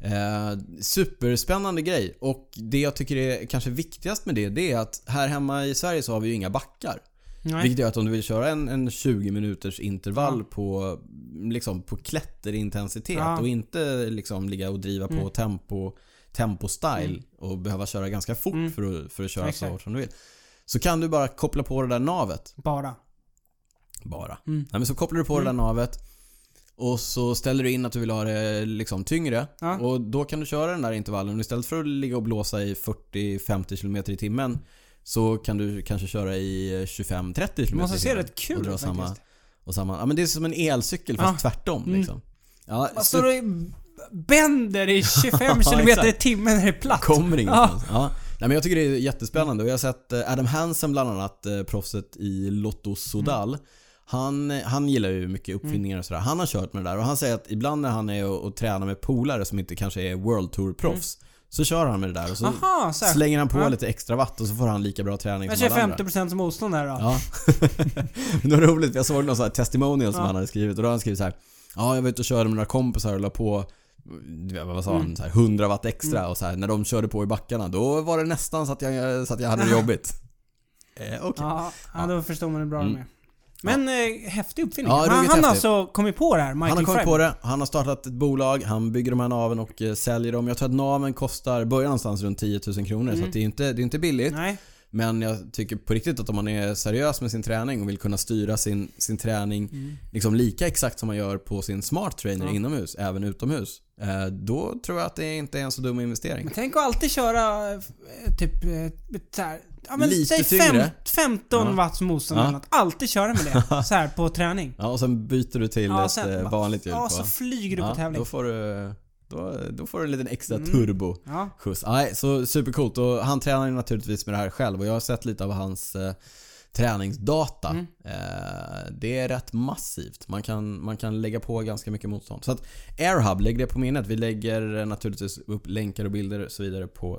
Speaker 2: Eh, superspännande grej. Och det jag tycker är kanske viktigast med det, det är att här hemma i Sverige så har vi ju inga backar.
Speaker 1: Nej.
Speaker 2: Vilket gör att om du vill köra en, en 20 minuters intervall på, liksom, på klätterintensitet
Speaker 1: Ja. Mm.
Speaker 2: och inte liksom ligga och driva på tempo, tempo-style och behöva köra ganska fort för, att, för att köra så
Speaker 1: Mm. Exakt.
Speaker 2: hårt som du vill. Så kan du bara koppla på det där navet
Speaker 1: Bara.
Speaker 2: bara.
Speaker 1: Mm.
Speaker 2: Nej, men så kopplar du på det där navet och så ställer du in att du vill ha det liksom tyngre.
Speaker 1: Ja.
Speaker 2: Och då kan du köra den där intervallen. Och Istället för att ligga och blåsa i 40-50 km i timmen så kan du kanske köra i 25-30 km i
Speaker 1: Det
Speaker 2: timmen.
Speaker 1: måste se rätt kul
Speaker 2: och
Speaker 1: ut
Speaker 2: dra
Speaker 1: faktiskt. Mm.
Speaker 2: samma, och samma, ja, men Det är som en elcykel fast tvärtom. Liksom. Ja,
Speaker 1: Vad
Speaker 2: så-
Speaker 1: står det i- bänder i 25
Speaker 2: Ja,
Speaker 1: km i
Speaker 2: exakt.
Speaker 1: timmen när det är platt?
Speaker 2: Kommer ingenstans. Ja. Nej, men jag tycker det är jättespännande och jag har sett eh, Adam Hansen bland annat, eh, proffset i Lotto Sodal.
Speaker 1: Mm.
Speaker 2: Han, han gillar ju mycket uppfinningar och sådär. Han har kört med det där och han säger att ibland när han är och, och tränar med polare som inte kanske är World Tour-proffs så kör han med det där och så
Speaker 1: Mm. Aha, så här.
Speaker 2: slänger han på
Speaker 1: Ja.
Speaker 2: lite extra watt och så får han lika bra träning
Speaker 1: Jag
Speaker 2: som
Speaker 1: kör
Speaker 2: alla andra.
Speaker 1: 50% motstånd här då.
Speaker 2: Ja. Men det var roligt, jag såg någon sån här testimonial som han hade skrivit och då har han skrivit så här. Ja, jag var ute och körde med några kompisar och la på du vet, vad sa
Speaker 1: Mm.
Speaker 2: han? Så här, 100 watt extra och så här, när de körde på i backarna då var det nästan så att jag, så att jag hade det jobbigt. Eh, Okej.
Speaker 1: Ja, ja, då förstår man hur bra de är. Men eh, häftig uppfinning.
Speaker 2: Mm. Ja, det är
Speaker 1: han
Speaker 2: roligt
Speaker 1: han har
Speaker 2: häftigt.
Speaker 1: alltså kommit på det här, Michael
Speaker 2: Han har kommit
Speaker 1: Freiberg.
Speaker 2: på det, han har startat ett bolag, han bygger de här naven
Speaker 1: Mm.
Speaker 2: och eh, säljer dem. Jag tror att naven kostar, börjar någonstans runt 10 000 kronor så att det är ju inte, det är inte billigt.
Speaker 1: Nej.
Speaker 2: Men jag tycker på riktigt att om man är seriös med sin träning och vill kunna styra sin, sin träning liksom lika exakt som man gör på sin smart trainer
Speaker 1: Mm. Ja.
Speaker 2: inomhus, även utomhus. eh, Då tror jag att det inte är en så dum investering.
Speaker 1: Men tänk att alltid köra eh, typ eh, så här, ja, men
Speaker 2: Lite
Speaker 1: säg
Speaker 2: tyngre.
Speaker 1: 15
Speaker 2: Ja.
Speaker 1: watts motstånd
Speaker 2: Ja.
Speaker 1: eller något. Alltid köra med det. så här på träning.
Speaker 2: Ja, och sen byter du till ett
Speaker 1: sen
Speaker 2: eh,
Speaker 1: bara-
Speaker 2: vanligt hjul
Speaker 1: Ja,
Speaker 2: på.
Speaker 1: så flyger du på tävling. Mm.
Speaker 2: Då får du, då, då får du en liten extra turbo.
Speaker 1: Ja.
Speaker 2: Skjuts. Nej, så supercoolt. Och han tränar ju naturligtvis med det här själv och jag har sett lite av hans eh, träningsdata. Eh, det är rätt massivt. Man kan, man kan lägga på ganska mycket motstånd. Så att AirHub, lägg det på minnet. Vi lägger eh, naturligtvis upp länkar och bilder och så vidare på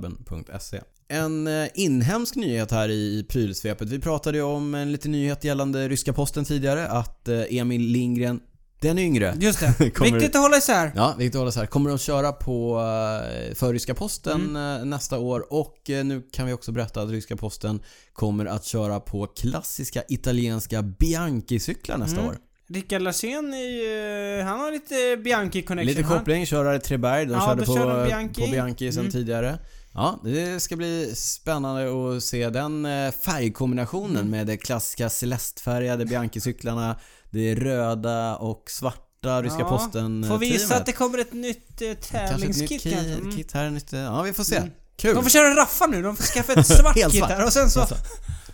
Speaker 2: cykelwebben.se. En eh, inhemsk nyhet här i prylsvepet. Vi pratade ju om en liten nyhet gällande ryska posten tidigare. Att eh, Emil Lindgren, den yngre,
Speaker 1: Just det.
Speaker 2: Kommer-
Speaker 1: Viktigt att hålla isär.
Speaker 2: Ja, Viktor håller så här. Kommer de köra på eh, för Ryska Posten
Speaker 1: Mm.
Speaker 2: eh, nästa år? Och eh, nu kan vi också berätta att Ryska Posten kommer att köra på klassiska italienska Bianchi-cyklar nästa
Speaker 1: Mm,
Speaker 2: år.
Speaker 1: Rickard Larsén är ju, eh, Han har lite Bianchi connection.
Speaker 2: Lite
Speaker 1: Han-
Speaker 2: koppling, körare Treberg. De
Speaker 1: Ja,
Speaker 2: körde
Speaker 1: då
Speaker 2: på,
Speaker 1: kör de Bianchi.
Speaker 2: på Bianchi sen
Speaker 1: Mm.
Speaker 2: tidigare. Ja, det ska bli spännande att se den eh, färgkombinationen
Speaker 1: Mm.
Speaker 2: med de klassiska celestfärgade Bianchi-cyklarna, det röda och svarta Ryska
Speaker 1: Ja.
Speaker 2: Posten eh,
Speaker 1: Får vi gissa
Speaker 2: teamet.
Speaker 1: att det kommer ett nytt eh,
Speaker 2: Kanske ett nytt
Speaker 1: tävlingskit
Speaker 2: kit,
Speaker 1: kanske? Mm.
Speaker 2: kit här, nytt, ja vi får se. Kul!
Speaker 1: De får köra raffa nu, de får skaffa ett svart
Speaker 2: Helt
Speaker 1: kit
Speaker 2: svart.
Speaker 1: här och sen så...
Speaker 2: Helt svart.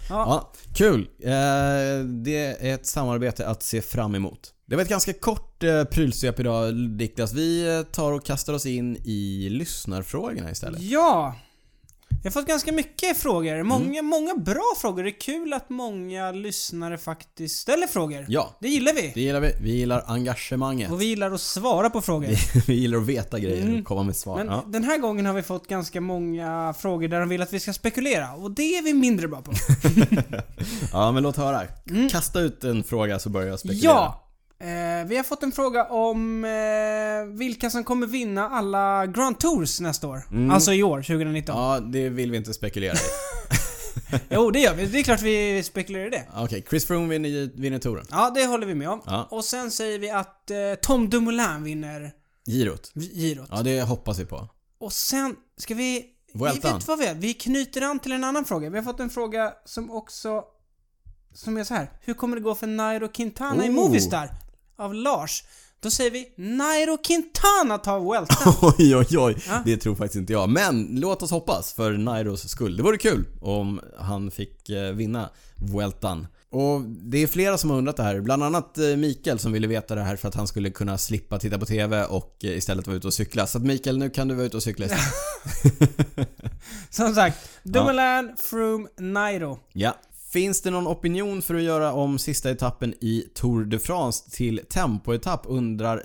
Speaker 2: Ja, kul! Eh, det är ett samarbete att se fram emot. Det var ett ganska kort eh, prylsvep idag Niklas. Vi eh, tar och kastar oss in i lyssnarfrågorna istället.
Speaker 1: Ja! Jag har fått ganska mycket frågor. Många,
Speaker 2: Mm.
Speaker 1: många bra frågor. Det är kul att många lyssnare faktiskt ställer frågor.
Speaker 2: Ja,
Speaker 1: Det gillar vi.
Speaker 2: det gillar vi. Vi gillar engagemanget.
Speaker 1: Och vi gillar att svara på frågor.
Speaker 2: Vi gillar att veta grejer
Speaker 1: Mm.
Speaker 2: och komma med svar.
Speaker 1: Men
Speaker 2: ja.
Speaker 1: den här gången har vi fått ganska många frågor där de vill att vi ska spekulera. Och det är vi mindre bra på.
Speaker 2: ja, men låt höra. Kasta ut en fråga så börjar jag spekulera.
Speaker 1: Mm. ja! Eh, vi har fått en fråga om eh, vilka som kommer vinna alla Grand Tours nästa år. Alltså i år, 2019.
Speaker 2: Mm. Ja, det vill vi inte spekulera i.
Speaker 1: Jo, det gör vi. Det är klart vi spekulerar i det.
Speaker 2: Okej, Chris Froome vinner, vinner touren.
Speaker 1: Ja, det håller vi med om.
Speaker 2: Ja.
Speaker 1: Och sen säger vi att eh, Tom Dumoulin vinner
Speaker 2: Girot.
Speaker 1: girot.
Speaker 2: Ja, det hoppas vi på.
Speaker 1: Och sen ska vi...
Speaker 2: Vueltan.
Speaker 1: Vi vet vad vi är. Vi knyter an till en annan fråga. Vi har fått en fråga som också... Som är så här. Hur kommer det gå för Nairo Quintana i
Speaker 2: Oh.
Speaker 1: Movistar? Av Lars. Då säger vi Nairo Quintana tar Vueltan.
Speaker 2: Oj, oj, oj.
Speaker 1: Ja.
Speaker 2: Det tror faktiskt inte jag. Men låt oss hoppas för Nairos skull. Det vore kul om han fick eh, vinna Vueltan. Och det är flera som har undrat det här. Bland annat eh, Mikael som ville veta det här för att han skulle kunna slippa titta på TV och eh, istället vara ute och cykla. Så att Mikael, nu kan du vara ute och cykla istället.
Speaker 1: Som sagt. Dumoulin, Froome, Nairo.
Speaker 2: Ja. Finns det någon opinion för att göra om sista etappen i Tour de France till tempoetapp undrar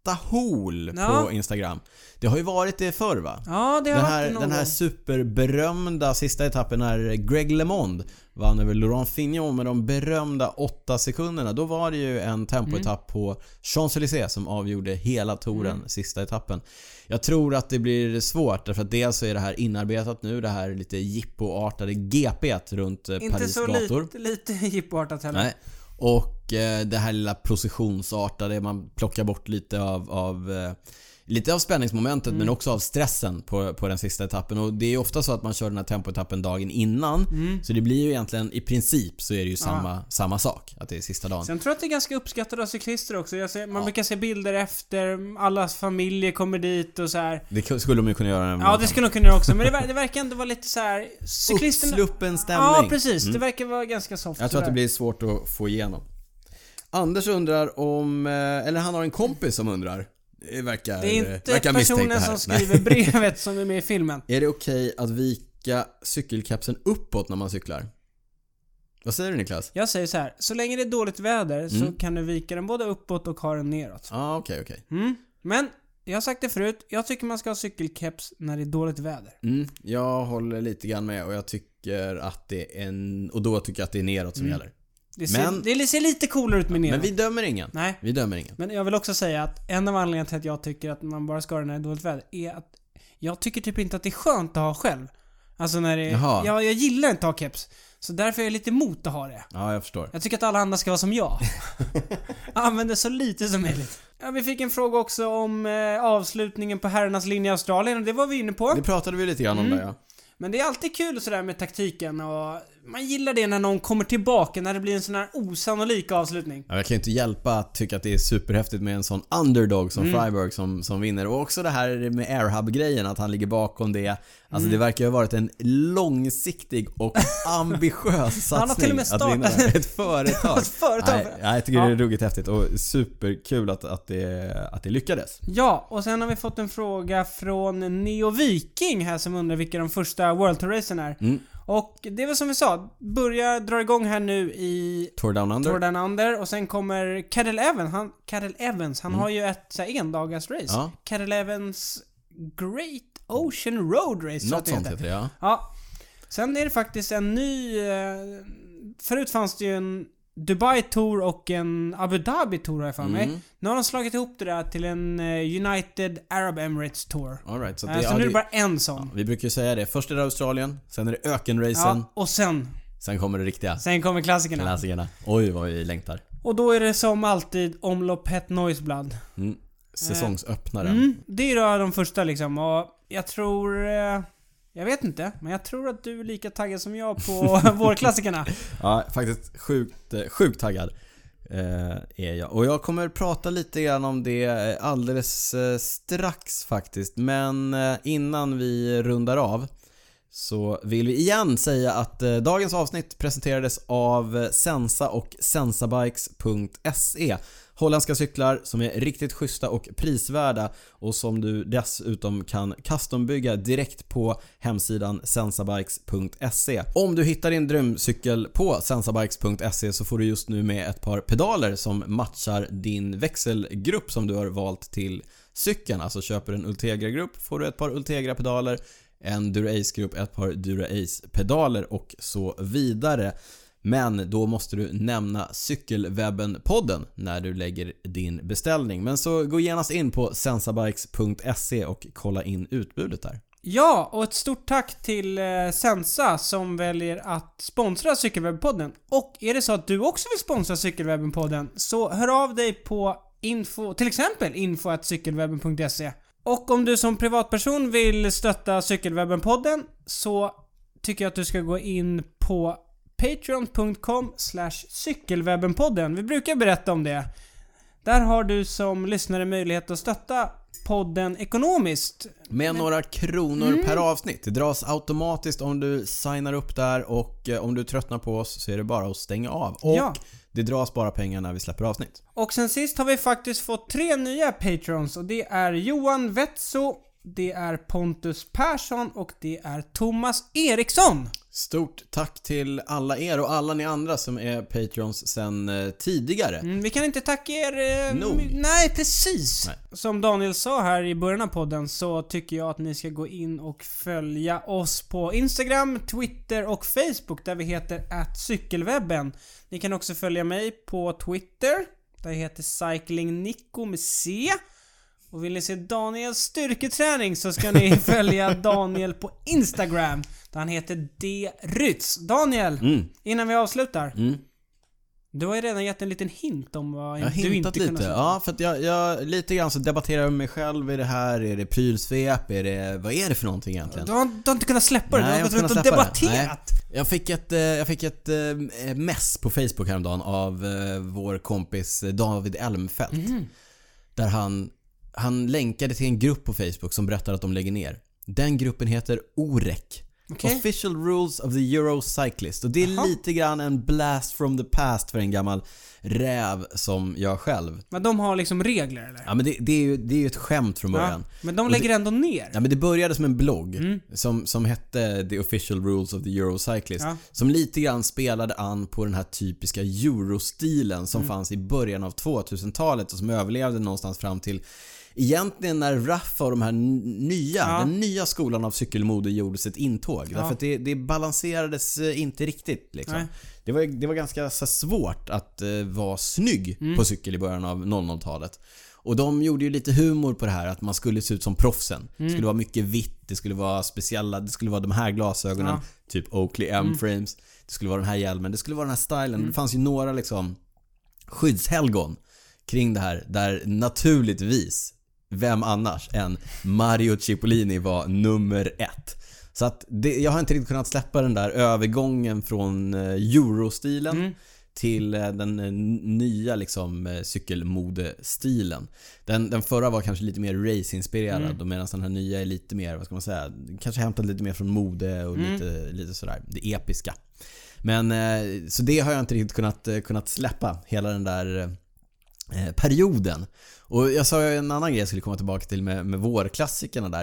Speaker 2: Stahol
Speaker 1: Ja.
Speaker 2: på Instagram. Det har ju varit det förr va?
Speaker 1: Ja, det har
Speaker 2: Den
Speaker 1: varit
Speaker 2: här,
Speaker 1: någon
Speaker 2: den här
Speaker 1: gång.
Speaker 2: superberömda sista etappen när Greg LeMond vann över Laurent Fignon med de berömda åtta sekunderna. Då var det ju en
Speaker 1: Mm.
Speaker 2: tempoetapp på Champs-Élysées som avgjorde hela touren, sista etappen. Jag tror att det blir svårt därför att dels så är det här inarbetat nu, det här lite jippoartade GP runt eh,
Speaker 1: Inte
Speaker 2: Paris
Speaker 1: så
Speaker 2: gator.
Speaker 1: lite, lite jippoartat heller.
Speaker 2: Nej. Och eh, det här lilla processionsartade, man plockar bort lite av, av eh, Lite av spänningsmomentet
Speaker 1: Mm.
Speaker 2: men också av stressen på, på den sista etappen. Och det är ju ofta så att man kör den här tempoetappen dagen innan.
Speaker 1: Mm.
Speaker 2: Så det blir ju egentligen, i princip så är det ju samma, samma sak. Att det är sista dagen.
Speaker 1: Sen tror jag att det är ganska uppskattat av cyklister också. Jag ser, man brukar se bilder efter, allas familjer kommer dit och så här.
Speaker 2: Det ku- skulle de ju kunna göra när
Speaker 1: Ja,
Speaker 2: man
Speaker 1: det skulle de kunna göra också, men det, ver- det verkar ändå vara lite så här. Cyklisterna...
Speaker 2: Uppsluppen stämning.
Speaker 1: Ja, precis. Det verkar vara ganska soft.
Speaker 2: Mm. Jag tror att det
Speaker 1: sådär.
Speaker 2: blir svårt att få igenom. Anders undrar om, eh, eller han har en kompis som undrar. Det verkar,
Speaker 1: Det är
Speaker 2: verkar
Speaker 1: inte
Speaker 2: misstänkt det
Speaker 1: personen
Speaker 2: här.
Speaker 1: som
Speaker 2: Nej.
Speaker 1: skriver brevet som är med i filmen.
Speaker 2: Är det okej att vika cykelkapseln uppåt när man cyklar? Vad säger du Niklas?
Speaker 1: Jag säger så här. så länge det är dåligt väder så
Speaker 2: Mm.
Speaker 1: kan du vika den både uppåt och ha den neråt.
Speaker 2: Ja, ah, okej, okej.
Speaker 1: Mm. Men, jag har sagt det förut, jag tycker man ska ha cykelkeps när det är dåligt väder.
Speaker 2: Mm, jag håller lite grann med och jag tycker att det är en... Och då tycker jag att det är neråt som gäller.
Speaker 1: Det ser,
Speaker 2: Men-
Speaker 1: det ser lite coolare ut med neråt.
Speaker 2: Men vi dömer ingen.
Speaker 1: Nej.
Speaker 2: Vi dömer ingen.
Speaker 1: Men jag vill också säga att en av anledningarna till att jag tycker att man bara ska ha den när det är dåligt väder är att jag tycker typ inte att det är skönt att ha själv. Alltså när det är...
Speaker 2: Jaha.
Speaker 1: Jag, jag gillar inte att ha keps. Så därför är jag lite emot att ha det.
Speaker 2: Ja, jag förstår.
Speaker 1: Jag tycker att alla andra ska vara som jag. Använder så lite som möjligt. Ja, vi fick en fråga också om eh, avslutningen på herrarnas linje i Australien och det var vi inne på.
Speaker 2: Det pratade vi lite grann om där ja.
Speaker 1: Men det är alltid kul sådär med taktiken och man gillar det när någon kommer tillbaka när det blir en sån här osannolik avslutning.
Speaker 2: Ja, Jag kan ju inte hjälpa att tycka att det är superhäftigt med en sån underdog som
Speaker 1: Mm.
Speaker 2: Freiburg som, som vinner. Och också det här med airhub-grejen, att han ligger bakom det. Alltså
Speaker 1: Mm.
Speaker 2: det verkar ju ha varit en långsiktig och ambitiös satsning
Speaker 1: Han har till och med
Speaker 2: att vinna
Speaker 1: startat-
Speaker 2: det här. ett företag.
Speaker 1: Ett företag.
Speaker 2: Nej, nej, jag tycker
Speaker 1: Ja.
Speaker 2: det är ruggigt häftigt och superkul att, att, det, att det lyckades.
Speaker 1: Ja, och sen har vi fått en fråga från Neo Viking här som undrar vilka de första World Tour-racen är.
Speaker 2: Mm.
Speaker 1: Och det är väl som vi sa, börjar dra igång här nu i
Speaker 2: Tour Down Under.
Speaker 1: Tour Down Under och sen kommer Cadel Evans. Han, Cadel Evans, han har ju ett så här, endagars race.
Speaker 2: Mm. Ja.
Speaker 1: Cadel Evans Great Ocean Road Race tror jag att
Speaker 2: Något
Speaker 1: det
Speaker 2: sånt
Speaker 1: heter.
Speaker 2: heter det ja.
Speaker 1: Ja. Sen är det faktiskt en ny... eh, Förut fanns det ju en Dubai Tour och en Abu Dhabi Tour har jag för mig. Nu har de slagit ihop det där till en eh, United Arab Emirates Tour.
Speaker 2: All right, så, att
Speaker 1: Eh,
Speaker 2: det,
Speaker 1: Så nu
Speaker 2: ja,
Speaker 1: är det
Speaker 2: det-
Speaker 1: bara en sån.
Speaker 2: Vi brukar ju säga det. Först är det Australien, sen är det ökenracen,
Speaker 1: Ja, och sen.
Speaker 2: sen kommer det riktiga.
Speaker 1: Sen kommer klassikerna.
Speaker 2: Klassikerna. Oj vad vi längtar.
Speaker 1: Och då är det som alltid omlopp Het Noiseblad.
Speaker 2: Mm. Säsongsöppnaren.
Speaker 1: Mm, det är då de första liksom och jag tror... eh, Jag vet inte, men jag tror att du är lika taggad som jag på vårklassikerna.
Speaker 2: Ja, faktiskt sjukt, eh, sjukt taggad. eh, Är jag. Och jag kommer prata lite grann om det eh, alldeles eh, strax faktiskt. Men eh, innan vi rundar av så vill vi igen säga att eh, dagens avsnitt presenterades av eh, Sensa och sensabikes.se. E. Holländska cyklar som är riktigt schyssta och prisvärda och som du dessutom kan custombygga direkt på hemsidan sensabikes.se. E. Om du hittar din drömcykel på sensabikes.se E så får du just nu med ett par pedaler som matchar din växelgrupp som du har valt till cykeln. Alltså köper du en Ultegra-grupp får du ett par Ultegra-pedaler, en Dura-Ace-grupp, ett par Dura-Ace-pedaler och så vidare. Men då måste du nämna Cykelwebben-podden när du lägger din beställning. Men så gå genast in på sensabikes.se och kolla in utbudet där.
Speaker 1: Ja, och ett stort tack till eh, Sensa som väljer att sponsra Cykelwebben-podden. Och är det så att du också vill sponsra Cykelwebben-podden så hör av dig på info, till exempel info.cykelwebben.se. Och om du som privatperson vill stötta Cykelwebben-podden så tycker jag att du ska gå in på patreon.com cykelwebbenpodden. Vi brukar berätta om det. Där har du som lyssnare möjlighet att stötta podden ekonomiskt.
Speaker 2: Med några kronor per avsnitt. Det dras automatiskt om du signar upp där och eh, om du tröttnar på oss så är det bara att stänga av. Och
Speaker 1: Ja.
Speaker 2: det dras bara pengar när vi släpper avsnitt.
Speaker 1: Och sen sist har vi faktiskt fått tre nya patrons och det är Johan Vetso, det är Pontus Persson och det är Thomas Eriksson.
Speaker 2: Stort tack till alla er och alla ni andra som är Patreons sen eh, tidigare.
Speaker 1: Mm, vi kan inte tacka er... Eh,
Speaker 2: Nog.
Speaker 1: my- Nej, precis.
Speaker 2: Nej.
Speaker 1: Som Daniel sa här i början av podden så tycker jag att ni ska gå in och följa oss på Instagram, Twitter och Facebook där vi heter cykelwebben. Ni kan också följa mig på Twitter där jag heter cyclingnico med C. Och vill ni se Daniels styrketräning så ska ni följa Daniel på Instagram där han heter D. Rytz. Daniel,
Speaker 2: Mm.
Speaker 1: innan vi avslutar.
Speaker 2: Mm.
Speaker 1: Du har ju redan gett en liten hint om vad
Speaker 2: Jag har
Speaker 1: du inte
Speaker 2: hintat
Speaker 1: kunde
Speaker 2: lite.
Speaker 1: säga.
Speaker 2: Ja, för att jag, jag lite grann så debatterar jag med mig själv. Är det här, är det prylsvep, är det, vad är det för någonting egentligen?
Speaker 1: Du, har, du har inte kunnat släppa det.
Speaker 2: Nej,
Speaker 1: du
Speaker 2: jag
Speaker 1: har gått
Speaker 2: har inte
Speaker 1: runt och
Speaker 2: kunnat släppa det.
Speaker 1: debatterat.
Speaker 2: Jag fick ett, eh, jag fick ett eh, mess på Facebook häromdagen av eh, vår kompis David Elmfelt.
Speaker 1: Mhm.
Speaker 2: Där han, han länkade till en grupp på Facebook som berättar att de lägger ner. Den gruppen heter OREC.
Speaker 1: Okej.
Speaker 2: Official Rules of the Euro Cyclist. Och det är lite grann en blast from the past för en gammal räv som jag själv.
Speaker 1: Men de har liksom regler eller?
Speaker 2: Ja men det, det, är, ju, det är ju ett skämt från början.
Speaker 1: Men de lägger ändå ner.
Speaker 2: Ja, men det började som en blogg
Speaker 1: Mm.
Speaker 2: som, som hette The Official Rules of the Eurocyclist.
Speaker 1: Ja.
Speaker 2: Som lite grann spelade an på den här typiska eurostilen
Speaker 1: Mm.
Speaker 2: som fanns i början av 2000-talet och som överlevde någonstans fram till Egentligen när Raffa och de här n- nya,
Speaker 1: Ja.
Speaker 2: den nya skolan av cykelmode gjorde sitt intåg. Därför att det, det balanserades eh, inte riktigt liksom.
Speaker 1: Nej.
Speaker 2: Det var, det var ganska så här svårt att eh, vara snygg
Speaker 1: Mm.
Speaker 2: på cykel i början av 00-talet. Och de gjorde ju lite humor på det här att man skulle se ut som proffsen. Det skulle vara mycket vitt, det skulle vara speciella, det skulle vara de här glasögonen.
Speaker 1: Ja.
Speaker 2: Typ Oakley M-frames. Det skulle vara den här hjälmen, det skulle vara den här stylen. Det fanns ju några liksom skyddshelgon kring det här där naturligtvis, vem annars än Mario Cipollini var nummer ett. Så att det, jag har inte riktigt kunnat släppa den där övergången från eh, eurostilen
Speaker 1: Mm.
Speaker 2: till eh, den eh, nya liksom, eh, cykelmodestilen. Den, den förra var kanske lite mer racinginspirerad
Speaker 1: Mm.
Speaker 2: och medan den här nya är lite mer, vad ska man säga, kanske hämtad lite mer från mode och
Speaker 1: Mm.
Speaker 2: lite, lite sådär, det episka. Men eh, så det har jag inte riktigt kunnat, eh, kunnat släppa, hela den där eh, perioden. Och jag sa ju en annan grej jag skulle komma tillbaka till med, med vårklassikerna där.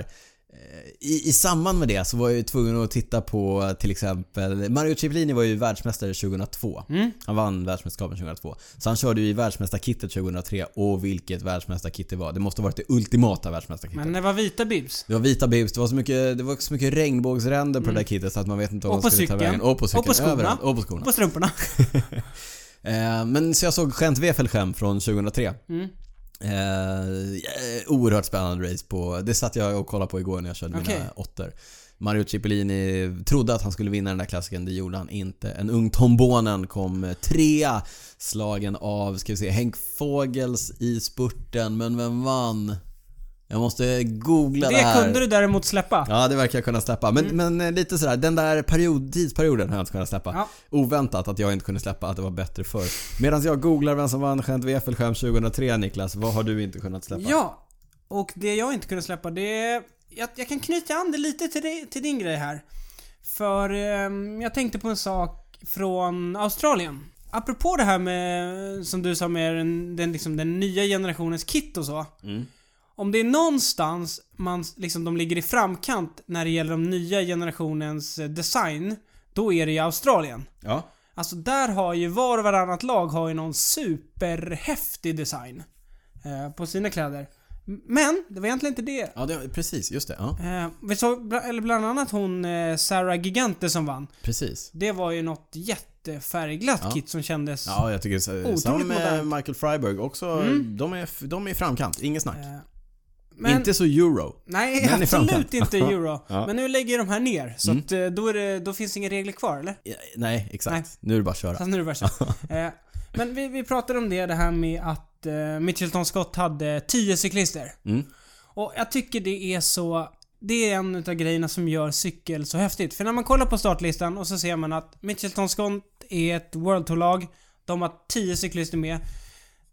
Speaker 2: Eh, I, I samband med det så var jag ju tvungen att titta på eh, till exempel Mario Cipollini var ju världsmästare 2002.
Speaker 1: Mm.
Speaker 2: Han vann världsmästerskapen 2002. Så han körde ju i världsmästarkittet 2003 och vilket världsmästarkitt det var. Det måste ha varit det ultimata världsmästarkittet.
Speaker 1: Men det var vita bibs.
Speaker 2: Det var vita bibs, det var så mycket, det var så mycket regnbågsränder på det där kittet så att man vet inte vad
Speaker 1: Mm. Och
Speaker 2: man
Speaker 1: på
Speaker 2: skulle ta
Speaker 1: cykeln.
Speaker 2: vägen. Och på cykeln.
Speaker 1: Och på skorna.
Speaker 2: överallt. Och på skorna.
Speaker 1: På strumporna.
Speaker 2: Eh, men så jag såg Gent Wefelgem från 2003.
Speaker 1: Mm.
Speaker 2: Eh, oerhört spännande race på... Det satt jag och kollade på igår när jag körde
Speaker 1: Okej.
Speaker 2: mina åttor. Mario Cipollini trodde att han skulle vinna den där klassiken, det gjorde han inte. En ung Tombonen kom trea, slagen av, ska vi se, Henk Fågels i spurten. Men vem vann? Jag måste googla det,
Speaker 1: Det
Speaker 2: här.
Speaker 1: kunde du däremot släppa.
Speaker 2: Ja, det verkar jag kunna släppa.
Speaker 1: Mm.
Speaker 2: Men, men eh, lite sådär, den där period, tidsperioden har jag inte kunnat släppa.
Speaker 1: Ja.
Speaker 2: Oväntat att jag inte kunde släppa att det var bättre förr. Medan jag googlar vem som vann Gent Wefelgem 2003, Niklas. Vad har du inte kunnat släppa?
Speaker 1: Ja, och det jag inte kunde släppa det... Jag, jag kan knyta an det lite till, dig- till din grej här. För ehm, jag tänkte på en sak från Australien. Apropå det här med, som du sa med den, den, liksom, den nya generationens kit och så. Om det är någonstans man, liksom, de ligger i framkant när det gäller den nya generationens eh, design, då är det i Australien.
Speaker 2: Ja.
Speaker 1: Alltså där har ju var och varannat lag har ju någon superhäftig design eh, på sina kläder. M- Men det var egentligen inte det.
Speaker 2: Ja, det, precis. Just det. Ja,
Speaker 1: Eh, vi såg bla, eller bland annat hon eh, Sarah Gigante som vann.
Speaker 2: precis.
Speaker 1: Det var ju något jättefärgglatt
Speaker 2: Ja.
Speaker 1: kit som kändes...
Speaker 2: Ja, jag tycker så,
Speaker 1: Otroligt
Speaker 2: som med
Speaker 1: modernt. Mm.
Speaker 2: Michael Freiberg också. De, är, f- de är i framkant, inget snack.
Speaker 1: Eh, men,
Speaker 2: inte så euro.
Speaker 1: nej,
Speaker 2: men i framkant.
Speaker 1: absolut inte euro.
Speaker 2: Ja. Mm.
Speaker 1: Men nu lägger de här ner. Så att, eh, då, är det, då finns inga regler kvar, eller?
Speaker 2: Ja, Nej, exakt. Nu är det bara att köra.
Speaker 1: Fast nu är det värsta. eh, men vi, vi pratade om det, det här med att eh, Mitchelton Scott hade 10 cyklister.
Speaker 2: Mm.
Speaker 1: Och jag tycker det är så... Det är en utav grejerna som gör cykel så häftigt. För när man kollar på startlistan och så ser man att Mitchelton Scott är ett World Tour-lag. De har 10 cyklister med.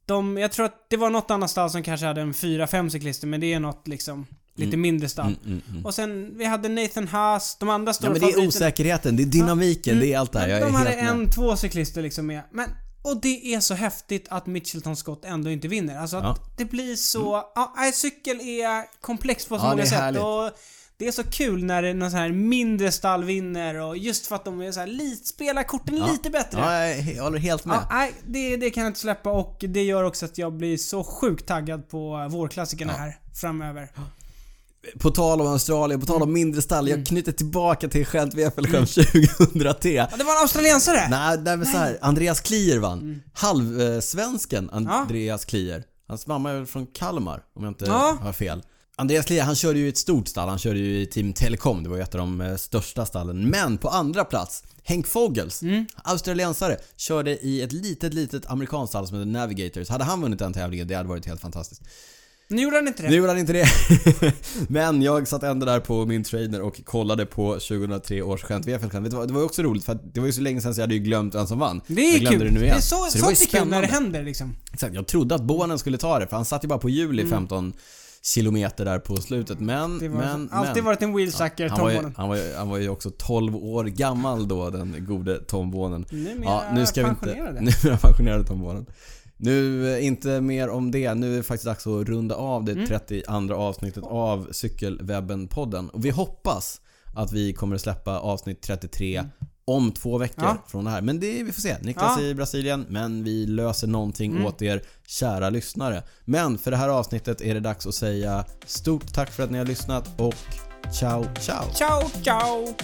Speaker 1: De, jag tror att det var något annat stall som kanske hade en 4-5 cyklister, men det är något liksom lite mindre stall.
Speaker 2: Mm, mm, mm.
Speaker 1: Och sen, vi hade Nathan Haas, de andra stora
Speaker 2: Ja, men det är
Speaker 1: favoriterna-
Speaker 2: osäkerheten, det är dynamiken, det är allt det här. Jag
Speaker 1: Mm. de
Speaker 2: är
Speaker 1: hade
Speaker 2: helt med.
Speaker 1: en, två cyklister liksom med. Men, och det är så häftigt att Mitchelton Scott ändå inte vinner. Alltså att
Speaker 2: Ja. Mm.
Speaker 1: det blir så... Ja, nej, cykel är komplext på så
Speaker 2: Ja, det
Speaker 1: många
Speaker 2: är
Speaker 1: sätt.
Speaker 2: härligt.
Speaker 1: Och det är så kul när det är någon sån här mindre stall vinner och just för att de är så här, lite, spelar korten lite bättre.
Speaker 2: Ja, jag he- håller helt med.
Speaker 1: Ja, nej, det, det kan jag inte släppa och det gör också att jag blir så sjukt taggad på vårklassikerna här framöver.
Speaker 2: På tal om Australien, på tal om mindre stall. Jag knyter tillbaka till Gent Wefelgem 2003.
Speaker 1: Ja, det var en australiensare!
Speaker 2: Nej, nej men så här, Andreas Klier vann. Halvsvensken Andreas Klier. Hans mamma är väl från Kalmar om jag inte
Speaker 1: Ja.
Speaker 2: har fel. Andreas Klier han körde ju i ett stort stall. Han körde ju i Team Telekom. Det var ju ett av de eh, största stallen. Men på andra plats, Henk Fogels, australiensare, körde i ett litet, litet amerikanskt stall som heter Navigators. Hade han vunnit den tävlingen, det hade varit helt fantastiskt.
Speaker 1: Nu gjorde han inte det.
Speaker 2: Nu gjorde han inte det. Men jag satt ändå där på min trainer och kollade på 2003 års skämt Wefelskärm. Vet du vad, Det var ju också roligt för att det var ju så länge sedan så jag hade ju glömt vem som vann.
Speaker 1: Det är
Speaker 2: jag glömde
Speaker 1: kul.
Speaker 2: det nu igen.
Speaker 1: är så,
Speaker 2: det var ju
Speaker 1: sånt är kul när
Speaker 2: spännande.
Speaker 1: det händer liksom.
Speaker 2: Exakt, jag trodde att Bonen skulle ta det för han satt ju bara på hjul i 15 kilometer där på slutet. Men,
Speaker 1: Mm. Det var
Speaker 2: men,
Speaker 1: alltid
Speaker 2: men.
Speaker 1: varit en wheelsucker,
Speaker 2: Han var, ju,
Speaker 1: Tom
Speaker 2: han, var ju, han var ju också 12 år gammal då, den gode Tom Bonen.
Speaker 1: Numera pensionerade.
Speaker 2: Numera pensionerade Tom Bonen. Nu, eh, inte mer om det. Nu är det faktiskt dags att runda av
Speaker 1: Mm.
Speaker 2: det 32 avsnittet av Cykelwebben-podden. Och vi hoppas att vi kommer att släppa avsnitt 33 om två veckor
Speaker 1: Mm. Ja.
Speaker 2: från det här. Men det, vi får se. Niklas
Speaker 1: Ja. Mm.
Speaker 2: är i Brasilien, men vi löser någonting åt er kära lyssnare. Men för det här avsnittet är det dags att säga stort tack för att ni har lyssnat och ciao ciao!
Speaker 1: Ciao, ciao!